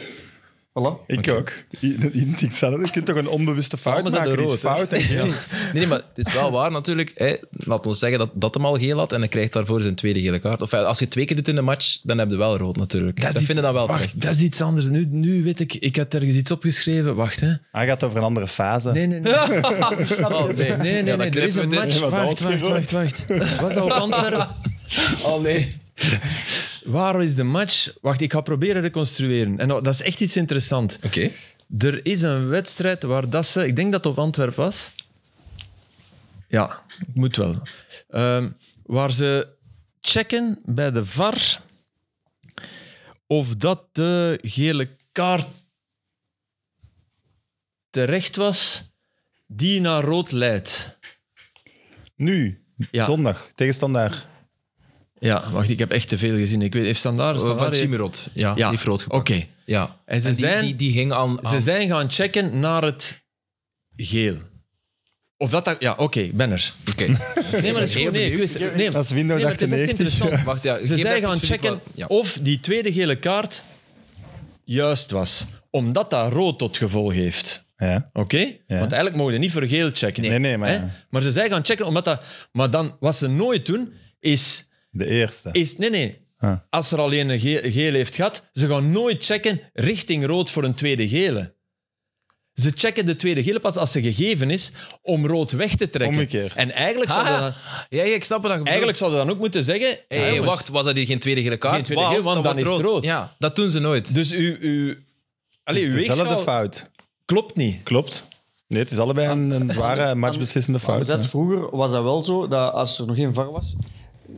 D: Voilà.
C: Ik ook. I- i- i- Hetzelfde. Je kunt toch een onbewuste fout
B: Samen zijn
C: maken?
B: de
C: Die is
B: rood, hè?
C: fout en geel.
A: Nee, nee, maar het is wel waar natuurlijk. Hè. Laten we zeggen dat, dat hem al geel had en hij krijgt daarvoor zijn tweede gele kaart. Of ja, als je twee keer doet in de match, dan heb je wel rood natuurlijk. Dat,
B: is iets-
A: vinden dan wel terecht.
B: Wacht, dat is iets anders. Nu, nu weet ik, ik had ergens iets opgeschreven. Wacht, hè.
C: Hij gaat over een andere fase.
B: Nee, nee, nee. Oh, nee, nee, nee,
A: dan
B: nee, er is
A: knippen we
B: een
A: dit.
B: match.
C: Nee, maar
B: Wacht,
C: dat
B: wacht,
C: is
B: wacht, wacht. Was dat op Antwerpen?
A: Oh nee.
B: Waar is de match? Wacht, ik ga proberen reconstrueren. En nou, dat is echt iets interessants.
A: Oké.
B: Er is een wedstrijd waar dat ze... Ik denk dat het op Antwerpen was. Ja, moet wel. Ehm, waar ze checken bij de VAR of dat de gele kaart terecht was die naar rood leidt.
C: Nu,
B: Ja.
C: zondag, tegenstandaar.
B: Ja, wacht, ik heb echt te veel gezien. Ik weet, heeft Standaard...
A: Eh, Van
B: Standaard heeft-
A: Chimirot. Ja,
B: Ja,
A: die heeft rood
B: Oké.
A: gepakt. Ja.
B: En ze
A: die,
B: zijn-
A: die, die ging aan...
B: Ze
A: aan-
B: zijn gaan checken naar het geel. Of dat... dat ja, oké, ik ben er.
A: Oké.
B: Nee, maar dat is
A: Heel
B: gewoon... Nee, ik wist- nee,
C: Dat is Windows
B: nee, maar het is echt
C: 98.
B: interessant.
A: Wacht, ja.
B: Ze
A: geef
B: zijn
A: even
B: gaan
A: Filip
B: checken
A: wel- Ja.
B: of die tweede gele kaart juist was. Omdat dat rood tot gevolg heeft.
C: Ja.
B: Oké? Want eigenlijk mogen we niet voor geel checken.
C: Nee, nee, maar
B: Hè?
C: ja.
B: Maar ze zijn gaan checken omdat dat... Maar dan, wat ze nooit doen, is...
C: De eerste.
B: is nee, nee.
C: Ah.
B: Als er alleen een ge- geel heeft gehad, ze gaan nooit checken richting rood voor een tweede gele. Ze checken de tweede gele pas als ze gegeven is om rood weg te trekken.
C: Omgekeerd.
B: En eigenlijk
A: Ah,
B: zouden dan,
A: ja, ja, ik snap wat je bedoelt.
B: eigenlijk zouden dan ook moeten zeggen...
A: Hey,
B: ja,
A: hey,
B: jongens,
A: wacht, was dat hier geen tweede gele kaart?
B: Geen tweede
A: Wauw,
B: gele, want dan
A: wordt
B: is het rood.
A: Ja, dat doen ze nooit.
B: Dus uw, uw, allee, uw
C: Dus Het is dezelfde
B: weegschaal
C: fout.
B: klopt niet.
C: Klopt. Nee, het is allebei een, een
B: Ah,
C: zware matchbeslissende
D: Maar
C: fout.
D: dat is
C: hè.
D: vroeger was dat wel zo, dat als er nog geen VAR was,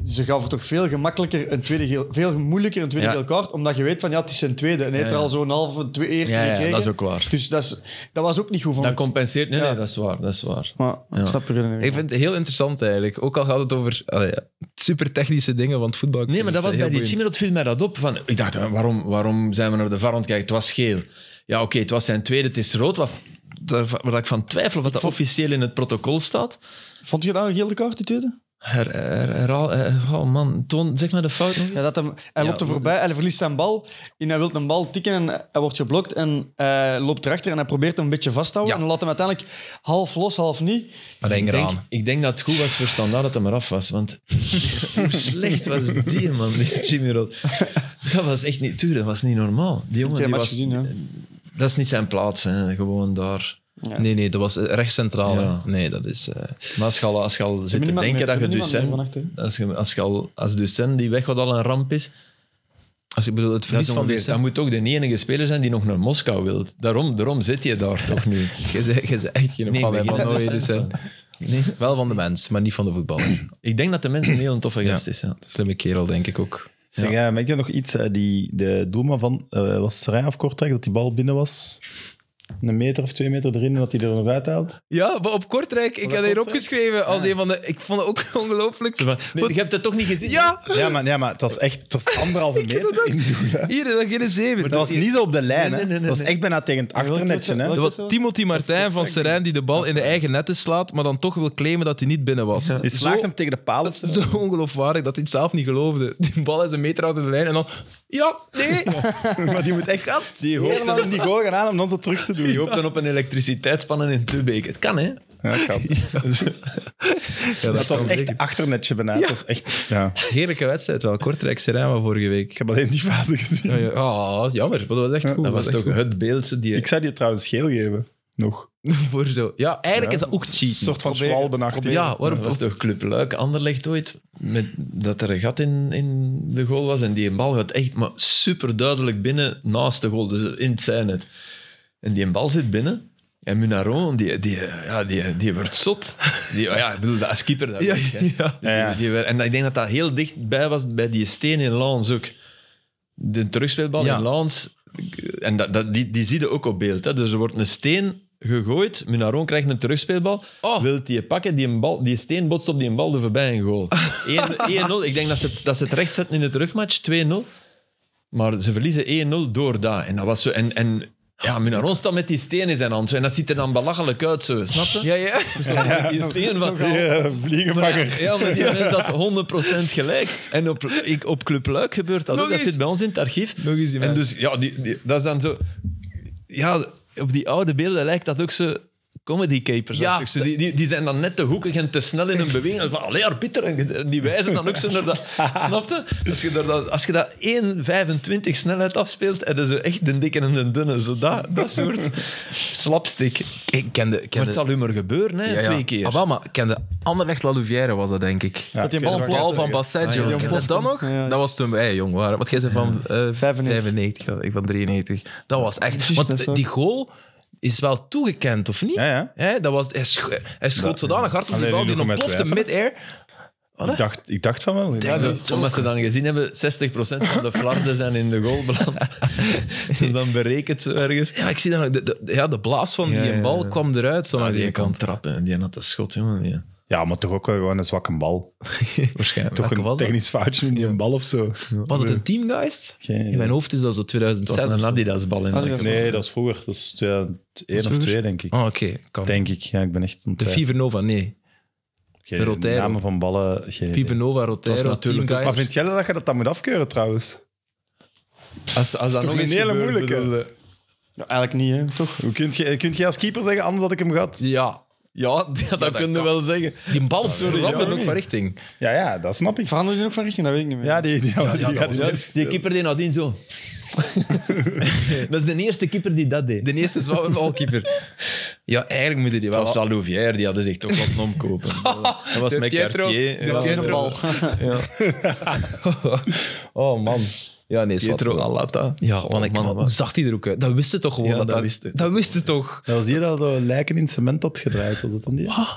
D: ze gaven toch veel gemakkelijker een tweede geel, veel moeilijker een tweede
B: Ja.
D: geel kaart, omdat je weet van ja, het is een tweede. En hij heeft
B: Ja,
D: er
B: ja.
D: al zo'n halve twee, eerste
B: Ja, ja,
D: gekregen.
B: dat is ook waar.
D: Dus dat, is, dat was ook niet goed van
B: Dat compenseert... Nee, nee, dat is waar. Dat is waar.
D: Maar
B: Ja.
D: ik snap je redenering.
A: Ik vind het heel interessant eigenlijk. Ook al gaat het over allee, ja, super technische dingen, want voetbal.
B: Nee, maar dat was bij die
A: Chimiro.
B: Chimirot viel mij dat op. Van, ik dacht, hè, waarom, waarom zijn we naar de VAR ontkijken? Het was geel. Ja, oké, het was zijn tweede, het is rood. Wat, daar- waar ik van twijfel of dat, dat officieel in het protocol staat.
D: Vond je dat een gele kaart, die tweede?
B: Her, her- herhaal- eh, oh man, toon, zeg maar de fout nog eens.
D: Ja, dat hem, hij loopt er voorbij, hij verliest zijn bal. En hij wil een bal tikken en hij wordt geblokt. En hij loopt erachter en hij probeert hem een beetje vast te houden.
A: Ja.
D: En laat hem uiteindelijk half los, half niet.
A: Maar denk
B: Ik denk,
A: eraan.
B: ik denk dat het goed was voor Standaard dat hij maar af was. Want hoe slecht was die man, die Chimirot. Dat was echt niet... Tuurlijk, dat was niet normaal. Die jongen,
D: heb
B: die
D: match
B: was,
D: gezien, hè.
B: dat is niet zijn plaats. Hè, gewoon daar.
A: Nee, nee, dat was eh, recht centraal. hè.
B: Ja.
A: Nee, dat is. eh,
B: Maar als je al, als je al zit te
D: niemand
B: denken
D: meer-
B: dat je dus,
D: er niemand meer
B: docent...
D: van achter,
B: Als, je, als, je al, als docent die weg wat al een ramp is...
A: Als ik bedoel, het
B: Dat,
A: verlies
B: is
A: van
B: ongeveer- dat
A: december.
B: moet toch de enige speler zijn die nog naar Moskou wil. Daarom, daarom zit je daar toch nu.
A: Je bent- je bent echt geen
B: Nee,
A: fan
B: ik ben
A: hè, van
B: geen
A: Nooy. Dus,
B: fan.
A: hè. Wel van de mens, maar niet van de voetbal.
B: Ik denk dat de mensen een heel toffe
A: Ja.
B: gast is. Ja.
A: Slimme kerel, denk ik ook.
C: Zeg, eh, merk je nog iets? eh, die, de doelman van, eh was Serijn of Kortrijk, dat die bal binnen was? Een meter of twee meter erin en dat hij er nog uithaalt?
A: Ja, maar op Kortrijk, ik had hier opgeschreven als een van de... Ik vond het ook ongelooflijk.
B: je hebt het toch niet gezien?
A: Ja,
C: Ja, maar, ja, maar het was echt het was anderhalve meter in doel. hè.
A: hier, dat geen zeven.
C: Dat was niet zo op de lijn.
B: Nee, nee,
C: hè.
B: nee,
C: Dat was
B: nee.
C: echt bijna tegen het achternetje. Hè.
A: Dat was Timothy Martijn van Serijn die de bal in de eigen netten slaat, maar dan toch wil claimen dat hij niet binnen was.
C: Die
A: Zo-
C: slaagt hem tegen de paal op. zo.
A: Zo ongeloofwaardig dat hij het zelf niet geloofde. Die bal is een meter uit de lijn en dan... Ja, nee.
C: Maar die moet echt gast. Die hoopt dan die goal gaan aan om dan zo terug te doen.
B: Je hoopt dan op een elektriciteitsspannen in Tubeek. Het kan, hè?
C: Ja, dat kan. dat, was echt achternetje bijna. Dat was echt, ja.
A: Heerlijke wedstrijd wel. Kortrijk Serijn van vorige week.
C: Ik heb alleen die fase gezien.
A: Ja, ja. Ah, jammer. Maar dat was echt goed.
B: Dat was
A: echt
B: toch
A: goed.
B: het beeld die...
C: Ik zou die trouwens geel geven. Nog.
A: voor zo. Ja, eigenlijk is dat ook
C: Een
A: cheaten.
C: soort van schwalbenachtig.
A: Ja, waarom?
B: Dat was toch Club Luik, Anderlecht ooit, met, dat er een gat in, in de goal was en die bal gaat echt maar super duidelijk binnen naast de goal, dus in het zijn het. En die bal zit binnen en Munaron, die, die, ja, die, die wordt zot. Die, oh ja, ik bedoel, dat als keeper dat
A: Ja,
B: weet je, hè.
A: ja.
B: Dus
C: Ja, ja.
B: die- die werd- en ik denk dat dat heel dichtbij was bij die steen in Laans ook. De terugspeelbal
A: Ja.
B: in Laans. En dat, dat, die, die zie je ook op beeld. Hè. Dus er wordt een steen gegooid. Munaron krijgt een terugspeelbal.
A: Oh.
B: Wilt die pakken. Die, een bal, die steen botst op die bal de voorbij een goal. 1-0. Ik denk dat ze, het, dat ze het recht zetten in de terugmatch. 2-0. Maar ze verliezen 1-0 door dat. En dat was zo... En, en ja, Munaron staat met die steen in zijn hand. zo. En dat ziet er dan belachelijk uit, zo. Snap je?
A: Ja, ja.
B: Dus dan met die steen van...
C: Ja, eh, vliegenvanger.
B: Ja, maar die mens had 100% gelijk. En op, ik, op Club Luik gebeurt dat
A: Nog
B: ook. Dat
A: eens.
B: zit bij ons in het archief.
A: Nog eens die
B: En
A: mens.
B: dus, ja, die, die- dat is dan zo... Ja, op die oude beelden lijkt dat ook zo... Comedy capers.
A: Ja.
B: Ja. Die, die, die zijn dan net te hoekig en te snel in hun beweging. Van, Allee, arbiter. En die wijzen dan ook zo naar dat. Snapte? Als je, daar dat, als je dat 1,25 snelheid afspeelt, en zo echt de dikke en de dunne. Zo dat, dat soort slapstick.
A: Ik kende...
B: Maar
A: kende
B: het zal u maar gebeuren, hè,
A: ja, ja.
B: twee keer.
A: Ah, wel, maar ik kende Anderlecht La Louvière was dat, denk ik.
C: Ja,
D: Dat die
C: ik
D: bal
C: weet
A: Paul
C: het wel.
A: van Basset,
B: Ah,
A: jongen.
B: ja.
A: Ken je dat nog?
D: Ja.
A: Dat was toen wij jong waren. Want jij zei van eh 95.
D: 95.
A: ja, ik van 93. Dat was echt...
D: Precies, dat
A: Want
D: is ook-
A: die goal is wel toegekend, of niet?
C: Ja, ja.
A: Hè, dat was, hij, scho- hij schoot zodanig hard op die
C: Alleen
A: bal,
C: nu
A: die
C: nog met
A: ontplofte
C: twijfel.
A: mid-air.
C: Ik dacht, ik dacht van wel.
B: Ja,
A: dat
B: dus omdat ze dan gezien hebben, 60% van de flarden zijn in de goal beland. dus dan berekent ze ergens.
A: Ja, ik zie dan... De, de- ja, de blaas van die
B: Ja, ja,
A: bal
B: ja.
A: kwam eruit zo aan
B: Maar
A: die
B: Ah, die kan
A: kant.
B: trappen en die had een schot, jongen. Ja.
C: Ja, maar toch ook wel gewoon een zwakke bal.
A: Waarschijnlijk.
C: Toch
A: Welke
C: een
A: was,
C: technisch foutje in die een bal of zo.
A: dat? was het een teamgeist?
C: Geen idee.
A: In mijn hoofd is dat zo
B: Het
A: 2006
B: was
A: of
B: een
A: zo.
B: Adidas-bal. in.
D: Adidas.
C: Nee, dat is vroeger. Dat is 2001 of
A: vroeger?
C: 2, denk ik.
A: Oh, oké. kan.
C: Denk ik. Ja, ik ben echt... aan het
A: De
C: twijfelen.
A: Fever Nova, nee.
C: Geen
A: de Rotero.
C: Namen van ballen. Geen idee.
A: Fever Nova, Rotero,
B: natuurlijk ook-
C: Maar
A: Teamgeist.
C: vind jij dat je dat dan moet afkeuren, trouwens?
B: Als, als dat
C: toch
B: nog
C: een
B: eens
C: hele
B: gebeurt,
C: moeilijke.
B: bedoel,
D: Ja, eigenlijk niet, hè. toch?
C: Hoe kunt je, kunt je als keeper zeggen, anders had ik hem gehad?
A: Ja,
B: Ja, dat, dat
A: dat
B: kun je
A: kan.
B: wel zeggen.
A: die bal veranderde
C: ja,
A: ook
C: nee.
A: van richting.
C: Ja, ja, dat snap ik.
D: Veranderde die ook van richting? Dat weet ik niet meer.
C: Ja, die, die, ja, die
A: dat
C: gaat
A: was
C: niet
A: het.
C: uit.
B: Die keeper deed nadien zo. dat is de eerste keeper die dat deed.
A: De eerste is wel een balkeeper. Ja, eigenlijk moeten die wel...
B: Dat was La Louvière, die hadden zich toch wat omkopen. Dat was
A: De
B: met
A: Pietro,
B: Cartier. eh,
A: de
B: Ja.
A: Pietro.
D: Geen bal.
A: Oh, man. Ja, nee, is wat-
B: Pietro Alata.
A: Ja, man, ik,
B: man,
A: man,
B: man.
A: hoe zag hij er ook uit? Dat wist ze toch gewoon?
B: Ja,
A: dat,
B: dat
A: dat,
B: wist hij.
A: dat wist ze toch?
C: Dat was hier dat de lijken in cement had gedraaid. Was dat dan die? Ah.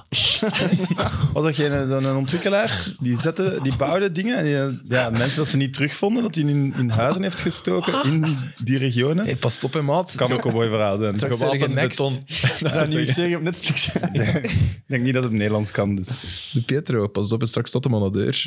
C: was dat geen dan een ontwikkelaar? Die, zette, die bouwde dingen. En die- ja, mensen dat ze niet terugvonden, dat hij in, in huizen heeft gestoken in die regionen.
A: Hey, pas op, hè, maat.
C: kan ook een mooi verhaal zijn.
A: Straks
C: Gewapend
A: zeggen next.
C: beton.
D: Dat is een nieuwe serie op Netflix.
C: Ik denk niet dat het Nederlands kan. Dus.
A: De Pietro, pas op, en straks staat hem aan de deur.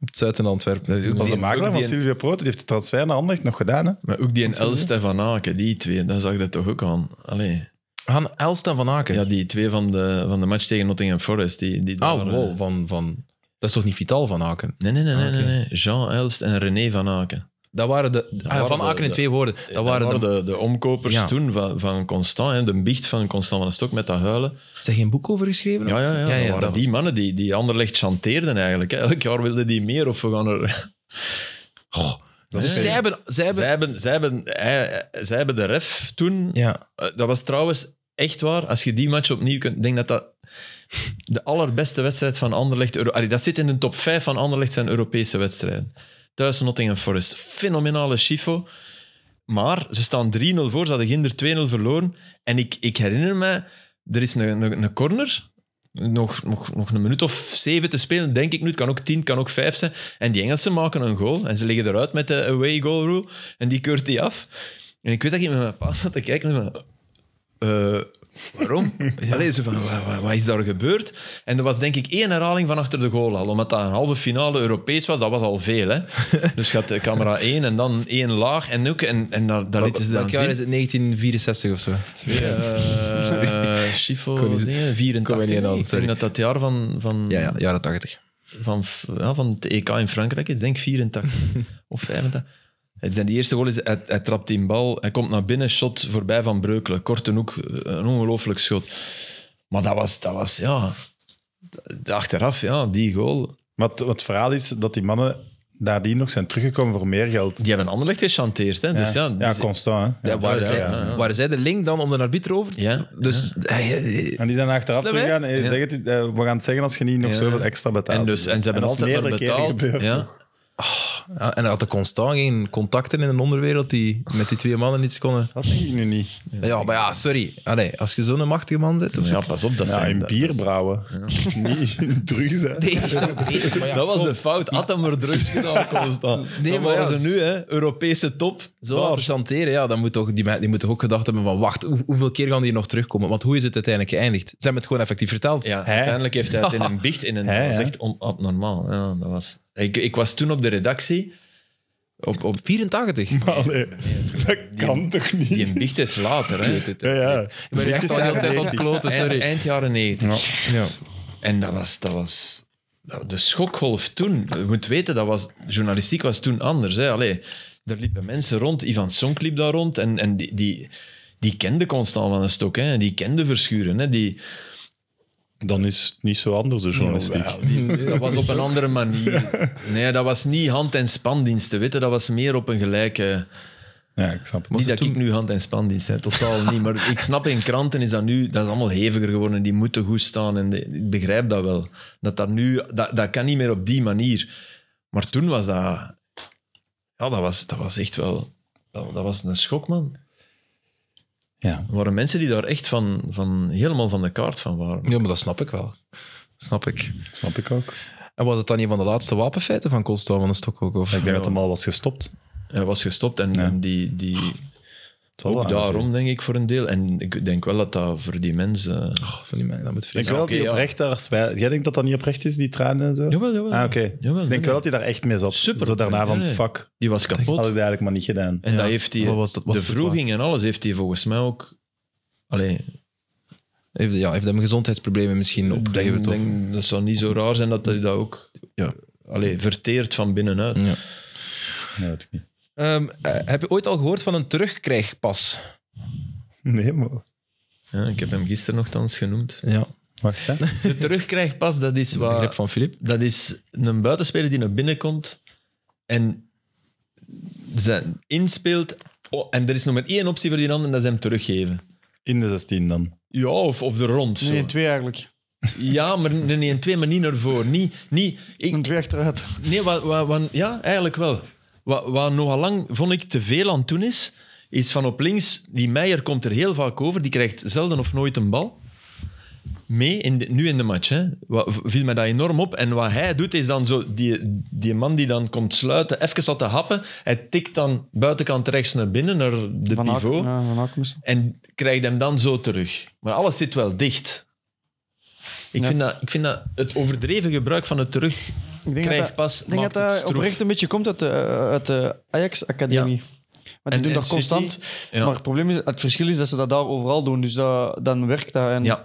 A: Op het zuid in Antwerpen.
B: Ook
C: Was de
B: die-
C: makelaar
B: ook
C: van
B: die-
C: Silvio Proot, die heeft de transfer naar Anderlecht nog gedaan. Hè?
B: Maar ook die en Elste van Aken, die twee, daar zag dat toch ook aan. Allee.
A: Gaan Elst en Van Aken.
B: Ja, die twee van de, van de match tegen Nottingham Forest. Die, die
A: Ah,
B: waren-
A: wow, van, van... Dat is toch niet Vital Van Aken?
B: Nee, nee, nee, nee,
A: Ah, oké.
B: nee, nee. Jean Elst en René van Aken.
A: Dat waren de... ah,
B: waren
A: van
B: de-
A: Aken in
B: de-
A: twee woorden. Dat waren de...
B: de, de omkopers
A: Ja.
B: toen van, van Constant, hè, de biecht van Constant van den Stok met dat huilen.
A: Is er geen boek over geschreven?
B: Ja, ja, ja. dat waren die
A: was-
B: mannen die, die Anderlecht chanteerden eigenlijk. Hè. Elk jaar wilden die meer of we gaan er...
A: Goh,
B: is
A: dus zij
B: fijn.
A: hebben... Zij hebben...
B: Zij hebben, zij hebben, hij- zij hebben de ref toen
A: Ja.
B: Eh, dat was trouwens echt waar. Als je die match opnieuw kunt, ik denk dat dat de allerbeste wedstrijd van Anderlecht. Euro, allee, dat zit in de top 5 van Anderlecht zijn Europese wedstrijden. Thuis Nottingham Forest. Fenomenale Schifo. Maar ze staan 3-0 voor, ze hadden ginder 2-0 verloren. En ik, ik herinner mij, er is een, een, een corner, nog, nog, nog een minuut of zeven te spelen, denk ik nu. Het kan ook tien, het kan ook vijf zijn. En die Engelsen maken een goal en ze liggen eruit met de away goal rule. En die keurt die af. En ik weet dat ik met mijn pa zat te kijken en van... eh, waarom? Allee, zo van, wa- wa- wat, is daar gebeurd? En er was denk ik één herhaling van achter de goal al. Omdat dat een halve finale Europees was, dat was al veel. Hè? Dus je had eh, camera één en dan één laag. En, ook, en, en daar, daar lieten ze dan
A: Welk jaar
B: zien.
A: is het? 1964 of zo?
B: Eh, Schifo,
A: Kon niet-
B: dingen,
A: kon mij
B: 84.
A: niet aan,
B: ik
A: sorry.
B: denk dat dat jaar van, van,
A: Ja, ja, jaren 80.
B: van, F- ja, van het EK in Frankrijk is, denk ik 84 of 85. Het zijn de eerste goal is, hij, hij trapt die bal, hij komt naar binnen, shot voorbij van Breukelen. Korte hoek, een ongelooflijk schot. Maar dat was, dat was ja, d- achteraf, ja, die goal.
C: Maar het, het verhaal is dat die mannen nadien nog zijn teruggekomen voor meer geld.
B: Die hebben Anderlecht gechanteerd, hè. Dus ja, dus-
C: constant. Hè?
A: Ja, waren,
B: ja,
A: zij,
B: ja, ja.
A: waren zij de link dan om de arbiter over? te-
B: Ja,
A: Dus eh,
C: En die dan achteraf
A: Slim,
C: teruggaan.
A: hè?
C: hey, zeg het, eh, we gaan het zeggen als je niet nog
B: Ja.
C: zoveel extra betaalt.
B: en, dus, en ze hebben
C: dat is
B: altijd maar
C: meerdere keren
B: betaald.
C: gebeurd.
B: Ja.
A: ja, en hij had de constant geen contacten in de onderwereld die met die twee mannen iets konden.
C: Dat denk ik nu niet.
A: Ja, maar ja, sorry. Allee, als je zo'n machtige man bent. Of zo.
B: ja, pas op, dat
C: Ja,
B: zijn...
C: in
B: dat-
C: bier brouwen. Niet in drugs, hè.
A: Nee, nee, maar ja,
B: dat was de fout. Had dan maar drugs gedaan, constant.
A: Nee,
B: Dan
A: maar ja,
B: waren ze
A: s-
B: nu, hè, Europese top.
A: Zo laten chanteren, ja, dan moet toch, die, me- die moeten ook gedacht hebben van wacht, hoe- hoeveel keer gaan die hier nog terugkomen? Want hoe is het uiteindelijk geëindigd? Ze hebben het gewoon effectief verteld.
B: Ja,
C: Hij?
B: uiteindelijk heeft hij het in een biecht. In een,
C: Hij,
B: dat was
C: hè?
B: echt on- abnormaal. Ja, dat was, ik, ik was toen op de redactie. Op, op,
A: 84.
C: Maar allee, dat kan toch niet?
B: die een biecht is later. Hè.
C: ja, ja.
A: Ik ben echt al de hele tijd aan het kloten,
B: Eind,
A: sorry.
B: eind jaren 90.
C: Ja.
A: Ja.
B: En dat was, dat was dat- de schokgolf toen. Je moet weten, dat was, journalistiek was toen anders. Hè. Allee, er liepen mensen rond. Ivan Sonk liep daar rond. En, en die, die, die kende Constant van den Stok. Hè. En die kende Verschuren. Hè. Die,
C: Dan is het niet zo anders, de journalistiek.
B: Jawel, die- dat was op een andere manier. Nee, dat was niet hand- en spandiensten. Weet je, dat was meer op een gelijke...
C: Ja, ik snap het.
B: niet dat ik nu hand- en spandienst heb, totaal niet. Maar ik snap, in kranten is dat nu... Dat is allemaal heviger geworden. Die moeten goed staan. En die- ik begrijp dat wel. Dat, dat, nu, dat, dat kan niet meer op die manier. Maar toen was dat... Ja, dat was, dat was echt wel... Dat, dat was een schok, man.
C: Ja.
B: Er waren mensen die daar echt van, van, helemaal van de kaart van waren.
A: ja, maar dat snap ik wel. Snap ik.
C: Snap ik ook.
A: En was het dan een van de laatste wapenfeiten van Constant van den Stok ook? Of?
C: Ik denk dat hem al was gestopt.
B: Hij eh, was gestopt en,
C: Ja. Ah,
B: en die... die
C: Het was
B: Ook
C: al
B: daarom, denk ik, voor een deel. En ik denk wel dat dat voor die mensen...
A: Oh, van die man, dat moet
C: Ik
A: vreemd
C: denk wel dat
B: oké,
C: die
B: ja.
C: oprecht daar spijt- Jij denkt dat dat niet oprecht is, die tranen en zo?
B: Jawel, jawel.
C: Ah, oké.
B: Jawel, nee,
C: Ik denk wel
B: nee.
C: dat hij daar echt mee zat.
B: Super
C: Zo daarna van,
B: oprecht, nee.
C: fuck,
B: Die was
C: had ik
B: kapot.
C: dat eigenlijk maar niet gedaan.
B: En
A: Ja.
B: dat heeft hij...
A: Wat was dat- was
B: de
A: het
B: vroeging en alles heeft hij volgens mij ook... Allee,
A: Heeft, ja, heeft hem gezondheidsproblemen misschien
B: denk,
A: opgeleverd? Of...
B: denk, dat zou niet zo raar zijn dat hij dat ook...
A: Ja. Mm.
B: Allee, verteert van binnenuit.
A: Ja.
C: Nee, weet ik niet.
A: Ehm, eh, heb je ooit al gehoord van een terugkrijgpas?
C: Nee, maar...
B: Ja, ik heb hem gisteren nogthans genoemd.
A: Ja.
C: Wacht, hè.
B: De terugkrijgpas, dat is
A: Wat?
B: wat...
A: van Filip.
B: dat is een buitenspeler die naar binnen komt en zijn inspeelt. Oh, en er is nog maar één optie voor die ander en dat is hem teruggeven.
C: In de 16 dan.
B: Ja, of, of er rond. zo.
D: Nee, twee eigenlijk.
B: Ja, maar nee, nee, een twee, maar niet naar voren. Niet, niet, ik,
D: Een twee achteruit.
B: nee, wat, wat, wat- ja, eigenlijk wel. Wat, wat nogal lang vond ik te veel aan toen is, is van op links, die Meijer komt er heel vaak over, die krijgt zelden of nooit een bal. Mee, in de- nu in de match, hè. Wat, viel mij dat enorm op. En wat hij doet, is dan zo die, die man die dan komt sluiten, even laten happen. Hij tikt dan buitenkant rechts naar binnen, naar de
D: Van Aken-
B: pivot.
D: ja, van Aken is-
B: En krijgt hem dan zo terug. Maar alles zit wel dicht. Ik,
D: Ja.
B: vind, dat, ik vind dat het overdreven gebruik van het terug
D: Ik denk dat
B: krijgt
D: dat,
B: pas
D: ik denk dat
B: maakt
D: dat
B: het stroef.
D: oprecht een beetje komt uit de, uit de Ajax-academie. Want
B: En-
D: die doen
B: en
D: dat constant.
B: City, ja.
D: Maar het, probleem is, het verschil is dat ze dat daar overal doen. Dus dat, dan werkt dat. En,
B: Ja.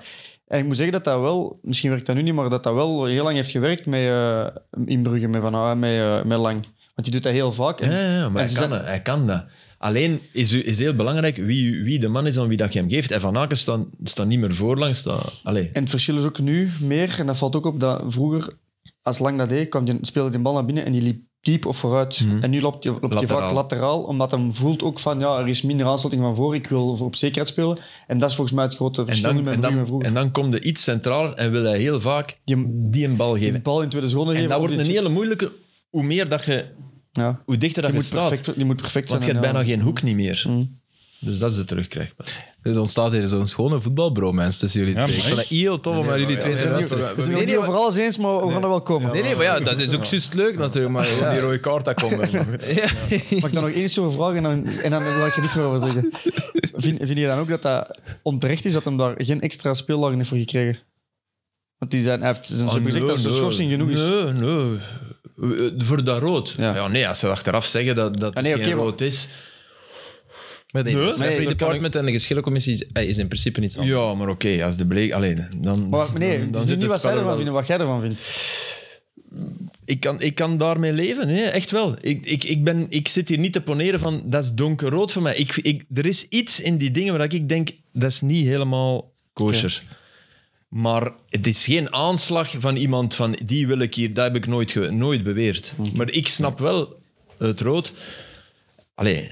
D: en ik moet zeggen dat dat wel... Misschien werkt dat nu niet, maar dat dat wel heel lang heeft gewerkt met, eh in Brugge, met, Van, Aken, met, eh, met Lang. Want die doet dat heel vaak. En-
B: Ja, ja, ja, maar
D: en
B: hij
D: ze
B: kan,
D: zijn-
B: dat, hij kan dat. Alleen is, u- is heel belangrijk wie, wie de man is aan wie dat je hem geeft. En Van Aken staat staat niet meer voorlangs. Staat, allee.
D: En het verschil is ook nu meer, en dat valt ook op, dat vroeger, als Lang dat deed, kwam die, speelde die bal naar binnen en die liep diep of vooruit.
B: Mhm.
D: En nu loopt die- loopt hij
B: Lateraal.
D: vaak lateraal, omdat hem voelt ook van, ja, er is minder aansluiting van voor, ik wil voor op zekerheid spelen. En dat is volgens mij het grote
B: En
D: verschil
B: dan,
D: nu met
B: en,
D: Brugge en
B: dan,
D: vroeger.
B: en dan komt hij iets centraler en wil hij heel vaak die, die een bal
D: Die
B: geven.
D: bal in tweede zone geven.
B: En dat
D: of
B: wordt
D: die
B: een
D: chip-
B: hele moeilijke, hoe meer dat je
D: Ja.
B: Hoe dichter dat
D: Die,
B: je
D: moet
B: staat,
D: perfect, die moet perfect zijn.
B: want je hebt
D: en,
B: bijna
D: ja.
B: geen hoek niet meer.
D: Mm.
B: Dus dat is de terugkrijgpas.
A: Dus ontstaat hier zo'n schone voetbalbromance tussen jullie
C: Ja,
A: twee. Ik
C: mooi.
A: vind dat heel tof om naar jullie twee te
B: ja,
A: luisteren.
D: We zijn het niet over alles eens, maar we gaan er wel komen.
A: Nee, nee, maar ja, dat is ook juist leuk natuurlijk. Maar ja.
B: Die rode kaart, dat komt er nog.
D: Mag ik dan nog één soort vraag en dan, en dan laat ik er niks meer over zeggen. Vind, vind je dan ook dat dat onterecht is dat hem daar geen extra speeldagen heeft voor gekregen? Want die zijn, hij heeft, ze hebben
B: Ah,
D: Dus gezegd
B: nee,
D: dat zijn
B: nee.
D: schorsing genoeg is.
B: Nee, nee. Eh, Voor dat rood. Ja.
D: Ja.
B: nee, als ze achteraf zeggen dat dat
D: Ah, nee,
B: geen
D: oké, maar-
B: rood is.
A: Maar nee,
B: Nee,
A: het
D: nee,
A: Referee
D: dat kan
A: Department en de geschillencommissie is, is in principe niets anders.
B: Ja, maar oké, als de bleek. Alleen, dan.
D: Maar nee,
B: dan
D: het is
B: zit
D: nu niet wat
B: spel
D: zij
B: er
D: ervan
B: wel-
D: vinden, wat jij ervan vindt.
B: Ik kan, ik kan daarmee leven, nee, echt wel. Ik, ik, ik, ben, ik zit hier niet te poneren van dat is donkerrood voor mij. Ik, ik, er is iets in die dingen waar ik denk dat is niet helemaal kosher. Maar het is geen aanslag van iemand van die wil ik hier, dat heb ik nooit, ge- nooit beweerd. Maar ik snap wel het rood. Allee,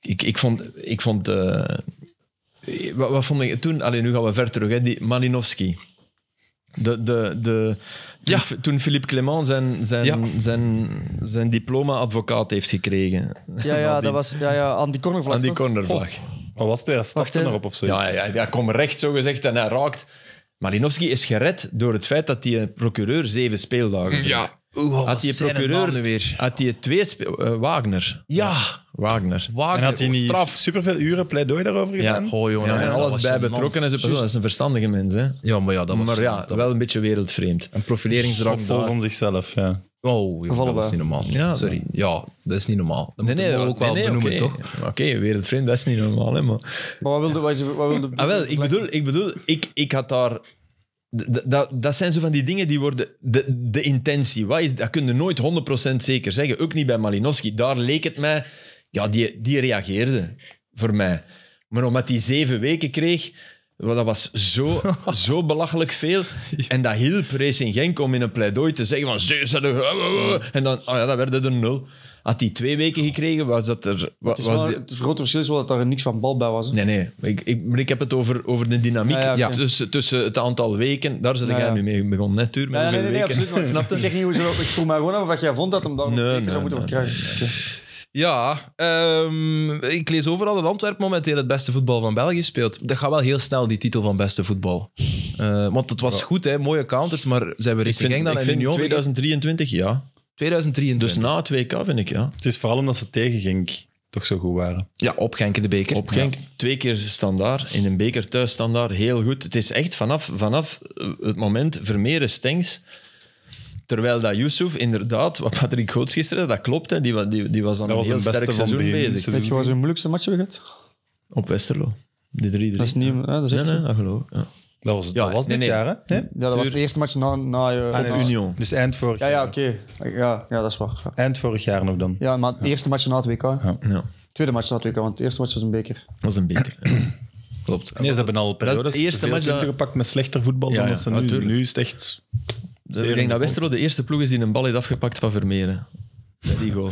B: ik, ik vond. Ik vond eh, wat, wat vond ik toen? Allee, nu gaan we ver terug, hè, die Malinowski. De, de, de, toen,
A: Ja.
B: toen Philippe Clement zijn, zijn,
A: Ja.
B: zijn, zijn diploma-advocaat heeft gekregen.
D: Ja, ja, dat was ja, ja, aan die cornervlag.
B: Aan die
D: toch?
B: cornervlag.
A: Oh,
C: Wat was het weer? Hij
D: Wacht,
C: stapte
D: hè.
C: erop of zo.
B: Ja, ja, ja, kom recht zo gezegd en hij raakt. Malinowski is gered door het feit dat die procureur zeven speeldagen kreeg. Had die procureur
A: nu weer?
B: Had die twee spe- eh, Wagner.
A: Ja,
B: Wagner.
A: Wagner,
C: En had hij niet
A: straf.
C: superveel uren pleidooi daarover
B: Ja.
C: gedaan?
A: Oh, jongen,
B: Ja,
A: dat
B: en
A: was- dat
B: alles
A: was
B: bij
A: gênant.
B: betrokken en zo.
A: Juist.
B: Dat is een verstandige mens, hè.
A: Ja, maar ja, dat was
B: Maar
A: gênant,
B: ja,
A: dat
B: wel een beetje wereldvreemd.
A: Een
C: Vol-
A: profileringsdrang
C: Vol
A: daar.
C: van zichzelf, ja.
A: Oh, joh, dat
D: Gevallen
A: was
D: bij.
A: niet normaal.
B: Ja,
A: Sorry. Ja, dat is niet normaal. Dat moeten we
B: dat-
A: ook wel
B: nee, nee,
A: benoemen,
B: oké.
A: toch?
B: Oké, wereldvreemd, dat is niet normaal, hè, maar...
D: Maar wat wilde... Wat is- wat wilde
B: Ah, wel, ik bedoel, ik, bedoel ik, ik had daar... d- d- Dat, dat zijn zo van die dingen die worden... De, de intentie, wat is, dat kun je nooit 100% zeker zeggen. Ook niet bij Malinowski. Daar leek het mij... Ja, die, die reageerde voor mij. Maar omdat hij zeven weken kreeg... wel, Dat was zo, zo belachelijk veel. En dat hielp Racing Genk om in een pleidooi te zeggen van... "Zeus, dat- eh, eh, eh." En dan, oh ja, dat werden er nul. Had hij twee weken gekregen, was dat er... wa-
D: Het, is
B: was
D: wel-
B: die-
D: het grote verschil is wel dat daar niks van bal bij was. hè.
B: Nee, nee. Ik, ik, maar ik heb het over, over de dynamiek
D: Ja, ja, oké.
B: tussen, tussen het aantal weken. Daar zijn
D: Ja,
B: jij
D: ja.
B: nu mee begonnen, net Tuur? Met
D: Ja, nee,
B: hoeveel
D: nee, nee,
B: weken?
D: absoluut. maar Ik zeg niet hoe ze... Ik voel mij gewoon af wat jij vond dat hem daar nog
B: Nee,
D: een teken
B: nee,
D: zou moeten
B: nee,
D: verkrijgen. Oké.
A: Ja, ehm, ik lees overal dat Antwerpen momenteel het beste voetbal van België speelt. Dat gaat wel heel snel, die titel van beste voetbal. Eh, want het was goed, hè, mooie counters, maar zijn we
B: Ik
A: Racing
B: vind,
A: Genk dan
B: ik
A: en
B: vind
A: Union?
B: 2023, ja.
A: 2023.
B: Dus na het WK vind ik, ja.
C: Het is vooral omdat ze tegen Genk toch zo goed waren.
A: Ja, op Genk in de beker.
B: Op Genk, twee keer standaard. In een beker thuis standaard, heel goed. Het is echt vanaf, vanaf eh, het moment Vermeeren stengs. Terwijl dat Yusuf, inderdaad, wat Patrick Goots gisteren, dat klopt, hè, die, wa- die, die was dan
C: Dat was
B: een heel
C: het beste
B: sterk
C: van
B: seizoen
C: begin.
B: bezig.
D: Weet je wat zijn moeilijkste match hebben gehad?
B: Op Westerlo. Die 3-3.
D: Dat is niet... hè, Dat is
B: Nee,
D: echt zo.
B: nee, dat geloof ik. Ja.
C: Dat was,
B: Ja,
C: dat was
B: nee,
C: dit
B: nee.
C: jaar, hè?
D: Ja, dat was de eerste match na... na eh,
C: Ah, nee,
D: na-
C: dus-
B: Union.
C: Dus eind vorig
D: Ja,
C: jaar.
D: ja, oké. Ja, ja, dat is waar. Ja.
C: Eind vorig jaar nog dan.
D: Ja, maar het eerste match na het WK. hè.
B: Ja,
D: Tweede match na het WK, want het eerste match was een beker.
B: dat was een beker.
A: Klopt.
C: Nee, ze hebben al periodes
B: de eerste
C: veel
B: match dat-
C: punten gepakt met slechter voetbal
B: Ja,
C: dan
B: ja,
C: dat ze nu.
B: natuurlijk.
C: Nu is het echt...
B: Dus ik denk dat Westerlo de eerste ploeg is die een bal heeft afgepakt van Vermeeren. Bij die goal.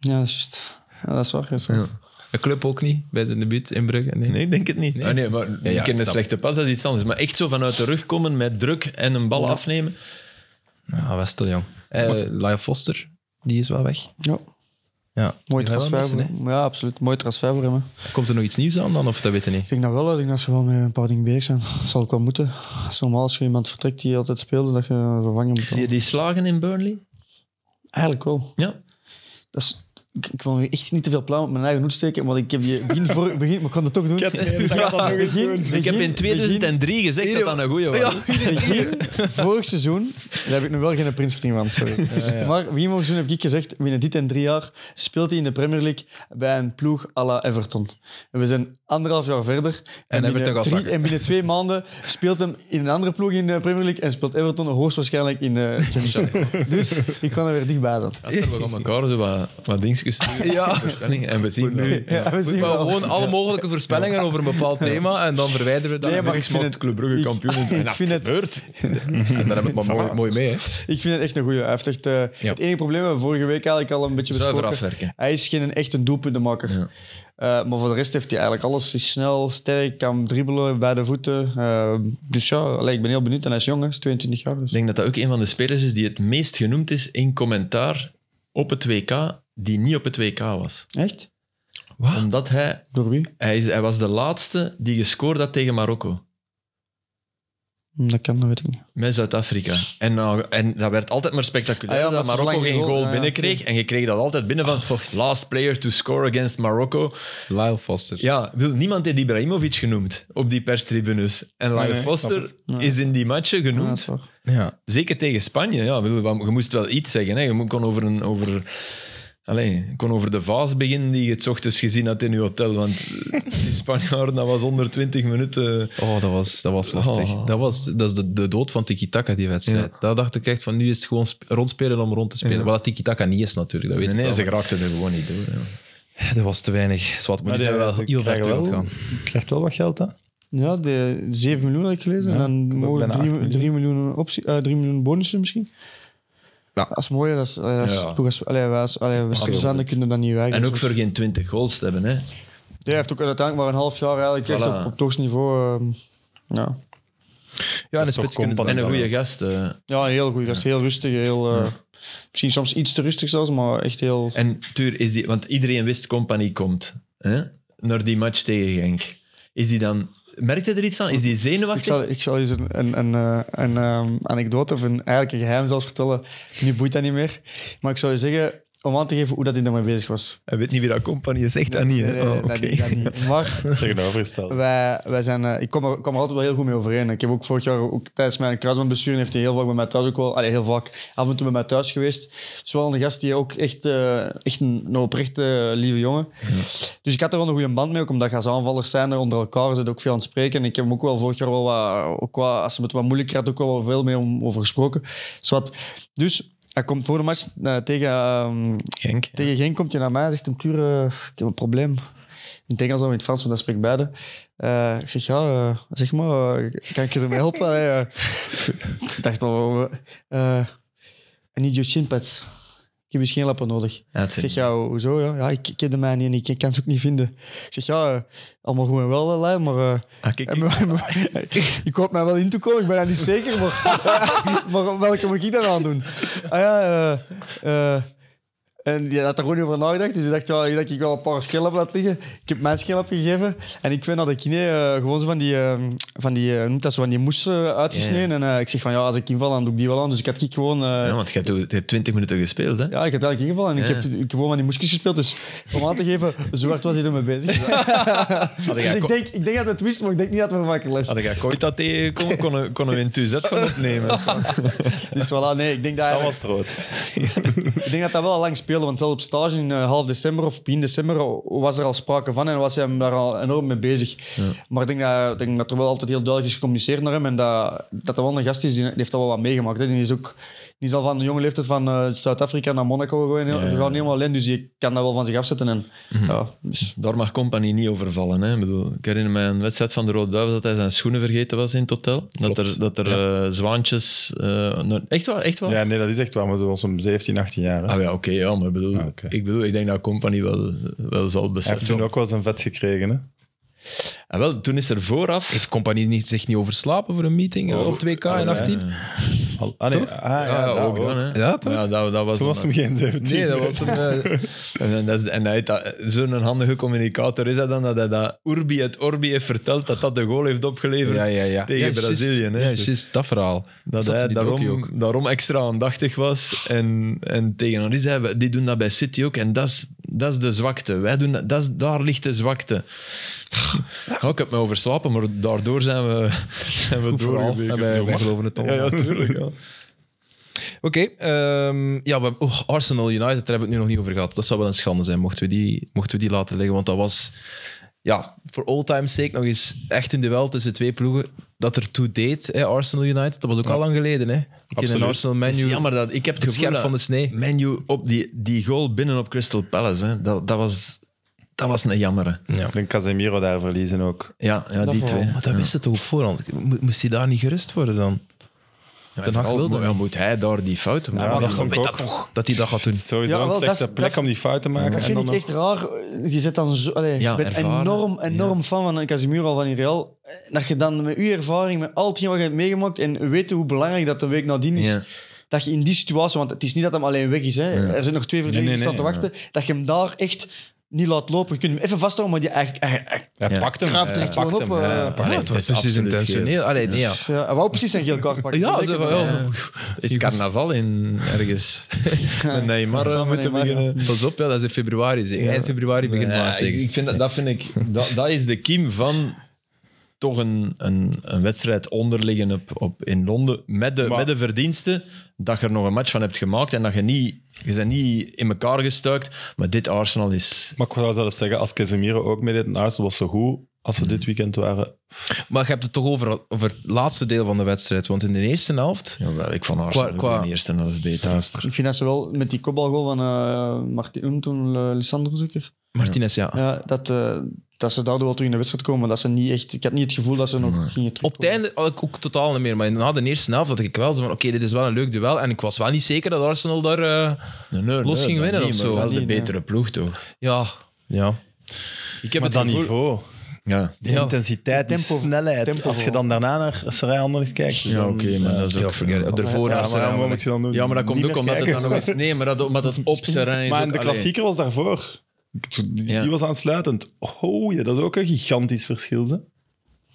D: Ja, dat is juist. Ja, dat is waar. dat is waar.
A: De club ook niet, bij zijn debuut in Brugge. Nee.
B: Nee, ik denk het niet.
A: Nee.
B: Ah, nee, maar ik
A: ik
B: ken de
A: snap.
B: slechte pas, dat is iets anders. Maar echt zo vanuit de rug komen met druk en een bal afnemen.
A: Ah, Westel, jong. Eh, Lyle Foster, die is wel weg.
D: Ja.
A: Ja.
D: Mooi
A: Die gaan we
D: transfer voor
A: missen, hè.
D: hem. Ja, absoluut. Mooi transfer voor hem. hè.
A: Komt er nog iets nieuws aan dan, of dat weten we
D: Ik
A: niet?
D: denk dat wel. Ik denk dat ze wel met een paar dingen bezig zijn. Dat zal ook wel moeten. Het is normaal als je iemand vertrekt die altijd speelde, dat je een vervanger moet
B: Zie je
D: hebben.
B: die slagen in Burnley?
D: Eigenlijk wel.
B: Ja.
D: Dat is... Ik, ik wil nu echt niet te veel pluim op mijn eigen hoed steken, want ik heb je begin voor... Begin, maar ik kan het toch doen. Ja, begin-
B: ik heb
D: begin-
B: in 2003 gezegd dat dat een goeie was.
D: Begin vorig seizoen, daar heb ik nog wel geen printscreen van, sorry. Maar begin vorig seizoen heb ik gezegd, binnen dit en drie jaar speelt hij in de Premier League bij een ploeg à la Everton. En we zijn anderhalf jaar verder. En,
A: Everton
D: binnen
A: gaat
D: drie-
A: zakken.
D: En binnen twee maanden speelt hem in een andere ploeg in de Premier League en speelt Everton hoogstwaarschijnlijk in de Championship. Dus ik kan er weer dichtbij zijn.
B: Als er we gaan elkaar zo wat, wat dingetjes sturen, voorspellingen, En we zien nu...
D: Ja, we zien
A: Maar
D: wel.
A: gewoon alle mogelijke voorspellingen over een bepaald thema en dan verwijderen we dat.
D: Nee, maar ik
A: en
D: vind het-
B: Club Brugge
D: ik-
B: kampioen. En
D: ik
B: als
D: vind het-
B: gebeurt.
A: dan hebben we het maar mooi, mooi mee, hè.
D: Ik vind het echt een goeie. Hij heeft echt, eh,
A: Ja.
D: Het enige probleem, we hebben vorige week eigenlijk al een beetje
B: Zuiver
D: besproken.
B: afwerken.
D: Hij is geen echte doelpuntenmaker.
B: Ja.
D: Eh, maar voor de rest heeft hij eigenlijk alles. Hij is snel, sterk, kan dribbelen bij de voeten. Eh, dus ja, allee, ik ben heel benieuwd. En hij is jong, hè. Hij is 22 jaar. Dus.
B: Ik denk dat dat ook een van de spelers is die het meest genoemd is in commentaar op het WK die niet op het WK was.
D: Echt?
B: Omdat hij,
D: Door wie?
B: hij, is- hij was de laatste die gescoord had tegen Marokko.
D: Hm, Dat kan, dat weet ik niet.
B: Met Zuid-Afrika. En, nou, en dat werd altijd maar spectaculair.
D: Ah ja,
B: dat
D: omdat ze
B: Marokko
D: zo lang
B: geen
D: geen
B: goal
D: goal-
B: binnenkreeg. En je kreeg dat altijd binnen van last player to score against Marokko.
A: Lyle Foster.
B: Ja, ik bedoel, niemand heeft Ibrahimovic genoemd op die perstribunes. En Lyle
C: Nee, nee,
B: Foster
C: ik
D: het. Ja.
B: is in die matchen
D: Ja, dat
B: genoemd.
D: is waar.
A: Ja.
B: Zeker tegen Spanje. Ja, ik bedoel, wa- je moest wel iets zeggen. Hè. Je mo- kon over, een, over, allez, je kon over de vaas beginnen die je het 's ochtends gezien had in je hotel. Want eh, die Spanjaarden, dat was 120 minuten.
A: Oh, dat was, dat was lastig.
B: Oh.
A: Dat, was, dat is de, de dood van tiki-taka, die wedstrijd. Daar dacht ik echt van, nu is het gewoon sp- rondspelen om rond te spelen.
B: Ja.
A: Wat dat tiki-taka niet is natuurlijk, dat weet ik
B: Nee, nee,
A: wel. Eh,
B: ze raakten er gewoon niet door. Ja.
A: Dat was te weinig. Zwart, maar nu
C: Maar
A: zijn we
C: die-
A: wel
C: die
A: heel ver
C: krijgen
A: terug aan het
C: wel-
A: gaan.
C: Je krijgt wel wat geld, hè?
D: Ja, de 7 miljoen had ik gelezen.
C: Ja,
D: en
C: dat
D: dan
C: is ook
D: mogelijk
C: bijna
D: 3
C: acht
D: miljoen,
C: miljoen.
D: miljoen, optie, eh 3 miljoen bonussen misschien.
A: Ja.
D: Dat is mooi. Dat is, allee, dat is
B: Ja.
D: toch als, allee, wij als- allee, we Suzanne kunnen dat niet werken.
B: En ook voor geen 20 goals te hebben. Hè.
D: Hij heeft ook uiteindelijk maar een half jaar eigenlijk echt
B: Voilà.
D: op, op het hoogste niveau. ehm, ja.
A: Ja, en de
C: is toch
A: spits kunnen-
C: company.
B: En een
C: Ja.
B: goede gast. eh.
D: ja, heel goed. Dat is heel rustig. Heel, eh, Misschien soms iets te rustig zelfs, maar echt heel...
B: En Tuur, is die, want iedereen wist Company komt hè, naar die match tegen Genk. Is die dan, merkte er iets aan? Is die
D: Ik
B: zenuwachtig?
D: zal, ik zal je eens een, een, een, eh, een ehm, anekdote of een, eigenlijk een geheim zelfs vertellen. Nu boeit dat niet meer. Maar ik zou je zeggen, om aan te geven hoe dat hij daarmee bezig was.
B: Hij weet niet wie dat Company is, echt dat niet. Oh,
D: Nee, nee, nee, dat niet, dat niet. Maar
C: Tegenovergesteld.
D: wij, wij zijn, eh, ik kom er, kom er altijd wel heel goed mee overeen. Ik heb ook vorig jaar, ook tijdens mijn kruisbandbestuur, heeft hij heel vaak bij mij thuis ook wel, allee, heel vaak, af en toe bij mij thuis geweest. Dus wel een gast die ook echt, eh, echt een, een oprechte, eh, lieve jongen. Dus ik had er wel een goede band mee, ook omdat je als aanvallers zijn er onder elkaar, zit ook veel aan het spreken. En ik heb hem ook wel vorig jaar wel wat, ook wat als ze het wat moeilijker had, ook wel veel mee om, over gesproken. Zwat. Dus hij komt voor de match eh, tegen, ehm,
B: Genk.
D: tegen Genk komt hij naar mij en zegt hem, Tuur, eh, ik heb een probleem. In het Engels en in het Frans, want dat spreekt beide. Eh, ik zeg, ja, eh, zeg maar, eh, kan ik je ermee helpen? Allee, eh. ik dacht al, eh I need your chin pads. Ik heb dus geen lappen nodig.
B: Ja, het
D: Ik
B: zijn-
D: zeg, ja, ho- hoezo? Ja, ja ik ik ken de mij niet en ik kan ze ook niet vinden. Ik zeg, ja, eh, allemaal goed en wel, Lijn, maar... eh,
B: Ah, kijk,
D: en maar- maar- ik hoop mij wel in te komen, ik ben daar niet zeker, maar, maar welke moet ik dan aan doen? Ah ja, eh, eh, en je had er gewoon over nagedacht, dus ik dacht wel dat ik wel een paar schillen heb laten liggen. Ik heb mijn schil gegeven en ik vind dat de kine eh, gewoon zo van die, eh, van die, eh, hoe noemt dat zo, van die moes eh, uitgesneden. En eh, ik zeg van, ja, als ik inval, dan doe ik die wel aan. Dus ik had ik gewoon... eh,
B: Ja, want je hebt- je hebt 20 minuten gespeeld, hè?
D: ja, ik had eigenlijk ingevallen en ik
B: Ja.
D: heb, ik heb gewoon aan die moesjes gespeeld. Dus om aan te geven, zo hard was hij ermee bezig. dus ik denk, ik denk dat het wist, maar ik denk niet dat het makkelijk was.
B: Had ik ooit dat tegenkomen, konden konden we een tuzet van opnemen.
D: Dus voilà, nee, ik denk dat,
C: Dat was het rood.
D: ik denk dat dat wel al lang speelde. Want zelfs op stage in eh, half december of begin december was er al sprake van en was hij hem daar al enorm mee bezig. Maar ik denk, dat, ik denk dat er wel altijd heel duidelijk is gecommuniceerd naar hem en dat dat er wel een gast is, die, die heeft al wel wat meegemaakt. Hè. Die is ook die is al van de jonge leeftijd van eh, Zuid-Afrika naar Monaco gegaan, gegaan helemaal alleen. Dus je kan dat wel van zich afzetten. En, ja, dus,
B: Daar mag Company niet over vallen. Hè? Ik, bedoel, ik herinner me een wedstrijd van de Rode Duivels dat hij zijn schoenen vergeten was in het hotel. Dat
A: Klopt.
B: er, dat er eh, zwaantjes... eh, naar- echt waar, echt waar?
C: Ja, nee, dat is echt waar. Maar ze was om 17, 18 jaar. hè.
B: Ah ja, oké, ja, maar ik bedoel,
C: Ah, oké.
B: ik bedoel, ik denk dat Company wel, wel zal
C: Hij heeft
B: beseffen.
C: toen ook wel zijn vet gekregen, hè?
B: Ah, wel, toen is er vooraf...
A: Heeft Compagnie niet, zich niet overslapen voor een meeting eh,
C: Oh,
A: op 2K in
C: ja.
A: 18?
C: Al- Ah, nee.
A: Toch?
C: Ah,
B: ja,
C: ja,
B: ja,
C: daar
B: ook dan, hè.
A: Ja, toch?
B: Ja, dat, dat was
C: Toen was
B: dan-
C: hem geen 17.
A: Nee, dat was een... eh,
B: En, dat is, en hij heeft dat- zo'n handige communicator is dat dan, dat hij dat Urbi het Orbi heeft verteld, dat dat de goal heeft opgeleverd.
A: ja, ja, ja.
B: Tegen
A: Ja, juist.
B: Brazilië, hè.
A: Ja,
B: Dus-
A: juist, dat verhaal.
B: Dat
A: Zat in
B: hij
A: die docu ook.
B: daarom, daarom extra aandachtig was. En, en tegen Henri zei, "We- die doen dat bij City ook. En dat is, dat is de zwakte. Wij doen dat, dat is, daar ligt de zwakte. Ja, ik heb me overslapen, maar daardoor zijn we, zijn we
A: Vooral, en
B: doorgebekend.
A: wij, wij geloven het al.
B: Ja, ja, tuurlijk. Ja.
A: Oké, ehm, ja, we, oh, Arsenal United, daar hebben we het nu nog niet over gehad. Dat zou wel een schande zijn, mochten we die, mochten we die laten liggen. Want dat was, ja, voor all time's sake nog eens echt een duel tussen twee ploegen. Dat er toe deed, hè, Arsenal United. Dat was ook al lang geleden, hè? Ik in een
C: Absoluut.
A: Arsenal
B: Het is
A: menu.
B: jammer dat ik heb het,
A: Het
B: gevoel
A: scherp
B: dat
A: van de snee.
B: Menu op die, die goal binnen op Crystal Palace, hè, dat, dat, was, dat was een jammere.
A: Ja.
C: Ik denk Casemiro daar verliezen ook.
B: Ja, ja die
D: vooral.
B: twee.
A: Maar dat wist het toch op voorhand? Mo- Moest hij daar niet gerust worden dan?
B: Ja,
A: Ten Hag
B: vooral
A: wilde
B: moet-
A: hem.
B: ja, moet hij daar die fouten
C: Ja,
B: maken.
C: dat
A: dan
C: vond ik
A: weet
C: ook.
A: toch? Dat hij dat gaat doen.
C: Het is sowieso
D: Ja, wel,
C: een
D: dat is-
C: slechte
D: dat
C: plek
D: is-
C: om die fout te maken.
D: Dat vind
C: en
D: ik
C: dan
D: echt raar. Je zit dan zo... Allee,
B: Ja,
D: ik ben
B: ervaren.
D: enorm, enorm fan van Casemiro van in Real. Dat je dan met uw ervaring, met al hetgeen wat je hebt meegemaakt en weten hoe belangrijk dat de week nadien is.
B: Ja.
D: dat je in die situatie, want het is niet dat hem alleen weg is, hè. er zijn nog twee verdedigers
B: nee,
D: die staan
B: nee,
D: te wachten, dat je hem daar echt niet laat lopen. Je kunt hem even vasthouden, maar die, hij, hij, hij
C: Hij
B: Ja.
C: pakt hem.
D: Graapt
C: hij
D: echt wel op, eh,
C: ja.
D: ja. Dus-
A: Ja, het was dus intentioneel. Allee, nee, ja.
D: ja, hij wou precies zijn geel kaart pakken.
A: Ja,
D: Zo denk
A: dat
D: ik
A: wel.
D: maar.
B: Is carnaval in ergens? Met Neymar
D: Samen
B: eh, moeten
D: Neymar, ja.
B: beginnen.
A: Pas op, ja, dat is in februari. zeker. Eind februari, begin
B: Ja,
A: maart.
B: ik,
A: zeker.
B: ik vind dat, dat vind ik, dat, dat is de kiem van toch een, een, een wedstrijd onderliggen op, op, in Londen met de,
C: Maar-
B: met de verdiensten dat je er nog een match van hebt gemaakt en dat je niet, je bent niet in elkaar gestuikt, maar dit Arsenal is...
C: Maar ik zou zelfs zeggen, als Casemiro ook meedeed en Arsenal was zo goed, als we dit weekend waren...
A: Maar je hebt het toch over, over het laatste deel van de wedstrijd. Want in de eerste helft...
B: Jawel, ik vond Arsenal
A: Qua-
B: ook
A: qua-
B: in de eerste helft beter.
D: Ik vind dat ze wel met die kopbalgoal van eh Martin toen eh, Lissandro zeker,
A: Martinez, ja.
D: ja, dat, eh, dat ze daardoor wel terug in de wedstrijd komen. maar Dat ze niet echt, ik had niet het gevoel dat ze nog gingen terugkomen.
A: Op het einde had ik ook totaal niet meer. Maar na de eerste helft had ik wel zo van... Oké, dit is wel een leuk duel. En ik was wel niet zeker dat Arsenal daar... eh,
B: Nee, nee,
A: Los
B: nee,
A: ging
B: dat
A: winnen
B: niet,
A: of
B: maar
A: zo.
B: Wel
D: Dat
B: de
D: niet, nee.
B: betere ploeg, toch?
A: ja, ja.
B: Ik heb
C: Maar dat
B: gevoel-
C: niveau,
B: Ja,
C: die
A: Ja.
C: intensiteit, die
D: Tempo-
C: snelheid.
D: tempo
C: als je
D: vooral.
C: dan daarna naar Sarai Anderlecht kijkt...
B: ja oké, maar dat is ook...
A: Ja, forget it. Daarvoor
C: Ja,
A: was er
C: maar wat
A: eigenlijk-
C: moet je dan doen?
B: Ja, maar dat komt
C: Niet
B: ook
C: meer
B: omdat het
C: kijken.
B: dan nog eens... Nee, maar dat, omdat het op Serrain is
C: Maar
B: ook-
C: de
B: allee.
C: klassieker was daarvoor. Die, die
B: Ja.
C: was aansluitend. Oh ja, dat is ook een gigantisch verschil. Hè? Dat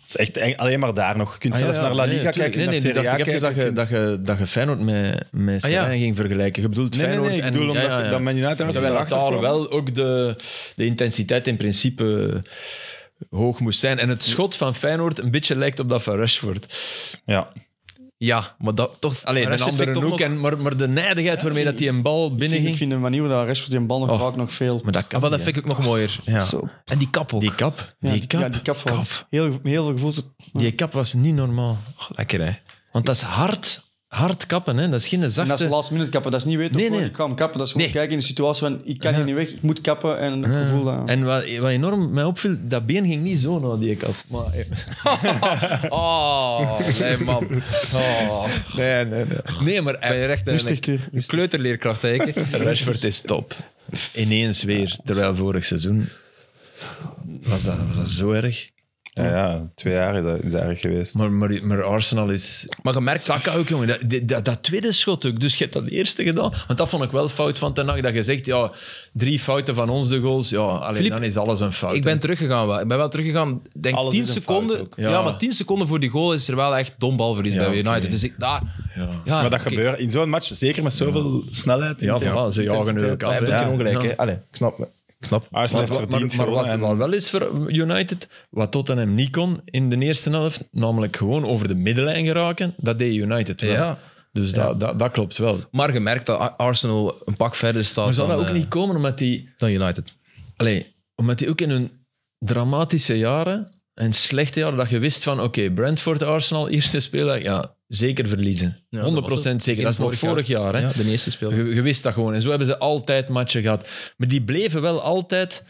C: is echt eng- alleen maar daar nog. Je kunt
B: Ah, ja,
C: zelfs
B: ja,
C: naar La
B: nee,
C: Liga
B: tuurlijk.
C: kijken.
B: Nee, nee,
C: naar
B: nu
C: Serie A
B: dacht ik even
C: kijken,
B: dat je,
C: kunt-
B: dat, je, dat je Feyenoord met, met
A: Ah, ja.
B: Serijn ging vergelijken. Je bedoelt
C: Nee, nee,
B: Feyenoord
C: nee, ik
B: en-
C: bedoel omdat
B: ja, ja, ja.
C: dat Man United er
B: Terwijl dat
C: achter
B: daar
C: kwam.
B: wel ook de, de intensiteit in principe eh, hoog moest zijn. En het schot van Feyenoord een beetje lijkt op dat van Rashford.
C: Ja.
A: Ja, maar dat toch...
B: Alleen de
A: Rashford vind ik
B: andere
A: toch
B: ook,
A: nog-
B: en, maar, maar de nijdigheid waarmee dat die een bal
D: Ik vind, ik
B: binnenging...
D: vind de manier waarop dat Rashford die bal nog
B: Och.
D: raakt nog veel.
B: Maar dat
A: Ah, wel,
B: kan
A: dat
B: niet,
A: vind ik ook nog mooier. Ja.
D: Zo.
A: En die kap ook.
B: hè. Die kap.
D: Ja,
B: die, kap.
D: Ja, die kap vooral.
B: Kap.
D: Heel, heel veel gevoel.
B: Die kap was niet normaal. Oh, lekker, hè. Want dat is hard, hard kappen, hè. Dat is geen
D: En dat is de
B: zachte...
D: last minute kappen. Dat is niet weten
B: Nee,
D: of
B: nee.
D: ik kan kappen. Dat is gewoon
A: Nee.
D: kijken in de situatie van ik kan hier niet weg, ik moet kappen. En het gevoel dat...
B: En wat, wat enorm mij opviel, dat been ging niet zo naar die kap. Maar,
A: Oh, nee, man. Oh.
B: nee, nee, nee. Nee, maar eh,
A: Ben je
B: hij,
A: recht
D: Rustig, Tuur.
A: een kleuterleerkracht, eigenlijk.
B: Rashford is top. Ineens weer, terwijl vorig seizoen was dat, was dat zo erg.
C: Ja, ja, twee jaar is dat, is dat erg geweest.
B: Maar, maar, maar Arsenal is...
A: Maar je merkt...
B: Saka ook, jongen. Dat, die- dat, dat tweede schot ook. Dus je hebt dat eerste gedaan. Want dat vond ik wel fout van ten Hag, Dat je zegt, ja, drie fouten van ons de goals. Ja, alleen
A: Filip,
B: dan is alles een fout.
A: Ik ben teruggegaan wel. Ik ben wel teruggegaan. Ik Denk
C: Alles
A: 10
C: is een
A: seconden.
C: fout ook.
A: Ja.
B: Ja.
A: maar 10 seconden voor die goal is er wel echt dom balverlies
B: Ja,
A: bij United.
B: oké.
A: Dus ik daar.
B: hè. Ja,
A: Ja,
C: maar dat
A: oké.
C: gebeurt in zo'n match, zeker met zoveel snelheid.
B: Ah, ja,
C: intensiteit.
B: voilà, ze jagen er ook
A: Zij
B: af.
A: hebben
B: hè.
A: ook geen ongelijk,
B: Ja.
A: hè? Allee, ik snap me. Ik snap me.
C: Arsenal
B: Maar,
C: heeft
B: wat- maar,
C: verdiend
B: maar wat
C: gewonnen
B: wat
C: en-
B: wel is voor United, wat Tottenham niet kon in de eerste helft, namelijk gewoon over de middenlijn geraken, dat deed United wel.
A: Ja.
B: Dus Dat, dat, dat klopt wel.
A: Maar je merkt dat Ar- Arsenal een pak verder staat
B: Maar zal
A: dan,
B: dat ook
A: eh,
B: niet komen omdat die,
A: dan United.
B: allee, omdat die ook in hun dramatische jaren en slechte jaren, dat je wist van oké, Brentford, Arsenal, eerste speeldag, ja, zeker verliezen.
A: Ja,
B: 100%
A: dat was het.
B: zeker. Dat is nog vorig jaar. hè?
A: Ja, de eerste speler.
B: Je, je wist dat gewoon. En zo hebben ze altijd matchen gehad. Maar die bleven wel altijd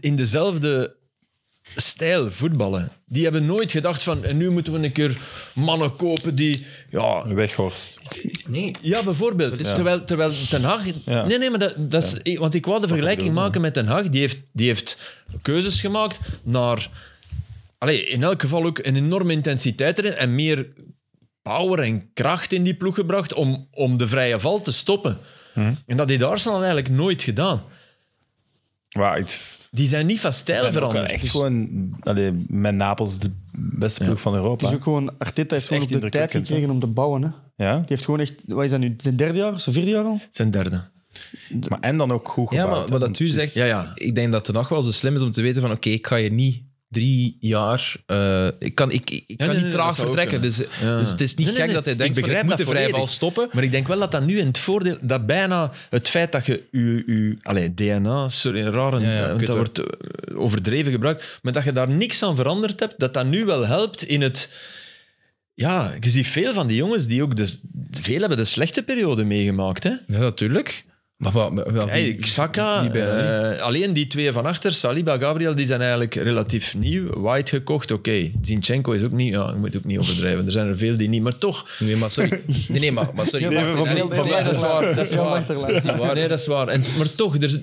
B: in dezelfde stijl voetballen. Die hebben nooit gedacht van, en nu moeten we een keer mannen kopen die... Ja,
C: Weghorst.
A: Nee.
B: ja bijvoorbeeld.
A: is-
B: Terwijl, terwijl Ten Hag...
C: Ja.
B: Nee, nee, maar dat, dat is... ik- Want ik wou de vergelijking
C: bedoel,
B: maken met Ten Hag. Die heeft, die heeft keuzes gemaakt naar... Allee, in elk geval ook een enorme intensiteit erin en meer power en kracht in die ploeg gebracht om, om de vrije val te stoppen.
C: Hm.
B: En dat heeft Arsenal eigenlijk nooit gedaan.
C: Maar het-
B: Die zijn niet van
C: het
B: stijl
C: zijn ook wel
B: veranderd.
C: echt gewoon allee, met Napels de beste ploeg van
D: Het
C: Europa.
D: is ook gewoon... Arteta heeft
C: Het
D: gewoon
C: is
D: op
C: echt
D: de tijd
C: indrukwekkend, hè.
D: gekregen om te bouwen. Hè. Die
C: Ja?
D: heeft gewoon echt... Wat is dat nu? Zijn derde jaar? Zijn vierde jaar al?
B: Zijn derde.
C: Maar en dan ook goed
A: Ja,
C: gebouwd.
A: maar
C: hè,
A: wat
C: want
A: dat u
C: het is-
A: zegt,
B: dus- Ja, ja.
A: ik denk dat de nacht wel zo slim is om te weten van oké, ik ga je niet drie jaar... eh, ik kan, ik, ik, ik kan
B: nee,
A: niet
B: nee, dat
A: traag
B: zou ook
A: vertrekken, dus,
B: kunnen. Ja.
A: dus het is niet
B: Nee, nee,
A: gek
B: nee.
A: dat hij
B: Ik
A: denkt van, ik,
B: begrijp
A: moet de
B: dat
A: vrije val
B: volledig.
A: stoppen.
B: Maar ik denk wel dat dat nu in het voordeel, dat bijna het feit dat je je, je allee, DNA, sorry, een rare,
A: Ja, ja, ik
B: want
A: weet
B: dat
A: het.
B: wordt eh, overdreven gebruikt, maar dat je daar niks aan veranderd hebt, dat dat nu wel helpt in het. Ja, je ziet veel van die jongens die ook de, veel hebben de slechte periode meegemaakt. Hè?
A: Ja, natuurlijk. Maar, maar, maar, maar-
B: Eigenlijk Saka,
A: die bijna
B: eh, alleen die twee van achter, Saliba, Gabriel, die zijn eigenlijk relatief nieuw. White gekocht, oké. Zinchenko is ook niet, ja, je moet ook niet overdrijven. Er zijn er veel die niet, maar toch.
A: Nee, maar sorry. Nee, nee, maar, maar sorry.
D: Ja,
A: Wacht,
D: van
A: nee,
D: Milderen.
A: nee, dat is waar. Dat is
D: Ja,
A: waar.
D: wacht er, laat.
B: Ja, nee, dat is waar. En, maar toch, er,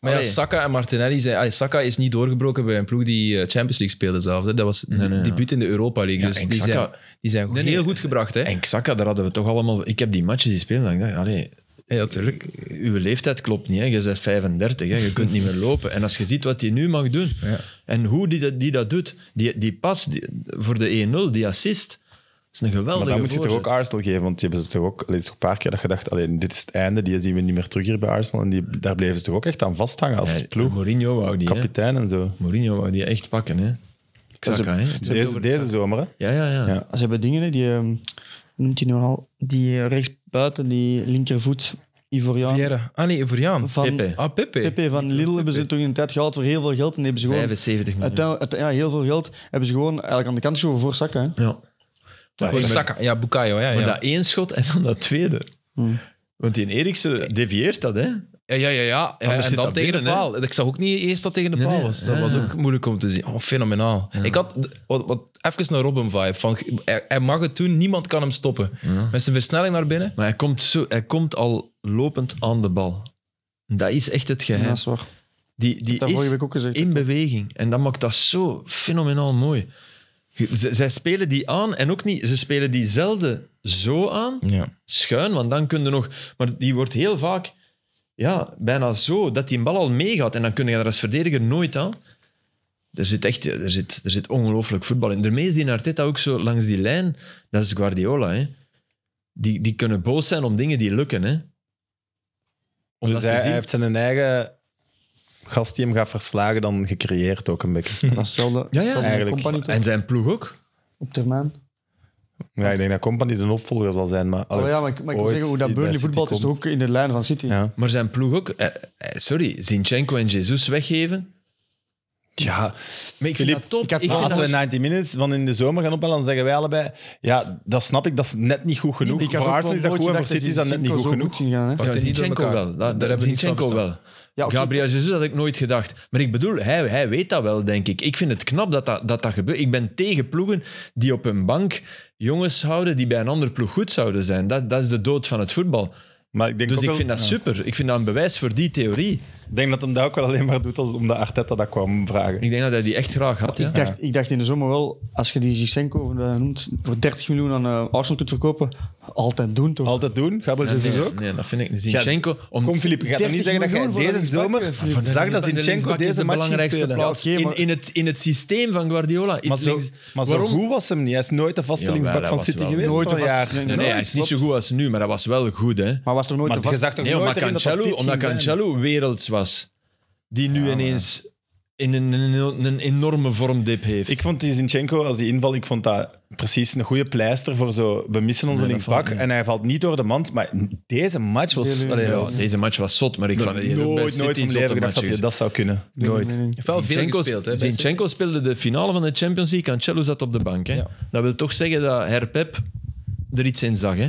A: Maar ja,
B: Allee.
A: Saka en Martinelli zijn... allee, Saka is niet doorgebroken bij een ploeg die eh, Champions League speelde zelf. Hè. Dat was de
B: nee, ja.
A: debuut in de Europa League.
B: Ja,
A: dus
B: en
A: die,
B: Saka-
A: zijn, die zijn
B: nee.
A: heel goed gebracht. Hè.
B: En Xhaka, daar hadden we toch allemaal... Ik heb die matches die spelen, dat ik dacht, allee,
A: Ja, natuurlijk.
B: uw leeftijd klopt niet. Hè. Je bent 35, hè. je kunt niet meer lopen. En als je ziet wat hij nu mag doen
A: Ja.
B: en hoe die, dat- die dat doet, die, die pas die- voor de 1-0, die assist, is een geweldige
C: Maar dan moet je toch
B: voorzet.
C: ook Arsenal geven, want die hebben ze toch ook allee, het is toch een paar keer dat je dacht, allee, dit is het einde, die zien we niet meer terug hier bij Arsenal. En die, daar bleven ze toch ook echt aan vasthangen als
B: Ja,
C: ploeg,
B: Eh, Mourinho wou die, hè.
C: kapitein en zo.
B: Mourinho wou die echt pakken, hè. Xhaka, hè.
C: Deze, deze zomer, hè?
B: Ja, ja, ja.
C: Ja.
D: Ze hebben dingen, hè, die, ehm, noemt hij nu al, die eh, rechts rechtsbuiten, die linkervoet, Ivorian.
A: Vieira. Ah nee, Evoriaan.
D: Van,
B: Pepe.
A: Ah, Pepe.
D: Pepe van Lille hebben ze toch in een tijd gehaald voor heel veel geld. En die hebben ze gewoon,
B: 75 miljoen.
D: uiteindelijk- uite- ja, heel veel geld hebben ze gewoon eigenlijk aan de kant geschoven voor zakken. Hè.
B: Ja. Maar
A: Voor
B: ik-
A: Saka. Ja, Bukayo. Ja,
B: Maar
A: ja.
B: dat één schot en dan dat tweede.
D: Hmm.
B: Want die Eriksen devieert dat, hè?
A: Ja, ja, ja. ja. Ja,
B: Anders
A: en
B: Ah, zit
A: dan
B: dat
A: tegen
B: binnen,
A: de
B: hè?
A: paal. Ik zag ook niet eerst dat tegen de
B: Nee,
A: paal
B: nee.
A: was. Dat
B: Ja,
A: was
B: ja.
A: ook moeilijk om te zien. Oh, fenomenaal. Ik had wat, wat, even een Robin-vibe. Van, hij, hij mag het doen, niemand kan hem stoppen. Met zijn versnelling naar binnen.
B: Maar hij komt, zo, hij komt al lopend aan de bal. Dat is echt het
D: Ja,
B: geheim.
D: dat is waar.
B: Die, die
D: Dat vorige
B: is
D: week ook gezegd.
B: in beweging. En dat maakt dat zo fenomenaal mooi. Z- zij spelen die aan en ook niet... Ze spelen die zelden zo aan,
A: Ja.
B: schuin, want dan kun je nog... Maar die wordt heel vaak ja, bijna zo, dat die bal al meegaat. En dan kun je er als verdediger nooit aan. Er zit echt er zit, er zit ongelooflijk voetbal in. Daarmee is die Arteta ook zo langs die lijn. Dat is Guardiola, hè. Die, die kunnen boos zijn om dingen die lukken, hè. Omdat
C: Dus
B: ze
C: hij, hij
B: zien-
C: heeft zijn eigen gast die hem gaat verslagen dan gecreëerd ook een beetje.
D: Dat is hetzelfde.
B: Ja, ja,
D: hetzelfde
C: eigenlijk.
D: Company toch,
B: En zijn ploeg ook.
D: op termijn.
C: Ja, ik denk dat Company de opvolger zal zijn, maar...
D: Oh, ja, maar ik, maar ik wil
C: ooit
D: zeggen, hoe dat
C: bij
D: Burnley
C: City
D: voetbalt is
C: komt.
D: toch ook in de lijn van City.
C: Ja.
B: Maar zijn ploeg ook. eh, eh, sorry, Zinchenko en Jesus weggeven.
C: ja,
B: Maar ik
C: Filip,
B: vind dat top.
C: ik had,
B: Ik vind
C: als
B: dat-
C: we 90 Minutes van in de zomer gaan opbellen, dan zeggen wij allebei... Ja, dat snap ik, dat is net niet goed genoeg.
D: Ik had
C: voor
D: ook
C: Arsenal is
D: wel
C: dat goed en
D: nooit
C: voor
D: gedacht
C: City is dat net niet
D: Zinchenko zo
C: goed genoeg.
D: zien gaan, hè.
A: Pakt
B: Ja,
A: het niet door
B: Zinchenko
A: elkaar.
B: wel.
A: Daar
B: Daar, daar
A: heb ik niets van
B: Zinchenko wel.
A: verstaan.
D: Ja, oké.
B: Gabriel Jesus had ik nooit gedacht. Maar ik bedoel, hij, hij weet dat wel, denk ik. Ik vind het knap dat dat, dat dat gebeurt. Ik ben tegen ploegen die op hun bank jongens houden die bij een andere ploeg goed zouden zijn. Dat, dat is de dood van het voetbal.
C: Maar ik denk,
B: Dus
C: ook
B: ik
C: wel-
B: vind dat
C: ja.
B: super. Ik vind dat een bewijs voor die theorie.
C: Ik denk dat hem dat ook wel alleen maar doet als omdat Arteta dat kwam vragen.
B: Ik denk dat hij die echt graag had. Ja.
D: Ik dacht, ik dacht in de zomer wel, als je die Zinchenko eh, noemt, voor 30 miljoen aan eh, Arsenal kunt verkopen, altijd doen toch?
C: Altijd doen, Gabriel Jesus ook.
B: Nee, dat vind ik niet. Zinchenko... om-
C: Kom Filip, je gaat toch niet
D: 30
C: zeggen dat jij
D: miljoen voor
C: deze
D: een linksback,
C: zomer
D: eh,
B: Van de
C: zag
B: linksbak-
C: dat
B: de
C: Zinchenko
B: linksbak is
C: deze
B: de
C: match ging
B: belangrijkste
C: spelen.
B: plaats.
D: Ja, oké, maar-
B: in, in, het, in het systeem van Guardiola is
C: Maar zo,
B: links-
C: maar zo
B: waarom?
C: goed was hem niet. Hij is nooit de vaste
B: Jawel,
C: linksbak
B: hij
C: van
B: was
C: City
B: wel-
C: geweest
D: Nooit
C: van
D: de vaste-
C: jaar.
D: nee,
B: Nee, nee, hij is niet zo goed als nu, maar dat was wel goed, hè?
D: Maar was toch nooit
C: Maar
D: te
C: je
D: vast?
C: zag toch
B: Nee,
C: nooit
B: omdat
C: erin dat dat
B: Cancelo,
C: dit
B: omdat
C: ging zijn?
B: Cancelo werelds was, die nu ineens in een, in een, een enorme vormdip heeft.
C: Ik vond die Zinchenko, als die inval, ik vond dat precies een goede pleister voor zo... We missen
B: Nee,
C: onze
B: dat
C: linksbak
B: valt
C: en hij valt niet door de mand. Maar deze match was...
D: Nee, nee,
C: allee,
B: ja,
C: was-
B: Oh, deze match was zot, maar ik vond
C: nooit, nooit van mijn leven gedacht dat hij dat zou kunnen. Nooit.
D: Nee, nee, nee.
A: Wel veel
B: Zinchenko,
A: gespeeld. Hè, bij
B: Zinchenko speelde de finale van de Champions League, Cancelo zat op de bank. Hè?
A: Ja.
B: Dat wil toch zeggen dat Herpep er iets in zag. Hè?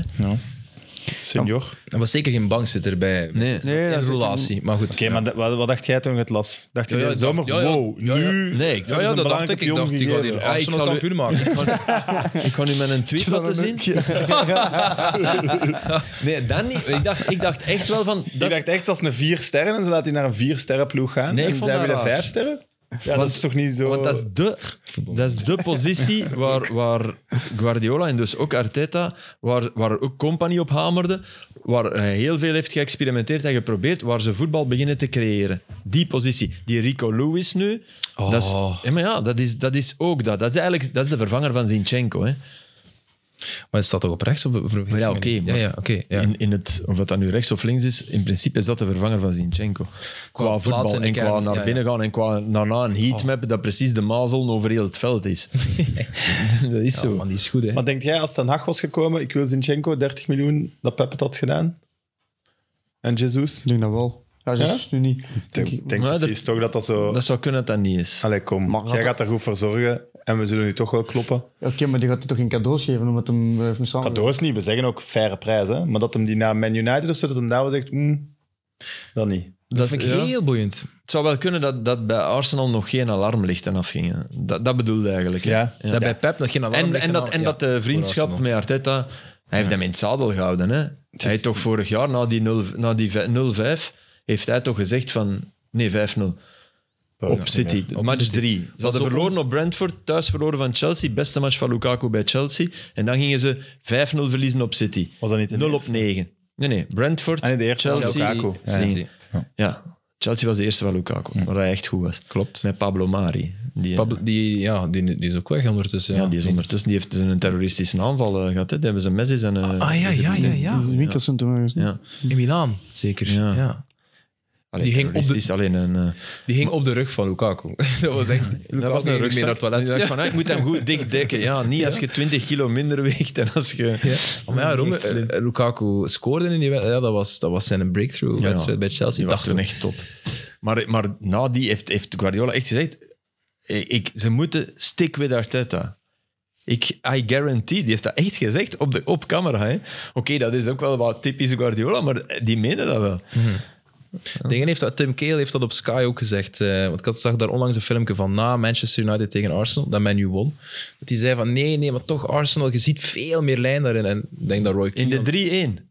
C: Senior. Oké,
A: City. Dat was zeker geen bankzitter bij.
B: Nee.
A: Nee,
D: Nee, dat
A: in
D: is ook
A: relatie. Maar goed.
C: maar dat- wat, wat dacht jij toen je het las? Dacht je
A: Ja, ja,
C: deze
A: ik
C: zomer,
A: dacht- ja, ja.
C: wow,
A: Ja, ja.
C: nu...
B: Nee, ik
A: Ja, ja, dat dacht ik. Ik dacht, die gaat hier
C: Oh,
B: Ah, ik
A: Arsenal
B: zal u-
A: kampioen maken.
B: Ik ga nu met een tweet laten zien. nee, dan niet. Ik dacht, ik dacht echt wel van...
C: Ik
B: Dat is-
C: dacht echt, als een vier sterren en ze laat hij naar een vier sterren ploeg gaan.
B: Nee, ik
C: en
B: vond
C: zijn
B: dat
C: we de
B: raar.
C: vijf sterren? Ja, dat
B: Want-
C: is toch niet zo...
B: Want dat is de, dat is de positie waar, waar Guardiola en dus ook Arteta, waar, waar ook Company op hamerde, waar hij heel veel heeft geëxperimenteerd en geprobeerd, waar ze voetbal beginnen te creëren. Die positie. Die Rico Lewis nu, dat is,
A: Oh.
B: ja, maar ja, dat is, dat is ook dat. Dat is eigenlijk dat is de vervanger van Zinchenko. Hè.
A: Maar het staat toch op rechts? Op de
B: Maar ja, oké.
A: ja,
B: maar
A: ja, oké, ja.
B: in, in het, of dat dat nu rechts of links is, in principe is dat de vervanger van Zinchenko. Qua,
A: plaats
B: voetbal
A: en
B: en,
A: de kern,
B: qua naar
A: ja, Oh. ja.
B: binnen gaan en qua naar na een heatmap, dat precies de mazelen over heel het veld is. dat is
A: Ja,
B: zo.
A: Ah, man, die is goed, hè.
C: Maar denk jij, als Ten Hag was gekomen, ik wil Zinchenko 30 miljoen, dat Pep het had gedaan? En Jesus?
D: Ik denk dat wel. Ja, ze is dus nu niet. Denk ik.
C: Ik denk
B: Ja, dat-
C: precies toch dat dat zo...
B: Dat zou kunnen dat dat niet is.
C: Allee, kom,
D: Maar
C: jij
D: dat-
C: gaat er goed voor zorgen en we zullen nu toch wel kloppen.
D: Ja, Oké, maar die gaat hij toch geen cadeaus geven omdat hem eh, heeft me samen.
C: Cadeaus niet, we zeggen ook faire prijs, hè. Maar dat hem die naar Man United of zo, dat hem daar wel zegt, mm, dat niet.
A: Dat vind ik
B: ja.
A: heel boeiend.
B: Het zou wel kunnen dat, dat bij Arsenal nog geen alarmlichten afgingen. Dat, dat bedoelde eigenlijk. hè.
C: Ja.
A: Dat bij Pep nog geen alarm
B: En,
A: ligt
B: en, dat,
A: aan-
B: en
A: ja,
B: dat de
A: voor
B: vriendschap
A: Arsenal.
B: met Arteta, hij heeft hem in het zadel gehouden. Hè? Hij heeft toch vorig jaar, na die, 0, na die vij- 0-5, heeft hij toch gezegd van... Nee, 5-0. Op City,
A: Op
B: match
A: City.
B: 3. Ze hadden
A: ook-
B: verloren op Brentford, thuis verloren van Chelsea. Beste match van Lukaku bij Chelsea. En dan gingen ze 5-0 verliezen op City.
C: Was dat niet in
B: 0 op 9. Nee, nee. Brentford.
C: Ah, nee, de eerste was
B: Chelsea.
C: Lukaku.
B: Ja, ja. Ja, Chelsea was de eerste van Lukaku, waar hij echt goed was. Klopt. Met Pablo Mari. Die, eh,
A: Pablo- die, ja, die, die is ook weg ondertussen. Ja,
B: ja, die is ondertussen die heeft een terroristische aanval eh, gehad. Hè. Die hebben ze mes is en... eh,
A: Ah ja, ja, ja, ja.
D: Het winkelcentrum ergens. nee.
B: ja.
A: In Milaan, zeker.
B: Ja.
A: Ja.
B: Allee,
A: Die
B: die
A: ging op
B: ging
A: de-
B: alleen een... eh,
A: Die ging op de rug van Lukaku. dat was echt...
B: dat was een
A: ging mee
B: rugzak.
A: naar het toilet.
B: Ik dacht van, ah, ik moet hem goed dicht dekken. Ja, niet als je 20 kilo minder weegt en als je...
A: Ja. Maar ja, Rome,
B: Echt slim.
A: eh, eh, Lukaku scoorde in die wedstrijd. Ja, dat, was, dat was zijn breakthrough-wedstrijd
B: Ja.
A: bij Chelsea.
B: Die was
A: dacht
B: toen
A: ik.
B: echt top. Maar, maar na die heeft, heeft Guardiola echt gezegd... Ik, ik- ze moeten stick with Arteta. Ik, I guarantee, die heeft dat echt gezegd op, de, op camera. hè. Oké, dat is ook wel wat typisch Guardiola, maar die menen dat wel.
A: Dingen heeft dat, Tim Keel heeft dat op Sky ook gezegd. eh, want ik had, zag daar onlangs een filmpje van na Manchester United tegen Arsenal, dat menu won. Dat hij zei van nee, nee, maar toch Arsenal, je ziet veel meer lijn daarin. En ik denk dat Roy
B: In
A: Keane...
B: de 3-1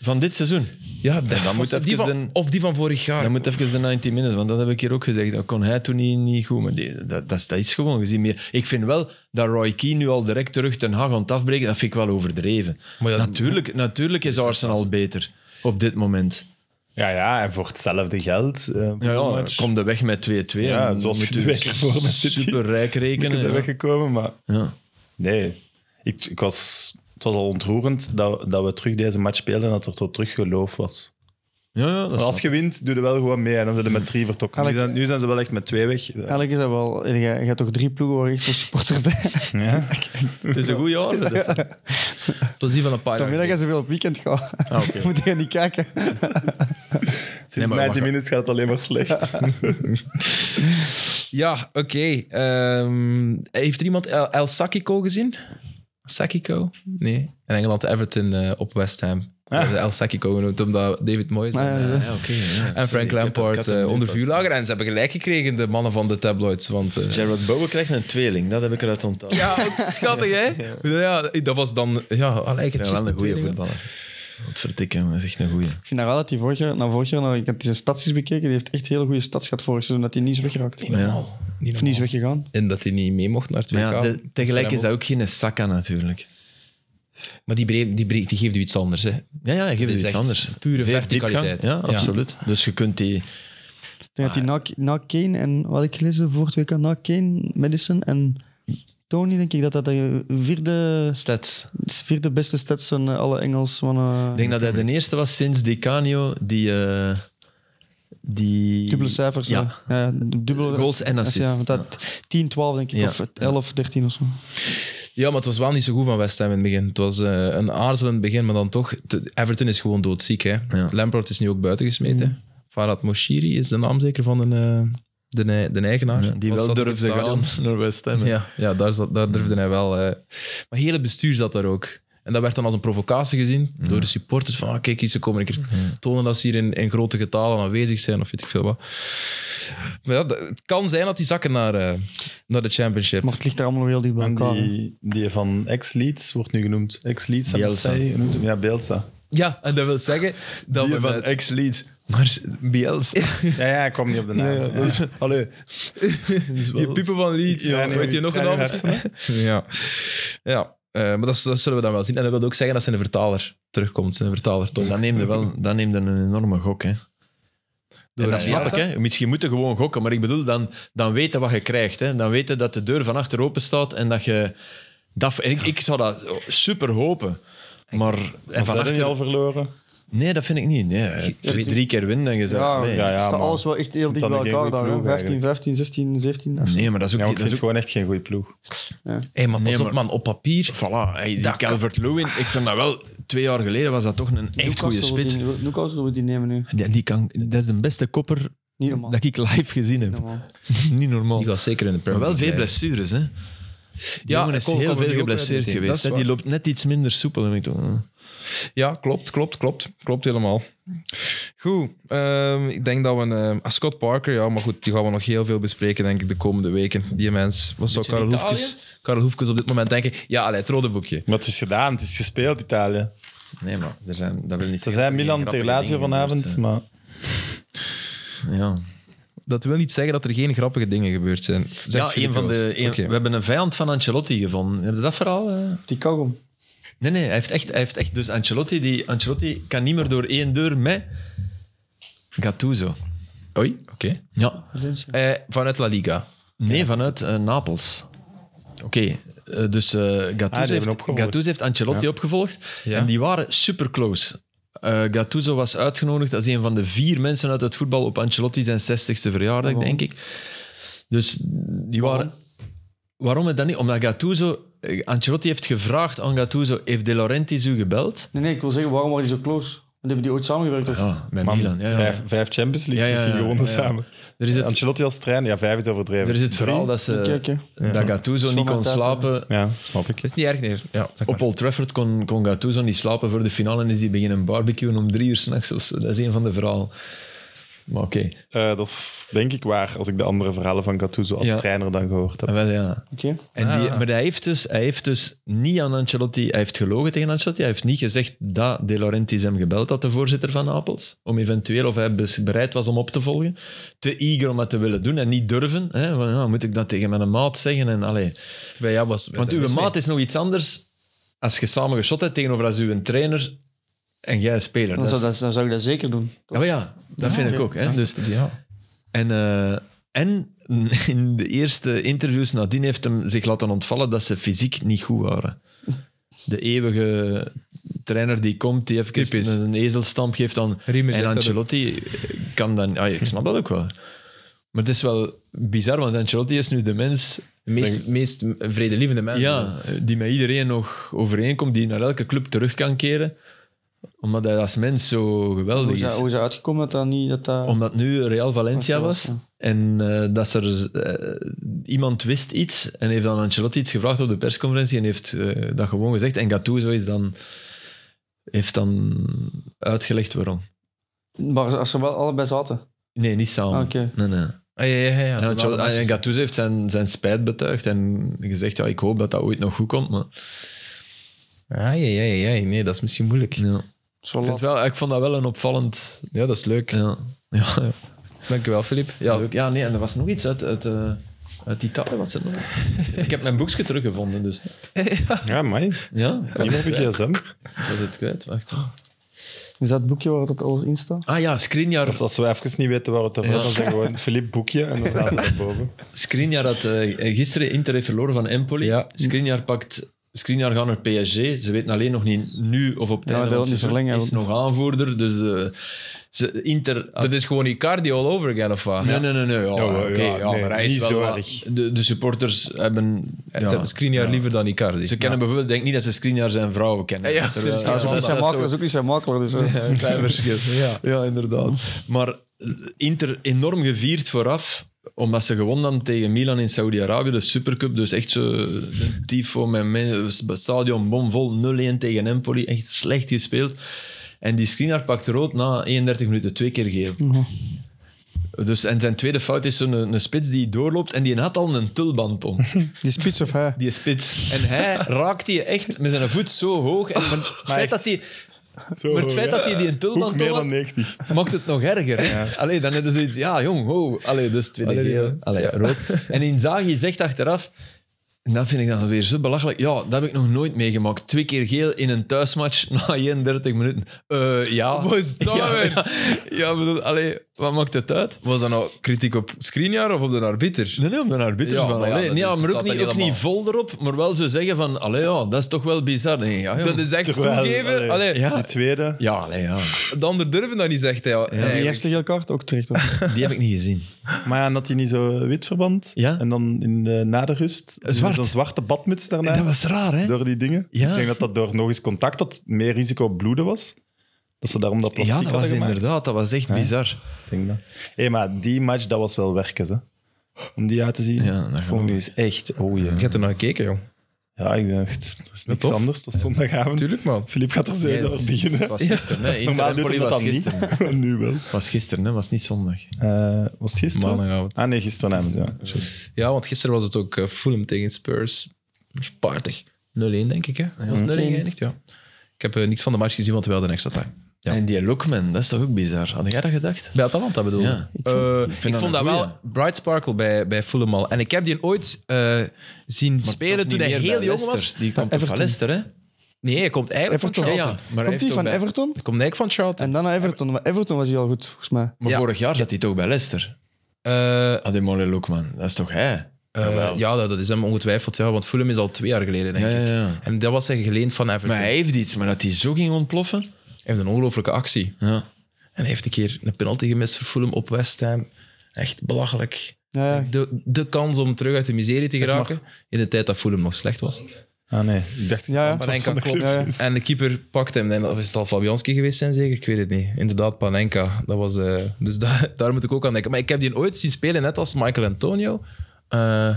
B: van dit seizoen.
A: ja, dat was
B: dan moet
A: die
B: even
A: van,
B: een-
A: Of die van vorig jaar.
B: Dan moet even de 90 minutes, want dat heb ik hier ook gezegd. Dat kon hij toen niet, niet goed, maar die- dat, dat, is- dat is gewoon gezien meer. Ik vind wel dat Roy Keane nu al direct terug ten Hag aan het afbreken, dat vind ik wel overdreven.
A: Maar ja,
B: natuurlijk, natuurlijk is Arsenal beter op dit moment.
C: Ja, ja, en voor hetzelfde geld. eh, voor
B: Ja,
C: de
B: ja
C: match.
B: kom de weg met 2-2.
C: Ja,
B: en
C: zoals
B: moet
C: je
B: u
C: de week ervoor met City.
B: Superrijk
C: Ik
B: rekenen.
C: ben
B: ja.
C: weggekomen, maar...
B: Ja.
C: Nee, ik, ik was, het was al ontroerend dat, dat we terug deze match speelden en dat er tot terug geloof was.
B: Ja, ja, dat
C: Maar als
B: is
C: je wint, doe je wel gewoon mee. En dan zijn ze met drie vertrokken. Nu
D: Elk-
C: zijn, nu zijn ze wel echt met twee weg. Ja.
D: Eigenlijk is dat wel... Je, je hebt toch drie ploegen waar je echt voor supporters bent?
B: het is een goede orde. dus- dat is-
A: Het was die van een paar jaar
D: Vanmiddag
A: geleden.
D: gaan ze veel op weekend gaan. Moet je niet kijken.
A: Nee,
C: Sinds
A: maar
C: 90
A: wacht.
C: minutes gaat het alleen maar slecht.
A: Ja, oké. Ehm, heeft er iemand El, El Sakiko gezien? Sakiko? Nee. In Engeland Everton eh, op West Ham. Ah. El Sakiko genoemd, omdat David Moyes... en,
D: Maar,
A: eh,
D: eh,
B: Ah, Ja, oké, ja,
A: En
B: sorry,
A: Frank
B: ik heb- ik
A: Lampard
B: had hem
A: eh,
B: niet
A: onder
B: pas.
A: vuur lagen. En ze hebben gelijk gekregen, de mannen van de tabloids. Want, eh,
B: Gerard Bowen krijgt een tweeling, dat heb ik eruit onthouden.
A: ja, ook schattig, hè? Ja, dat was dan... Ja, allee,
B: Ja, wel een goede voetballer. Wat vertikken, maar dat is echt een goede.
D: Ik vind haar wel dat hij vorig jaar... Nou, vorig jaar, nou, ik heb die zijn staties bekeken. Die heeft echt hele goede stads gehad vorig seizoen. Dat hij niet is weggeraakt.
A: Niet normaal. Niet
D: Of niet
A: normaal.
D: is weggegaan.
A: En dat hij niet mee mocht naar het WK.
B: Maar ja, de- tegelijk is
A: dat...
B: dat ook geen Saka natuurlijk.
A: Maar die, breed, die, breed, die geeft u iets anders, hè?
B: Ja, ja, hij geeft
A: is
B: iets
A: echt
B: anders.
A: pure
B: Veel
A: verticaliteit.
B: diepgang. Ja,
A: Ja.
B: absoluut. Dus je kunt die...
D: Ik denk dat hij na, na Kane en... Wat had ik gelezen voor het WK? Na Kane, Madison en Tony, denk ik dat dat de vierde,
B: Stats.
D: vierde beste stats zijn. eh, Alle eh, Engelsmannen.
B: Ik denk dat hij de eerste was sinds Decanio die... eh, die...
D: Dubbele cijfers.
B: Ja.
D: hè. ja dubbele
B: Goals en assists.
D: Ja, want dat 10, 12 denk ik,
B: Ja.
D: of 11, 13 of zo.
A: Ja, maar het was wel niet zo goed van West Ham in het begin. Het was eh, een aarzelend begin, maar dan toch... te- Everton is gewoon doodziek, hè?
B: Ja. Mm.
A: Lampard is nu ook buiten gesmeten. Farhad Moshiri is de naam zeker van een, eh, de, ne- de eigenaar.
B: Ja, die
A: Was
B: wel
A: dat
B: durfde
A: op het stadion?
B: gaan naar West Ham. hè.
A: Ja, ja daar, zat- daar durfde hij wel. eh. Maar hele bestuur zat daar ook. En dat werd dan als een provocatie gezien door de supporters. Van, ah, kijk, hier, ze komen een keer tonen dat ze hier in, in grote getalen aanwezig zijn, of weet ik veel wat. Maar ja, dat- het kan zijn dat die zakken naar, eh, naar de championship.
D: Maar het ligt er allemaal nog heel dicht bij
C: En
D: elkaar. hè.
C: die, die van ex-Leeds wordt nu genoemd. Ex-Leeds. heb ik
B: Bielsa.
C: zei, genoemd? Ja, Bielsa.
A: Ja, en dat wil zeggen dat
B: Die
A: we...
B: van
A: met-
B: ex-Leeds. Maar Bielsa.
C: Ja, ja, ik kwam niet op de naam.
B: Ja, dat is- Allee.
A: Die piepen van Leeds.
C: Ja, nee,
A: weet je
C: ik
A: nog een
C: ga
A: naam?
C: nu
A: Ja. ja. eh, maar dat, dat zullen we dan wel zien. En dat wil ook zeggen dat zijn vertaler terugkomt. Zijn vertaler, Tom.
B: Dan neemde wel dan neemde een enorme gok, hè. En dat snap ik, hè. Misschien moeten gewoon gokken, maar ik bedoel, dan, dan weten wat je krijgt. Hè. Dan weten dat de deur van achter open staat en dat je... Dat, en ik, ik zou dat super hopen. Maar, en
C: En
B: van achter-
C: niet al verloren?
B: Nee, dat vind ik niet. Nee, twee- drie keer winnen en je zegt...
D: Ja,
B: nee.
C: ja, ja,
D: staat
C: maar-
D: alles wel echt heel dicht
C: Dan
D: bij
C: een
D: elkaar
C: goede
D: daar. hè.
C: ploeg
D: 15,
C: eigenlijk.
D: 15, 16, 17. of zo.
B: Nee, maar dat is ook...
C: Ja, maar
B: dat
C: ik vind
B: is
C: het
B: ook
C: gewoon echt geen goede ploeg.
A: Hey, maar pas
B: Nee,
A: op,
B: maar-
A: man. Op papier...
B: voilà, hey, die Calvert-Lewin, ik vind dat wel... Twee jaar geleden was dat toch een echt goede
D: Newcastle wil
B: spits.
D: die- Newcastle wil die nemen nu.
B: Ja, die kan, dat is de beste kopper
D: Niet normaal.
B: dat ik live gezien heb.
D: Niet normaal.
B: Dat is niet normaal.
A: Die gaat zeker in de
B: Maar
A: Premier
B: wel veel
A: League blijven.
B: blessures, hè. Ja,
A: jongen
B: is heel veel geblesseerd geweest. hè.
A: hè.
B: Die loopt net iets minder soepel. heb ik toch-
A: Ja, klopt, klopt, klopt. Klopt helemaal. Goed, ehm, ik denk dat we een... ehm, ah, Scott Parker, ja, maar goed, die gaan we nog heel veel bespreken, denk ik, de komende weken. Die mens. Wat zou Karel
B: Italië?
A: Hoefkes, Karel Hoefkes op dit moment denken? Ja, allee, het rode boekje.
C: Maar het is gedaan, het is gespeeld, Italië.
B: Nee, maar er zijn, dat wil niet
C: Ze
B: zeggen
C: zijn
B: dat er
C: Milan
B: geen
C: tegen
B: grappige
C: Lazio
B: dingen
C: vanavond,
B: gebeurd
C: maar
B: zijn. Ja.
A: dat wil niet zeggen dat er geen grappige dingen gebeurd zijn. Zegt
B: ja, een
A: Filip
B: van de,
A: Joos.
B: een-
A: Oké.
B: We hebben een vijand van Ancelotti gevonden. Heb je dat verhaal? eh?
D: Die kauwgom.
B: Nee, nee, hij heeft echt... Hij heeft echt dus Ancelotti, die, Ancelotti kan niet meer door één deur met Gattuso.
A: Oei, oké.
B: Ja.
A: Eh, vanuit La Liga.
B: Nee, vanuit eh, Napels. Oké, eh, dus eh Gattuso,
C: Ah, hebben
B: heeft,
C: opgevolgd.
B: Gattuso heeft Ancelotti opgevolgd.
A: Ja.
B: En die waren super close. Eh, Gattuso was uitgenodigd als een van de vier mensen uit het voetbal op Ancelotti zijn 60ste verjaardag, denk ik. Dus die waren. Waarom het dan niet? Omdat Gattuso. eh, Ancelotti heeft gevraagd aan Gattuso: Heeft De Laurentiis u gebeld?
D: Nee, nee, ik wil zeggen, waarom waren die zo close? Want hebben die ooit samengewerkt? Of?
B: Ja, bij
C: Man,
B: Milan. Ja, ja.
C: Vijf, vijf Champions Leagues
B: Ja, ja,
C: misschien
B: ja,
C: gewonnen
B: ja, ja.
C: samen.
B: Er is het,
C: Ancelotti als trainer, ja, vijf is overdreven.
B: er is het verhaal dat, ze,
D: Oké, oké.
B: dat Gattuso niet
D: Zomaar
B: kon
D: tijd,
B: slapen
C: Ja, snap ik.
A: Is niet erg meer. Ja, zeg maar.
B: Op Old Trafford kon, kon Gattuso niet slapen voor de finale en is die beginnen barbecuen om drie uur s'nachts. Dat is een van de verhalen. Maar oké.
C: Eh, dat is denk ik waar, als ik de andere verhalen van Gattuso als
B: Ja.
C: trainer dan gehoord heb.
B: En wel, Ja.
D: Oké.
B: En die,
A: Ah.
B: maar hij heeft, dus, hij heeft dus niet aan Ancelotti... Hij heeft gelogen tegen Ancelotti. Hij heeft niet gezegd dat De Laurentiis hem gebeld had, de voorzitter van Napels. Om eventueel, of hij bes- bereid was om op te volgen. Te eager om dat te willen doen en niet durven. Hè? Van, ja, moet ik dat tegen mijn maat zeggen? En, allee.
A: Bij jou was...
B: Want uw maat is nog iets anders als je samen geschot hebt tegenover als uw trainer en jij speler.
D: Dan,
B: Dat
D: zou,
B: is-
D: dat- dan zou ik dat zeker doen.
B: Oh ja, dat vind ik
D: oké.
B: ook. Hè? Dus, en, eh, en in de eerste interviews nadien heeft hem zich laten ontvallen dat ze fysiek niet goed waren. De eeuwige trainer die komt, die even
A: Typisch.
B: een ezelstamp geeft aan...
A: Riemer
B: en
A: zegt dat
B: Ancelotti kan dan... Ah, ik snap dat ook wel. Maar het is wel bizar, want Ancelotti is nu de mens
A: De meest, meest vredelievende mens.
B: ja, die met iedereen nog overeenkomt, die naar elke club terug kan keren. Omdat hij als mens zo
D: Hoe
B: geweldig
D: is, dat,
B: is.
D: hoe is dat uitgekomen dat dat niet... Dat dat...
B: Omdat nu Real Valencia
D: Valencia was,
B: was en eh, dat er eh, iemand wist iets en heeft dan Ancelotti iets gevraagd op de persconferentie en heeft eh, dat gewoon gezegd. En Gattuso is dan, heeft dan uitgelegd waarom.
D: Maar als ze wel allebei zaten.
B: Nee, niet samen.
D: Ah, oké.
B: Nee, nee.
A: Ah, ja, ja, ja, ja.
B: En,
A: Ze
B: Ancelotti-
A: waren
B: en
A: matches.
B: Gattuso heeft zijn, zijn spijt betuigd en gezegd, ja, ik hoop dat dat ooit nog goed komt. Maar,
A: Ah, ja, ja, ja, ja. Nee, dat is misschien moeilijk.
B: ja.
D: Zo
B: ik, vind
D: laat.
B: wel, ik vond dat wel een opvallend...
A: Ja, dat is leuk.
B: Ja. Ja, ja.
A: Dankjewel, Filip.
B: Ja,
A: Ja,
B: ja, nee, en er was nog iets uit, uit, eh, uit Italië. Was er nog. ik heb mijn boekje teruggevonden, dus.
C: Ja, mij.
B: Ja, ik
C: Niemand op je gsm.
B: was het kwijt. Wacht.
D: Is dat het boekje waar dat alles in staat?
B: Ah ja, Skriniar,
C: Dus als we even niet weten waar het over was, dan zeggen we gewoon Filip Boekje en dan gaat hij naar boven.
B: Skriniar had eh, gisteren Inter heeft verloren van Empoli.
A: Ja.
B: Skriniar pakt... Skriniar gaat naar PSG. Ze weten alleen nog niet nu of op het
D: Ja,
B: einde van
D: hij wil
B: het
D: niet
B: seizoen.
D: verlengen,
B: is nog aanvoerder, dus eh, ze, Inter...
A: dat is gewoon Icardi all over again, of wat?
B: Nee, nee, nee. nee. Ja,
C: Ja,
B: oké.
C: ja,
B: ja,
C: nee,
B: maar hij is
C: niet
B: wel
C: zo
B: wat-
C: erg.
B: De, de supporters hebben...
A: Ze
B: ja.
A: hebben Skriniar liever dan Icardi.
B: Ze kennen bijvoorbeeld, denk niet dat ze Skriniar zijn vrouwen kennen.
A: Ja,
B: Terwijl-
A: er is-
D: Ja, dat is ook niet
A: dat
D: zijn
A: is
D: makelaar. Dat is ook niet zijn makelaar. Dus, eh.
A: Ja.
B: Ja, inderdaad. Maar eh, Inter enorm gevierd vooraf, omdat ze gewonnen dan tegen Milan in Saudi-Arabië, de Supercup. Dus echt zo een tifo met men- stadion bomvol, 0-1 tegen Empoli. Echt slecht gespeeld. En die Skriniar pakt rood na 31 minuten twee keer geel. Dus, en zijn tweede fout is zo'n een spits die doorloopt en die had al een tulband om
D: Die spits of hij?
B: die spits. En hij raakt die echt met zijn voet zo hoog. En maar het feit dat hij,
C: Zo,
B: maar het feit
C: ja.
B: dat hij die een
C: Hoek
B: tulband
C: meer
B: om
C: dan
B: had,
C: 90.
B: maakt het nog erger. hè. Allee, dan hebben ze zoiets, ja jong, ho. Allee, dus tweede
A: Allee,
B: geel.
A: ja.
B: Allee, rood. En Inzaghi zegt achteraf, en dat vind ik dan weer zo belachelijk, ja, dat heb ik nog nooit meegemaakt. Twee keer geel in een thuismatch na 31 minuten. Eh, ja.
A: Wat is dat
B: ja,
A: weer?
B: ja, ja, bedoel, allee, wat maakt het uit?
A: Was dat nou kritiek op Skriniar of op de arbiter?
B: Nee, nee, om de arbiters
A: Ja,
B: van.
A: maar ja,
B: allee,
A: dat
B: nee, ja,
A: is-
B: maar ook,
A: staat
B: niet,
A: dat
B: ook niet
A: helemaal.
B: vol erop, maar wel zo zeggen van, allee, ja, dat is toch wel bizar. Nee, ja, jong.
A: Dat is echt
C: Terwijl,
A: toegeven.
C: allee,
A: Allee,
C: Die tweede.
B: Ja, allee, ja.
A: De ander durven dat niet, zegt hij. al.
D: Ja, die
A: Eigenlijk.
D: eerste geel kaart ook terecht. hoor.
B: Die heb ik niet gezien.
C: Maar ja, dat hij niet zo wit verband.
B: Ja.
C: En dan in de, na de rust.
B: zwart.
C: Zo'n zwarte badmuts daarna.
B: Dat was raar, hè?
C: Door die dingen.
B: Ja.
C: Ik denk dat dat door nog eens contact had, meer risico op bloeden was. Dat ze daarom dat plastic
B: Ja, dat was
C: hadden gemaakt.
B: inderdaad, dat was echt bizar.
C: Ik denk dat. Hé, maar die match, dat was wel werkens, hè. Om die uit te
B: Ja,
C: zien.
B: dat
C: Ja,
B: geloof
C: Vond ik dus echt... Oh,
A: Ik heb er naar gekeken, jong.
C: Ja, ik dacht, dat is niks
A: tof.
C: anders. Het was zondagavond.
A: Tuurlijk, man.
C: Filip gaat er zo
B: Nee,
C: over
B: dat was-
C: beginnen.
B: Het was gisteren, hè? Inter
C: Normaal doet
B: Empoli
C: hij dat
B: was
C: dan
B: gisteren.
C: niet, maar nu wel.
B: Het was gisteren, hè? was niet zondag.
C: Eh, was het gisteren?
A: Maandagavond.
C: Ah nee, gisteravond, ja. Juist.
A: Ja, want gisteren was het ook eh, Fulham tegen Spurs. Spaartig. 0-1, denk ik, hè? Dat was 0-1 geëindigd, ja. Ik heb eh, niets van de match gezien, want we hadden extra time. Ja.
B: En die Lookman, dat is toch ook bizar? Had jij dat gedacht?
A: Bij Atalanta bedoel je?
B: Ja.
A: Eh, ik
B: dat
A: vond,
B: een
A: dat wel
B: goeie.
A: Bright Sparkle bij, bij Fulham al. En ik heb die ooit eh, zien
B: Toch
A: spelen
B: niet
A: toen hij
B: meer
A: heel
B: bij
A: jong was.
B: Leicester. Die komt toch van
D: Everton.
B: Leicester, hè?
A: Nee, hij komt eigenlijk van
D: Everton.
A: Charlton.
B: Ja, ja. Maar hij
D: Komt
B: heeft
D: die
B: ook
D: van
B: bij-
D: Everton?
A: Hij komt eigenlijk van Charlton.
D: En dan naar Everton. Maar Everton was hij al goed, volgens mij.
B: Maar
A: Ja.
B: vorig jaar zat hij toch bij Leicester?
A: Eh,
B: Ademola Lookman, dat is toch hij?
A: eh, ja, dat dat is hem ongetwijfeld. Ja, want Fulham is al twee jaar geleden, denk
B: Ja, ja,
A: ik.
B: ja.
A: En dat was hij geleend van Everton.
B: Maar hij heeft iets, maar dat hij zo ging ontploffen.
A: Hij heeft een ongelooflijke actie.
B: Ja.
A: En hij heeft een keer een penalty gemist voor Fulham op West Ham. Echt belachelijk.
D: Ja, ja.
A: De, de kans om terug uit de miserie te geraken. In de tijd dat Fulham nog slecht was.
C: Ah nee, ik dacht
D: Ja, ja.
C: dat het
A: Panenka
C: van de club
A: klopt.
D: Ja, ja.
A: En de keeper pakt hem. En of is het al Fabianski geweest zijn, zeker? Ik weet het niet. Inderdaad, Panenka. Dat was, eh, dus da- daar moet ik ook aan denken. Maar ik heb die ooit zien spelen, net als Michael Antonio, eh,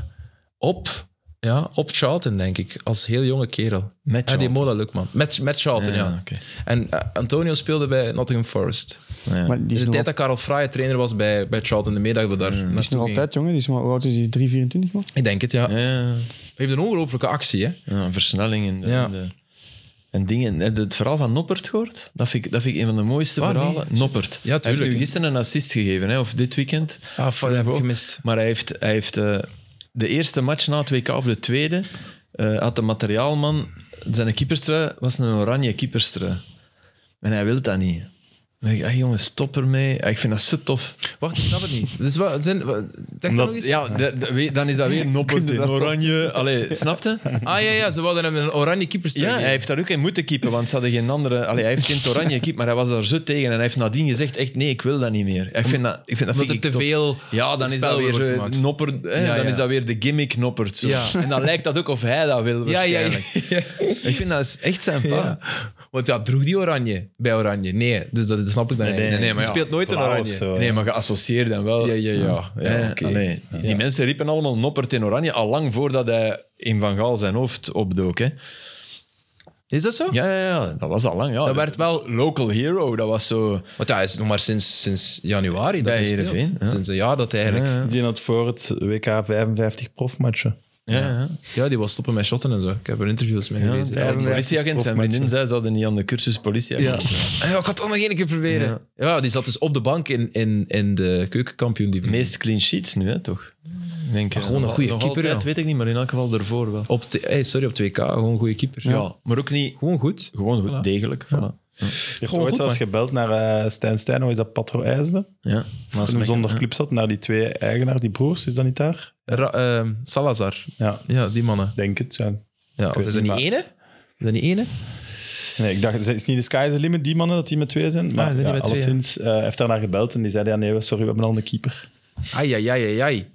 A: op, ja, op Charlton, denk ik. Als heel jonge kerel.
B: Met
A: Ah, die
B: Charlton.
A: Mola Lukman. Met, met Charlton, ja.
B: Ja, oké.
A: En eh, Antonio speelde bij Nottingham Forest.
B: Ja.
D: Maar die
A: In
D: is,
A: de
D: nog,
A: tijd dat
D: al-
A: Karel Fraaij trainer was bij, bij Charlton, de middag dat we daar
D: die is
A: naartoe
D: nog
A: gingen.
D: altijd, jongen. Die is maar, hoe oud is die? 3, 24, man?
A: Ik denk het, ja.
B: Ja, ja,
A: Hij heeft een ongelooflijke actie, hè.
B: ja, versnelling en, de-
A: Ja.
B: en, de- en dingen. Heb je het verhaal van Noppert gehoord? Dat vind ik, dat vind ik een van de mooiste
A: Ah, nee.
B: verhalen. Noppert. Hij heeft
A: tuurlijk.
B: nu gisteren een assist gegeven, hè, of dit weekend.
A: Ah, fuck, dat heb ik gemist.
B: Maar hij heeft, hij heeft eh, de eerste match na het WK, of de tweede, eh, had de materiaalman... Zijn keeperstrui was een oranje keeperstrui. En hij wil dat niet. Dan denk ik, ah, jongen, stop ermee. Ah, Ik vind dat zo tof.
A: Wacht, ik snap het niet. Dus wat, zijn, wat, zeg dat
C: Omdat-
A: nog eens?
B: Ja, de- de- we- dan is dat weer Noppert in oranje. Allee, snapte?
A: Ah ja, ja, ze wilden hem een oranje keeper
B: Ja,
A: stellen.
B: hij heeft daar ook in moeten keepen, want ze hadden geen andere... Allee, hij heeft geen oranje keep, maar hij was daar zo tegen. En hij heeft nadien gezegd, echt, nee, ik wil dat niet meer. Ik vind dat, ik vind
A: Omdat
B: dat
A: er
B: vind ik
A: te
B: tof.
A: veel
B: Ja, dan is
A: spel
B: dat weer
A: wordt
B: zo
A: gemaakt.
B: noppert, hè,
A: Ja,
B: dan
A: ja.
B: is dat weer de gimmick noppert. zo.
A: Ja.
B: En dan lijkt dat ook of hij dat wil
A: Ja, ja, ja.
B: waarschijnlijk. Ik vind dat is echt zijn pa.
A: Ja. Want ja, droeg die oranje bij oranje? Nee, dus dat, dat snap ik dan
C: Nee,
A: eigenlijk.
C: nee,
A: niet.
C: nee,
A: Die speelt nooit een
C: blauw
A: oranje.
C: of zo.
B: Nee, maar geassocieerd dan wel.
A: Ja, ja, ja. ja,
B: Hè,
A: oké.
B: allee, die mensen riepen allemaal noppert in oranje, al lang voordat hij in Van Gaal zijn hoofd opdook. Hè.
A: Is dat zo?
B: Ja, ja, ja, dat was al lang. Ja.
A: Dat werd wel...
B: Local hero, dat was zo...
A: Want ja, hij is nog maar sinds, sinds januari dat
B: Bij
A: hij speelt.
B: Heerenveen, ja.
A: Sinds een jaar dat hij eigenlijk...
B: Ja,
C: Die had voor het WK 55 profmatchen.
B: ja, ja.
A: Ja, die was stoppen met shotten en zo. Ik heb er interviews mee
B: Ja,
A: gelezen.
B: die
A: Ja,
C: vijf-
B: politieagent, zijn vriendin zei, ze hadden niet aan de cursus
A: ja. Ah,
B: politieagent.
A: Ja, ik ga het toch nog één keer proberen. Ja. die zat dus op de bank in, in, in de keukenkampioen.
B: De
A: Die
B: meest clean sheets nu, hè, toch? Ik Denk, eh,
A: gewoon een
B: nog-
A: goede
B: nog
A: keeper,
B: altijd,
A: ja.
B: weet ik niet, maar in elk geval daarvoor wel.
A: op, t- hey, sorry, op 2K. Gewoon een goede keeper.
B: Ja. maar ook niet...
A: Gewoon goed.
B: Gewoon goed, degelijk. voilà.
C: Je hebt
A: Gewoon
C: ooit
A: goed,
C: zelfs gebeld naar eh, Stijn Stijn, hoe is dat Patro IJsde?
B: Ja. Maar
C: Toen hem zonder club zat, naar die twee eigenaar, die broers, is dat niet daar?
A: Ra- ehm, Salazar.
C: Ja,
A: Ja, die mannen.
C: denk het. Ja.
A: Ja, want
C: weet
A: is dat niet
C: niet,
A: ene? Is dat niet ene?
C: Nee, ik dacht, het is niet de sky is the limit, die mannen, dat die met twee zijn. Maar
A: Ah, zijn die
C: ja,
A: met twee, ja.
C: alleszins, eh, hij heeft daarna gebeld en die zei, ja nee, sorry, we hebben al een keeper.
A: Ai, ai, ai, ai, ai.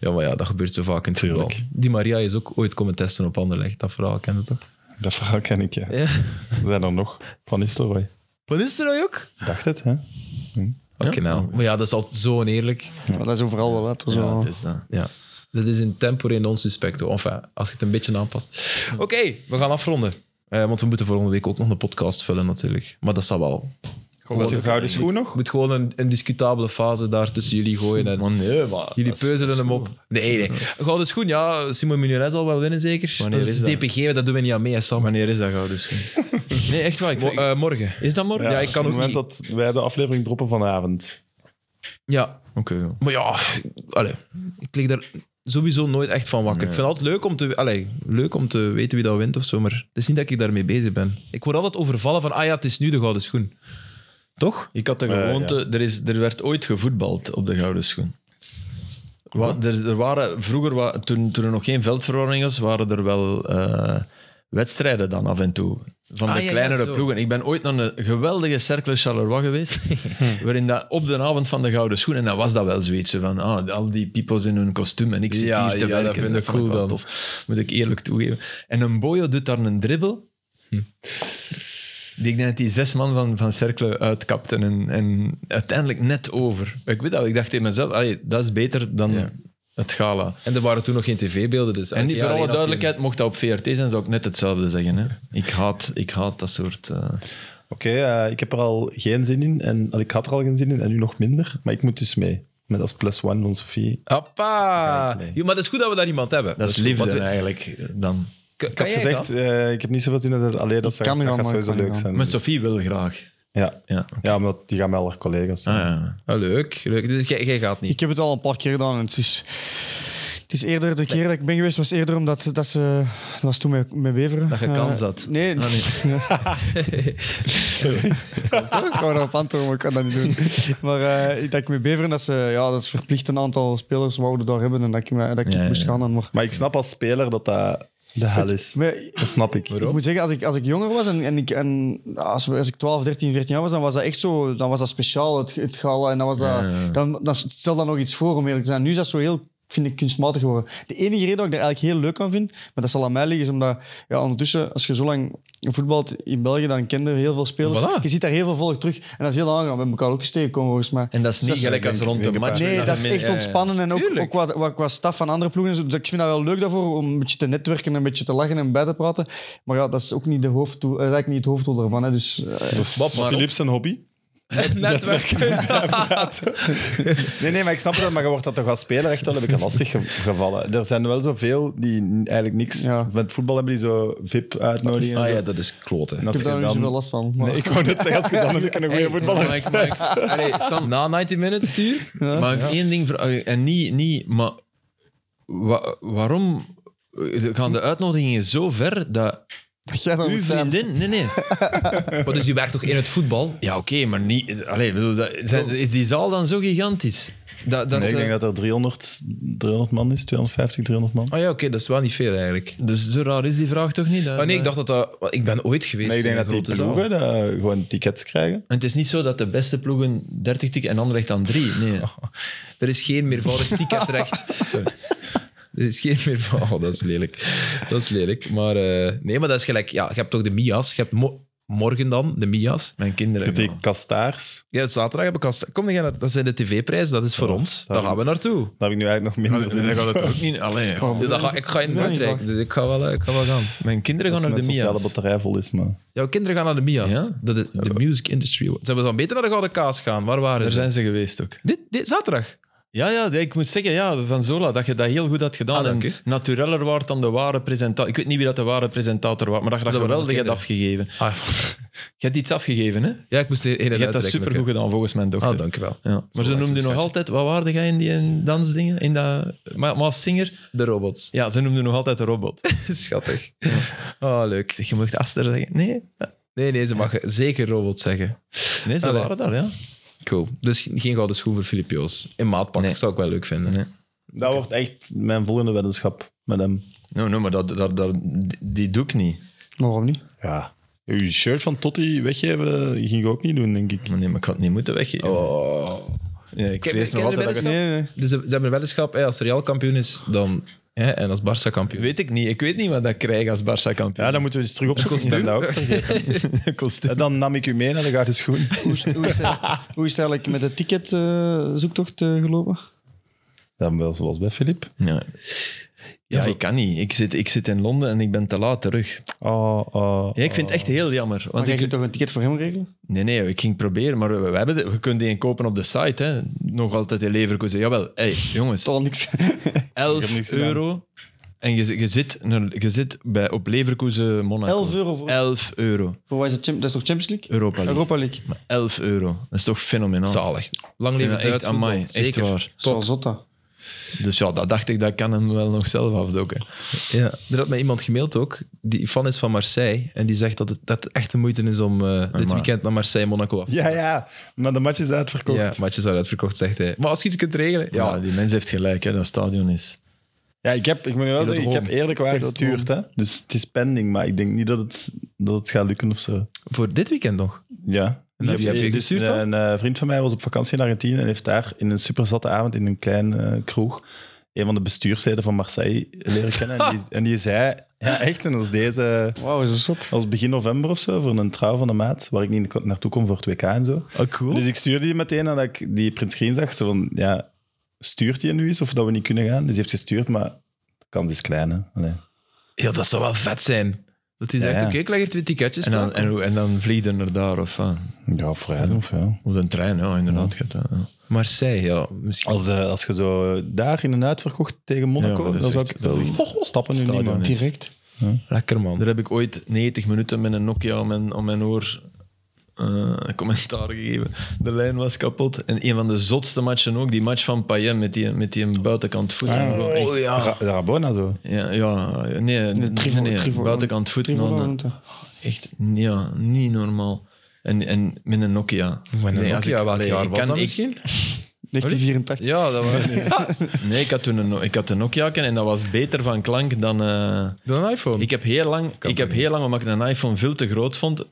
A: Ja, maar ja, dat gebeurt zo vaak in het voetbal.
C: Tuurlijk.
A: Die Maria is ook ooit komen testen op Anderlecht. Dat verhaal kende toch?
C: Dat verhaal ken ik, ja.
A: Ja.
C: Er zijn er nog. Van Nistelrooy.
A: Wat is er nou, ook?
C: Ik Dacht het, hè?
A: Oké, nou. Maar ja, dat is altijd zo oneerlijk.
D: Maar dat is overal wel later zo.
B: Ja,
A: Oh.
B: het is dat.
A: Ja. Dat is in tempo in ons suspecto. Enfin, als je het een beetje aanpast. Oké, we gaan afronden. Eh, want we moeten volgende week ook nog een podcast vullen natuurlijk. Maar dat zal wel.
C: Wat een gouden schoen nog?
A: Moet gewoon een, een discutabele fase daar tussen jullie gooien. En
B: Maar nee, maar...
A: Jullie
B: dat is-
A: peuzelen hem op. Nee, nee. Gouden schoen, ja. Simon Mignolet zal wel winnen, zeker.
B: Wanneer
A: dat is,
B: is dat?
A: DPG, dat doen we niet aan mee, hè, Sam.
B: Wanneer is dat gouden schoen?
A: Nee, echt waar. eh,
B: Mo-
A: morgen.
B: Is dat morgen?
A: Ja, ik kan
C: op het
A: ook
C: moment dat wij de aflevering droppen vanavond.
A: Ja,
B: Oké. ja.
A: maar ja. Allee, ik lig daar sowieso nooit echt van wakker. Ik vind het altijd leuk om, te, allee, leuk om te weten wie dat wint of zo, maar het is niet dat ik daarmee bezig ben. Ik word altijd overvallen van, ah ja, het is nu de gouden schoen. Toch?
B: Ik had de
C: Eh,
B: gewoonte... er, is, er werd ooit gevoetbald op de gouden schoen. Wa- er, er waren, vroeger, wa- toen, toen er nog geen veldverordening was, waren er wel eh, wedstrijden dan af en toe. Van
A: Ah,
B: de
A: ja, ja,
B: kleinere
A: zo.
B: ploegen. Ik ben ooit naar een geweldige cercle Charleroi geweest, waarin dat op de avond van de Gouden Schoen, en dan was dat wel zoiets zo van, ah, al die people's in hun kostuum en ik zit
A: Ja,
B: hier te
A: ja, dat
B: werken.
A: vind ik
B: vond
A: cool
B: wel
A: dan.
B: Tof. Moet ik eerlijk toegeven. En een boyo doet daar een dribbel,
A: Hm.
B: die ik denk dat die zes man van, van Cercle uitkapten en, en uiteindelijk net over. Ik weet dat, ik dacht in mezelf, allee, dat is beter dan
A: Ja.
B: het gala.
A: En er waren toen nog geen tv-beelden, dus...
B: En die,
A: ja,
B: voor
A: alleen
B: alle
A: had je-
B: duidelijkheid, mocht dat op VRT zijn, zou ik net hetzelfde zeggen. Hè. Ik, haat, ik haat dat soort... eh,
C: Oké, eh, ik heb er al geen zin in. En al, ik had er al geen zin in en nu nog minder. Maar ik moet dus mee. Met als plus one van Sofie.
A: Appa!
C: Kijk, nee.
A: Ja, maar het is goed dat we daar iemand hebben.
B: dat is
A: goed,
B: liefde
A: want we-
B: eigenlijk dan.
A: Kan,
C: Ik had
A: jij
C: gezegd, eh, ik heb niet zoveel zin in dat alleen dat,
D: Ik
C: zou-
D: kan
C: dat
D: gaan,
C: gaat
D: maar ik
C: sowieso
D: kan
C: leuk
D: niet
C: zijn.
B: Maar
C: Dus-
B: Sophie wil graag.
C: Ja,
B: Ja.
C: ja omdat die gaan wel haar collega's zijn.
B: Ah, ja.
A: Ah, leuk, leuk. Dus jij, jij gaat niet.
D: Ik heb het al een paar keer gedaan en het is... Het is eerder, de keer dat ik ben geweest was eerder omdat dat ze... Dat was toen met, met Beveren.
A: Dat je
D: Eh,
A: kans had.
D: Nee.
A: Ah,
D: ik wou erop antwoorden, maar ik kan dat niet doen. Maar eh, ik denk met Beveren dat ze... Ja, dat is verplicht een aantal spelers wouden daar hebben en dat ik, me- dat ik
B: Ja, ja,
D: moest
B: ja.
D: gaan. dan, Maar,
C: Maar ik snap als speler dat dat de hel is.
D: maar
C: Dat snap ik.
A: Waarom?
D: Ik moet zeggen, als ik, als ik jonger was en, en, ik, en als, we- als ik 12, 13, 14 jaar was, dan was dat echt zo. Dan was dat speciaal, het, het gala. En dan was dat,
B: Ja, ja.
D: Dan, dan stel dat nog iets voor, om eerlijk te zijn. Nu is dat zo heel, vind ik, kunstmatig geworden. De enige reden dat ik daar eigenlijk heel leuk aan vind, maar dat zal aan mij liggen, is omdat ja, ondertussen, als je zo lang voetbalt in België, dan kende heel veel spelers.
A: Voilà.
D: Je ziet daar heel veel volk terug. En dat is heel aangenaam. We hebben elkaar ook eens tegengekomen, volgens mij.
B: En dat is niet
D: Dat is-
B: gelijk als
C: denk-
B: rond de
C: denk ik
B: match.
C: ook.
D: Nee, dat is echt ontspannen. En ook,
A: Tuurlijk.
D: ook wat, wat, qua staf van andere ploegen. en zo. Dus ik vind dat wel leuk daarvoor, om een beetje te netwerken en een beetje te lachen en bij te praten. Maar ja, dat is ook niet, de hoofddoel, eh, dat is eigenlijk niet het hoofddoel daarvan. Hè. Dus, eh,
A: Bob, maar
C: Philips zijn hobby?
A: Het netwerk.
C: Nee, nee, maar ik snap het, maar je wordt dat toch als speler echt wel heb ik een lastig ge- gevallen. Er zijn wel zoveel die n- eigenlijk niks
D: Ja.
C: van het voetbal hebben, die zo VIP uitnodigen. en
A: Ah
C: zo.
A: ja, dat is kloten.
C: En
D: ik
C: als
D: heb daar
C: je
D: niet
C: dan-
D: zoveel last van. Maar,
C: Nee, ik wou net zeggen, als je dan een keer een goede voetballer
B: Mag ik, mag ik- Allee, Sam,
A: Na 90 minutes stuur.
B: mag ik één ding vragen? En niet, niet maar wa- waarom eh, gaan de uitnodigingen zo ver dat
D: jij dan
B: uw
D: moet zijn.
B: vriendin... Nee, nee.
A: Maar dus je werkt toch in het voetbal?
B: Ja, oké, maar niet... Allee, bedoel, dat,
A: Oh.
B: zijn- is die zaal dan zo gigantisch? Dat,
D: eh,
B: dat
C: Nee, ik
B: ze-
A: eh,
C: denk dat er 300, 300 man is, 250, 300 man.
A: Ah ja, oké, dat is wel niet veel eigenlijk.
B: Dus zo raar is die vraag toch niet? Dat-
A: Ah nee, ik dacht dat dat... want Ik ben ooit geweest
C: Nee, ik denk
A: in
C: dat
A: een
C: die
A: grote zaal.
C: ploegen eh, gewoon tickets krijgen.
B: En het is niet zo dat de beste ploegen 30 tikken en Anderlecht dan 3. Nee.
A: Oh. Er is geen meervoudig ticketrecht. Sorry. Er is geen meervoudig... Oh, dat is lelijk. Dat is lelijk. Maar eh, nee, maar dat is gelijk... Ja, je hebt toch de Mia's. Je hebt mo- morgen dan de Mia's.
B: Mijn kinderen.
C: Die kastaars,
A: Ja, zaterdag heb ik al... sta- Kom, dan gaan we- dat zijn de tv-prijzen. Dat is voor ons. Daar gaan we naartoe.
C: daar heb ik nu eigenlijk nog minder zin in.
B: gaat het ook niet. Allee, ja.
A: Ja, dat ga, ik ga in
D: Nee, niet
A: Frankrijk,
D: waar.
A: dus ik ga wel, eh, ik ga wel gaan.
B: Mijn kinderen
C: Als
B: gaan naar
C: mijn
B: de
C: sociale
B: Mia's.
C: batterij vol is, maar...
A: Jouw kinderen gaan naar de Mia's.
B: Ja?
A: Dat is de Music Industry Awards. Zijn we dan beter naar de Gouden Kaas gaan? Waar waren
B: Daar
A: ze?
B: zijn ze geweest ook.
A: Dit, dit zaterdag?
B: Ja, ja, ik moet zeggen, ja, van Zola, dat je dat heel goed had gedaan.
A: Ah, dank
B: en
A: u.
B: natureller waard dan de ware presentator. Ik weet niet wie dat de ware presentator was, maar dat je dat,
A: Dat waren
B: geweldig hebt
A: de
B: afgegeven.
A: Ah,
B: Je hebt iets afgegeven, hè?
A: ja, ik moest de hele
B: Je hebt dat supergoed gedaan, volgens mijn dochter.
A: Ah, dankjewel.
B: ja. Maar
A: Zola
B: ze
A: is een
B: noemde nog
A: schatje.
B: altijd... Wat waarde jij in die eh, dansdingen? In dat... Ma- Maas Singer?
A: De robots.
B: Ja, ze noemde nog altijd de robot.
A: Schattig.
B: Oh, leuk. Zeg, je mocht Aster zeggen. Nee,
A: Nee, nee, ze mag zeker robot zeggen.
B: nee ze
A: Allee.
B: waren daar, ja.
A: Cool. Dus geen gouden schoen voor Filip Joos. In maatpak
B: Nee.
A: zou ik wel leuk vinden.
B: Nee.
C: Dat wordt echt mijn volgende weddenschap met hem.
B: Nou, nou maar dat, dat, dat, die doe ik niet.
D: Waarom niet?
C: Ja. Uw shirt van Totti weggeven ging ik ook niet doen, denk ik.
B: Maar Nee, maar ik had het niet moeten weggeven.
A: Oh.
B: Nee, ik
A: Ken-
B: vrees
A: ken
B: nog
A: je
B: altijd dat
A: de weddenschap?
B: ik het-
D: Nee, nee.
A: Dus ze, ze hebben een weddenschap, hè, als Real kampioen is, dan... Hè, en als Barça kampioen.
B: Weet ik niet. Ik weet niet wat ik krijg als Barça kampioen.
C: Ja, dan moeten we eens terug op kostuum. En dan nam ik u mee naar de gouden schoen.
D: Hoe, is- hoe, is, het- hoe is het eigenlijk met de ticketzoektocht eh, gelopen?
C: Dan wel zoals bij Filip.
B: Ja, ja, ik kan niet. Ik zit, ik zit in Londen en ik ben te laat terug.
C: Oh, oh,
B: Ja, ik vind het echt heel jammer.
D: Want
B: Want
D: maar
B: ik,
D: ik toch een ticket voor hem regelen?
B: nee, nee, ik ging het proberen, maar we, we hebben de, we kunnen die kopen op de site. Hè. Nog altijd in Leverkusen. Jawel, hey, jongens,
D: Toch niks.
B: 11
C: gedaan.
B: euro. En je, je zit, naar- je zit bij, op Leverkusen Monaco.
D: 11 euro voor,
B: 11 euro.
D: voor wat is dat, Champ- dat is toch Champions League?
B: Europa League.
D: Europa League.
B: Maar 11 euro. Dat is toch fenomenaal.
A: Zalig. Lang
B: Ik
A: leven
B: vind dat
A: Duits
B: echt
A: voetbal.
B: amai, echt
A: Zeker.
B: waar.
D: Top. Zotta.
B: Dus ja, dat dacht ik, dat kan hem wel nog zelf afdokken.
A: Ja, er had mij iemand gemaild ook, die fan is van Marseille. En die zegt dat het, dat het echt de moeite is om eh, dit
B: maar-
A: weekend naar Marseille-Monaco af te
C: Ja, ja. Maar de match is uitverkocht.
A: Ja,
C: Ja,
A: matjes waren uitverkocht, zegt hij. Maar als je iets kunt regelen,
B: Ja,
A: ja.
B: die mens heeft gelijk, hè, dat stadion is.
C: ik, heb, ik moet je wel zeggen, ik
A: Rome.
C: heb eerlijk waar
D: Tegen dat
C: gestuurd. Hè? Dus het is pending, maar ik denk niet dat het, dat het gaat lukken of zo.
A: Voor dit weekend nog.
C: Ja.
A: En heb je- heb je gestuurd dan?
C: Een eh, vriend van mij was op vakantie in Argentinië en heeft daar in een superzatte avond in een klein eh, kroeg een van de bestuursleden van Marseille leren kennen. En die, en die zei, ja echt, en als deze...
D: Wauw, is dat zot?
C: als begin november of zo, voor een trouw van de maat, waar ik niet naartoe kon voor het WK en zo.
B: Oh, cool.
C: Dus ik stuurde die meteen nadat ik die print screen zag, zo van, ja, stuurt hij nu eens of dat we niet kunnen gaan? Dus hij heeft gestuurd, maar de kans is klein, hè. Allee.
A: Ja, dat zou wel vet zijn. Dat hij
C: Ja,
A: zegt,
C: ja.
A: oké, ik leg er twee ticketjes
B: En dan,
A: klaar.
B: en, hoe- en dan vliegen er daar of, ah,
C: Ja, vrijdag of ja.
B: of een trein, ja, inderdaad. gaat dat, ja.
A: Marseille, ja. Misschien.
C: Als, eh, als je zo eh, daar in een uitverkocht tegen Monaco,
B: Ja, maar dat
C: dan
B: is
C: zou
B: echt-
C: ik
B: dat
C: wel
B: is echt-
C: stappen nu niet
B: stadion,
C: maken.
B: hè.
D: Direct.
A: Ah, Lekker, man.
B: Daar heb ik ooit 90 minuten met een Nokia om mijn, om mijn oor eh, commentaar gegeven. De lijn was kapot. En een van de zotste matchen ook, die match van Payet met die, met die buitenkant voet.
D: Ah.
B: Gewoon echt-
A: Oh ja.
C: Ra- Rabona zo.
B: ja, ja, nee, nee,
D: Trivol-
B: nee,
D: Trivol-
B: buitenkant voet.
D: Trivolo
B: nou,
D: noemt dat.
B: echt, ja, niet normaal. En, en met een Nokia.
A: Met een
B: Nee, als
A: Nokia,
B: ik-
A: welk
B: nee,
A: jaar
B: ik
A: was
B: kan-
A: dat
B: ik-
A: misschien?
D: 1984.
A: Ja, dat was
B: Nee, ik had toen een, ik had een Nokia en dat was beter van klank dan... eh,
A: Dan een iPhone.
B: Ik heb heel lang, ik heb heel lang omdat ik een iPhone veel te groot vond,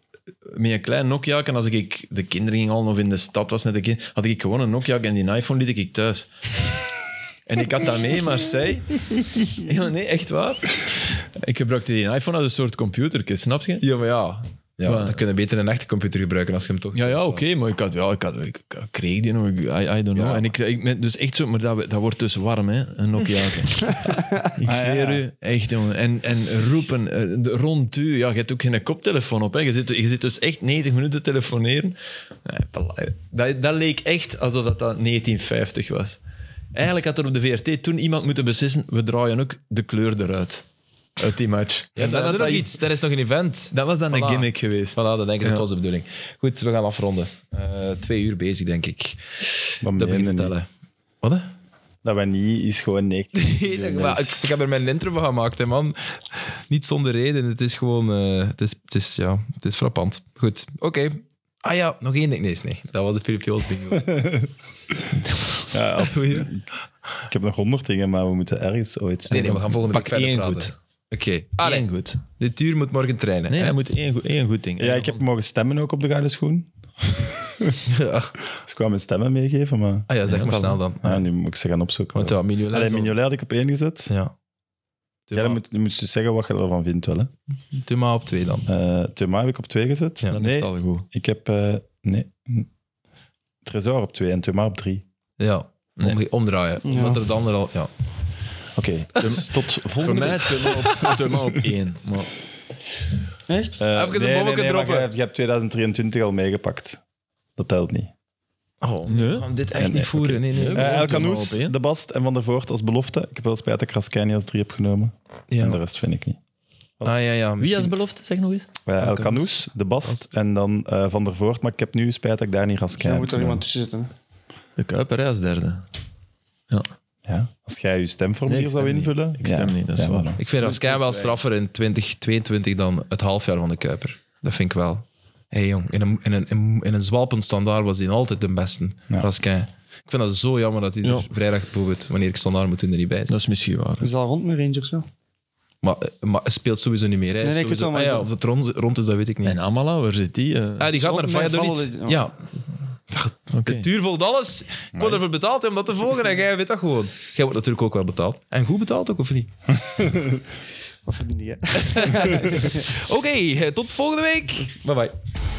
B: met een klein Nokia. En als ik de kinderen ging halen of in de stad was met de kind, had ik gewoon een Nokia en die iPhone liet ik thuis. En ik had dat mee, maar zij. Ja, nee, echt waar. Ik gebruikte die iPhone als een soort computer, snap je?
A: Ja, maar ja. Ja,
B: Maar-
A: dan kunnen we beter een echte computer gebruiken als je hem toch...
B: Ja, ja, oké, maar ik, had, ja, ik, had, ik, ik kreeg die nog, ik- I, I don't know.
A: Ja.
B: En ik, ik, ben dus echt zo, maar dat, dat wordt dus warm, hè, een Nokia. ik
C: Ah,
B: zweer
C: ja.
B: u, echt jongen. En, en roepen eh, de- rond u, ja, je hebt ook geen koptelefoon op, hè. Je, zit, je zit dus echt 90 minuten telefoneren. Nee, belai- Dat, dat leek echt alsof dat, dat 1950 was. Eigenlijk had er op de VRT toen iemand moeten beslissen, we draaien ook de kleur eruit. Uit die match.
A: Ja,
B: En
A: dat,
B: had
A: is nog iets. Er is nog een event.
B: dat was dan een
A: Voilà.
B: gimmick geweest.
A: Voilà, dat denk ik dat
B: Ja.
A: was de bedoeling. Goed, we gaan afronden. Eh, twee uur bezig, denk ik.
C: Dat,
A: dat moet ik vertellen. Wat? hè?
C: dat wij niet is gewoon 90.
A: Nee, dat- maar ik, ik heb er mijn intro van gemaakt, hè, man. Niet zonder reden. Het is gewoon... eh, het, is, het, is, ja, het is frappant. Goed, oké. Ah ja, nog één ding. Nee, is nee. dat was de Filip Joos bingo.
C: Ja, als, ik heb nog honderd dingen, maar we moeten ergens ooit...
A: Nee, nee, we gaan volgende
B: Pak
A: week verder
B: één
A: praten.
B: goed.
A: Oké. Allee,
B: Eén goed.
A: dit uur moet morgen trainen.
B: Nee,
A: hè?
B: hij moet één, goed- één goed ding.
C: Ja, ik heb mogen stemmen ook op de gouden schoen.
A: Ja.
C: Dus ik wou mijn stemmen meegeven, maar
A: Ah ja, zeg
B: Ja,
A: maar
B: voilà.
A: snel dan.
C: ja, nu moet ik ze gaan opzoeken.
A: Want eh, ja, Mignolet
C: Alleen
A: zal-
C: Mignolet had ik op één gezet.
A: Ja.
C: Ja, dan moet, dan moet je dus zeggen wat je ervan vindt wel. Hè.
A: Tuma op twee dan.
C: Eh Thuma heb ik op twee gezet.
A: Ja,
B: Dan is
C: nee,
B: het al goed.
C: ik heb... eh, nee. Tresor op twee en Thuma op drie.
A: Ja.
B: Nee.
A: Omge- Omdraaien.
D: Ja.
A: Omdat er de ander al... Ja.
C: Oké, dus tot volgende
B: Voor mij Thuma op, één. Maar
D: Echt?
C: Eh,
A: Even een bommetje
C: maar
A: droppen.
C: Je, hebt- je hebt 2023 al meegepakt. Dat telt niet.
A: Oh,
B: Nee.
A: we gaan dit echt
C: Nee,
A: niet
C: nee,
A: voeren.
C: oké.
A: Nee, nee.
B: Ja.
C: Eh El
B: doe maar
C: Canoes,
B: op, hè.
C: De Bast en Van der Voort als belofte. Ik heb wel spijt dat ik Raskani als drie heb genomen. En de
A: Ja.
C: rest vind ik niet.
A: Ah ja, ja.
B: wie als
A: Misschien...
B: belofte, zeg nog eens.
C: Eh, El Canoes, De Bast en dan eh, Van der Voort. Maar ik heb nu spijt dat ik daar niet Raskani
D: Dan
C: heb
D: moet er
C: genomen.
D: iemand tussen zitten. hè.
B: De Kuiper hè, als derde.
C: Ja, als jij je stemformulier
B: Nee, ik stem
C: zou
B: niet.
C: invullen.
B: Ik stem niet, dat is waar.
C: voilà.
A: Ik vind Raskin wel straffer in 2022 dan het halfjaar van de Kuiper. Dat vind ik wel. Hé hey, jong, in een, in, een, in, in een zwalpend standaard was hij altijd de beste.
C: Ja.
A: Raskin. Ik vind dat zo jammer dat hij er
B: Ja.
A: vrijdag bijvoorbeeld, wanneer ik standaard moet, doen, er niet bij is.
B: Dat is misschien waar.
D: Is dat al rond met Rangers? Hè?
A: Maar, eh, maar hij speelt sowieso niet meer. Hè.
D: Nee, nee, ik weet
A: sowieso,
D: het wel, maar
A: Ah ja,
D: zo-
A: of het rond, rond is, dat weet ik niet.
B: En Amala, waar zit die? eh?
A: Ah, die gaat naar
D: Zonder mij
A: Valladolid.
D: vallen dit-
A: Ja.
B: Oké.
A: De duur volgt alles. Ik word ervoor betaald om dat te volgen en jij weet dat gewoon. Jij wordt natuurlijk ook wel betaald. En goed betaald ook, of niet?
D: Wat verdien je?
A: Oké, eh, tot volgende week. Bye bye.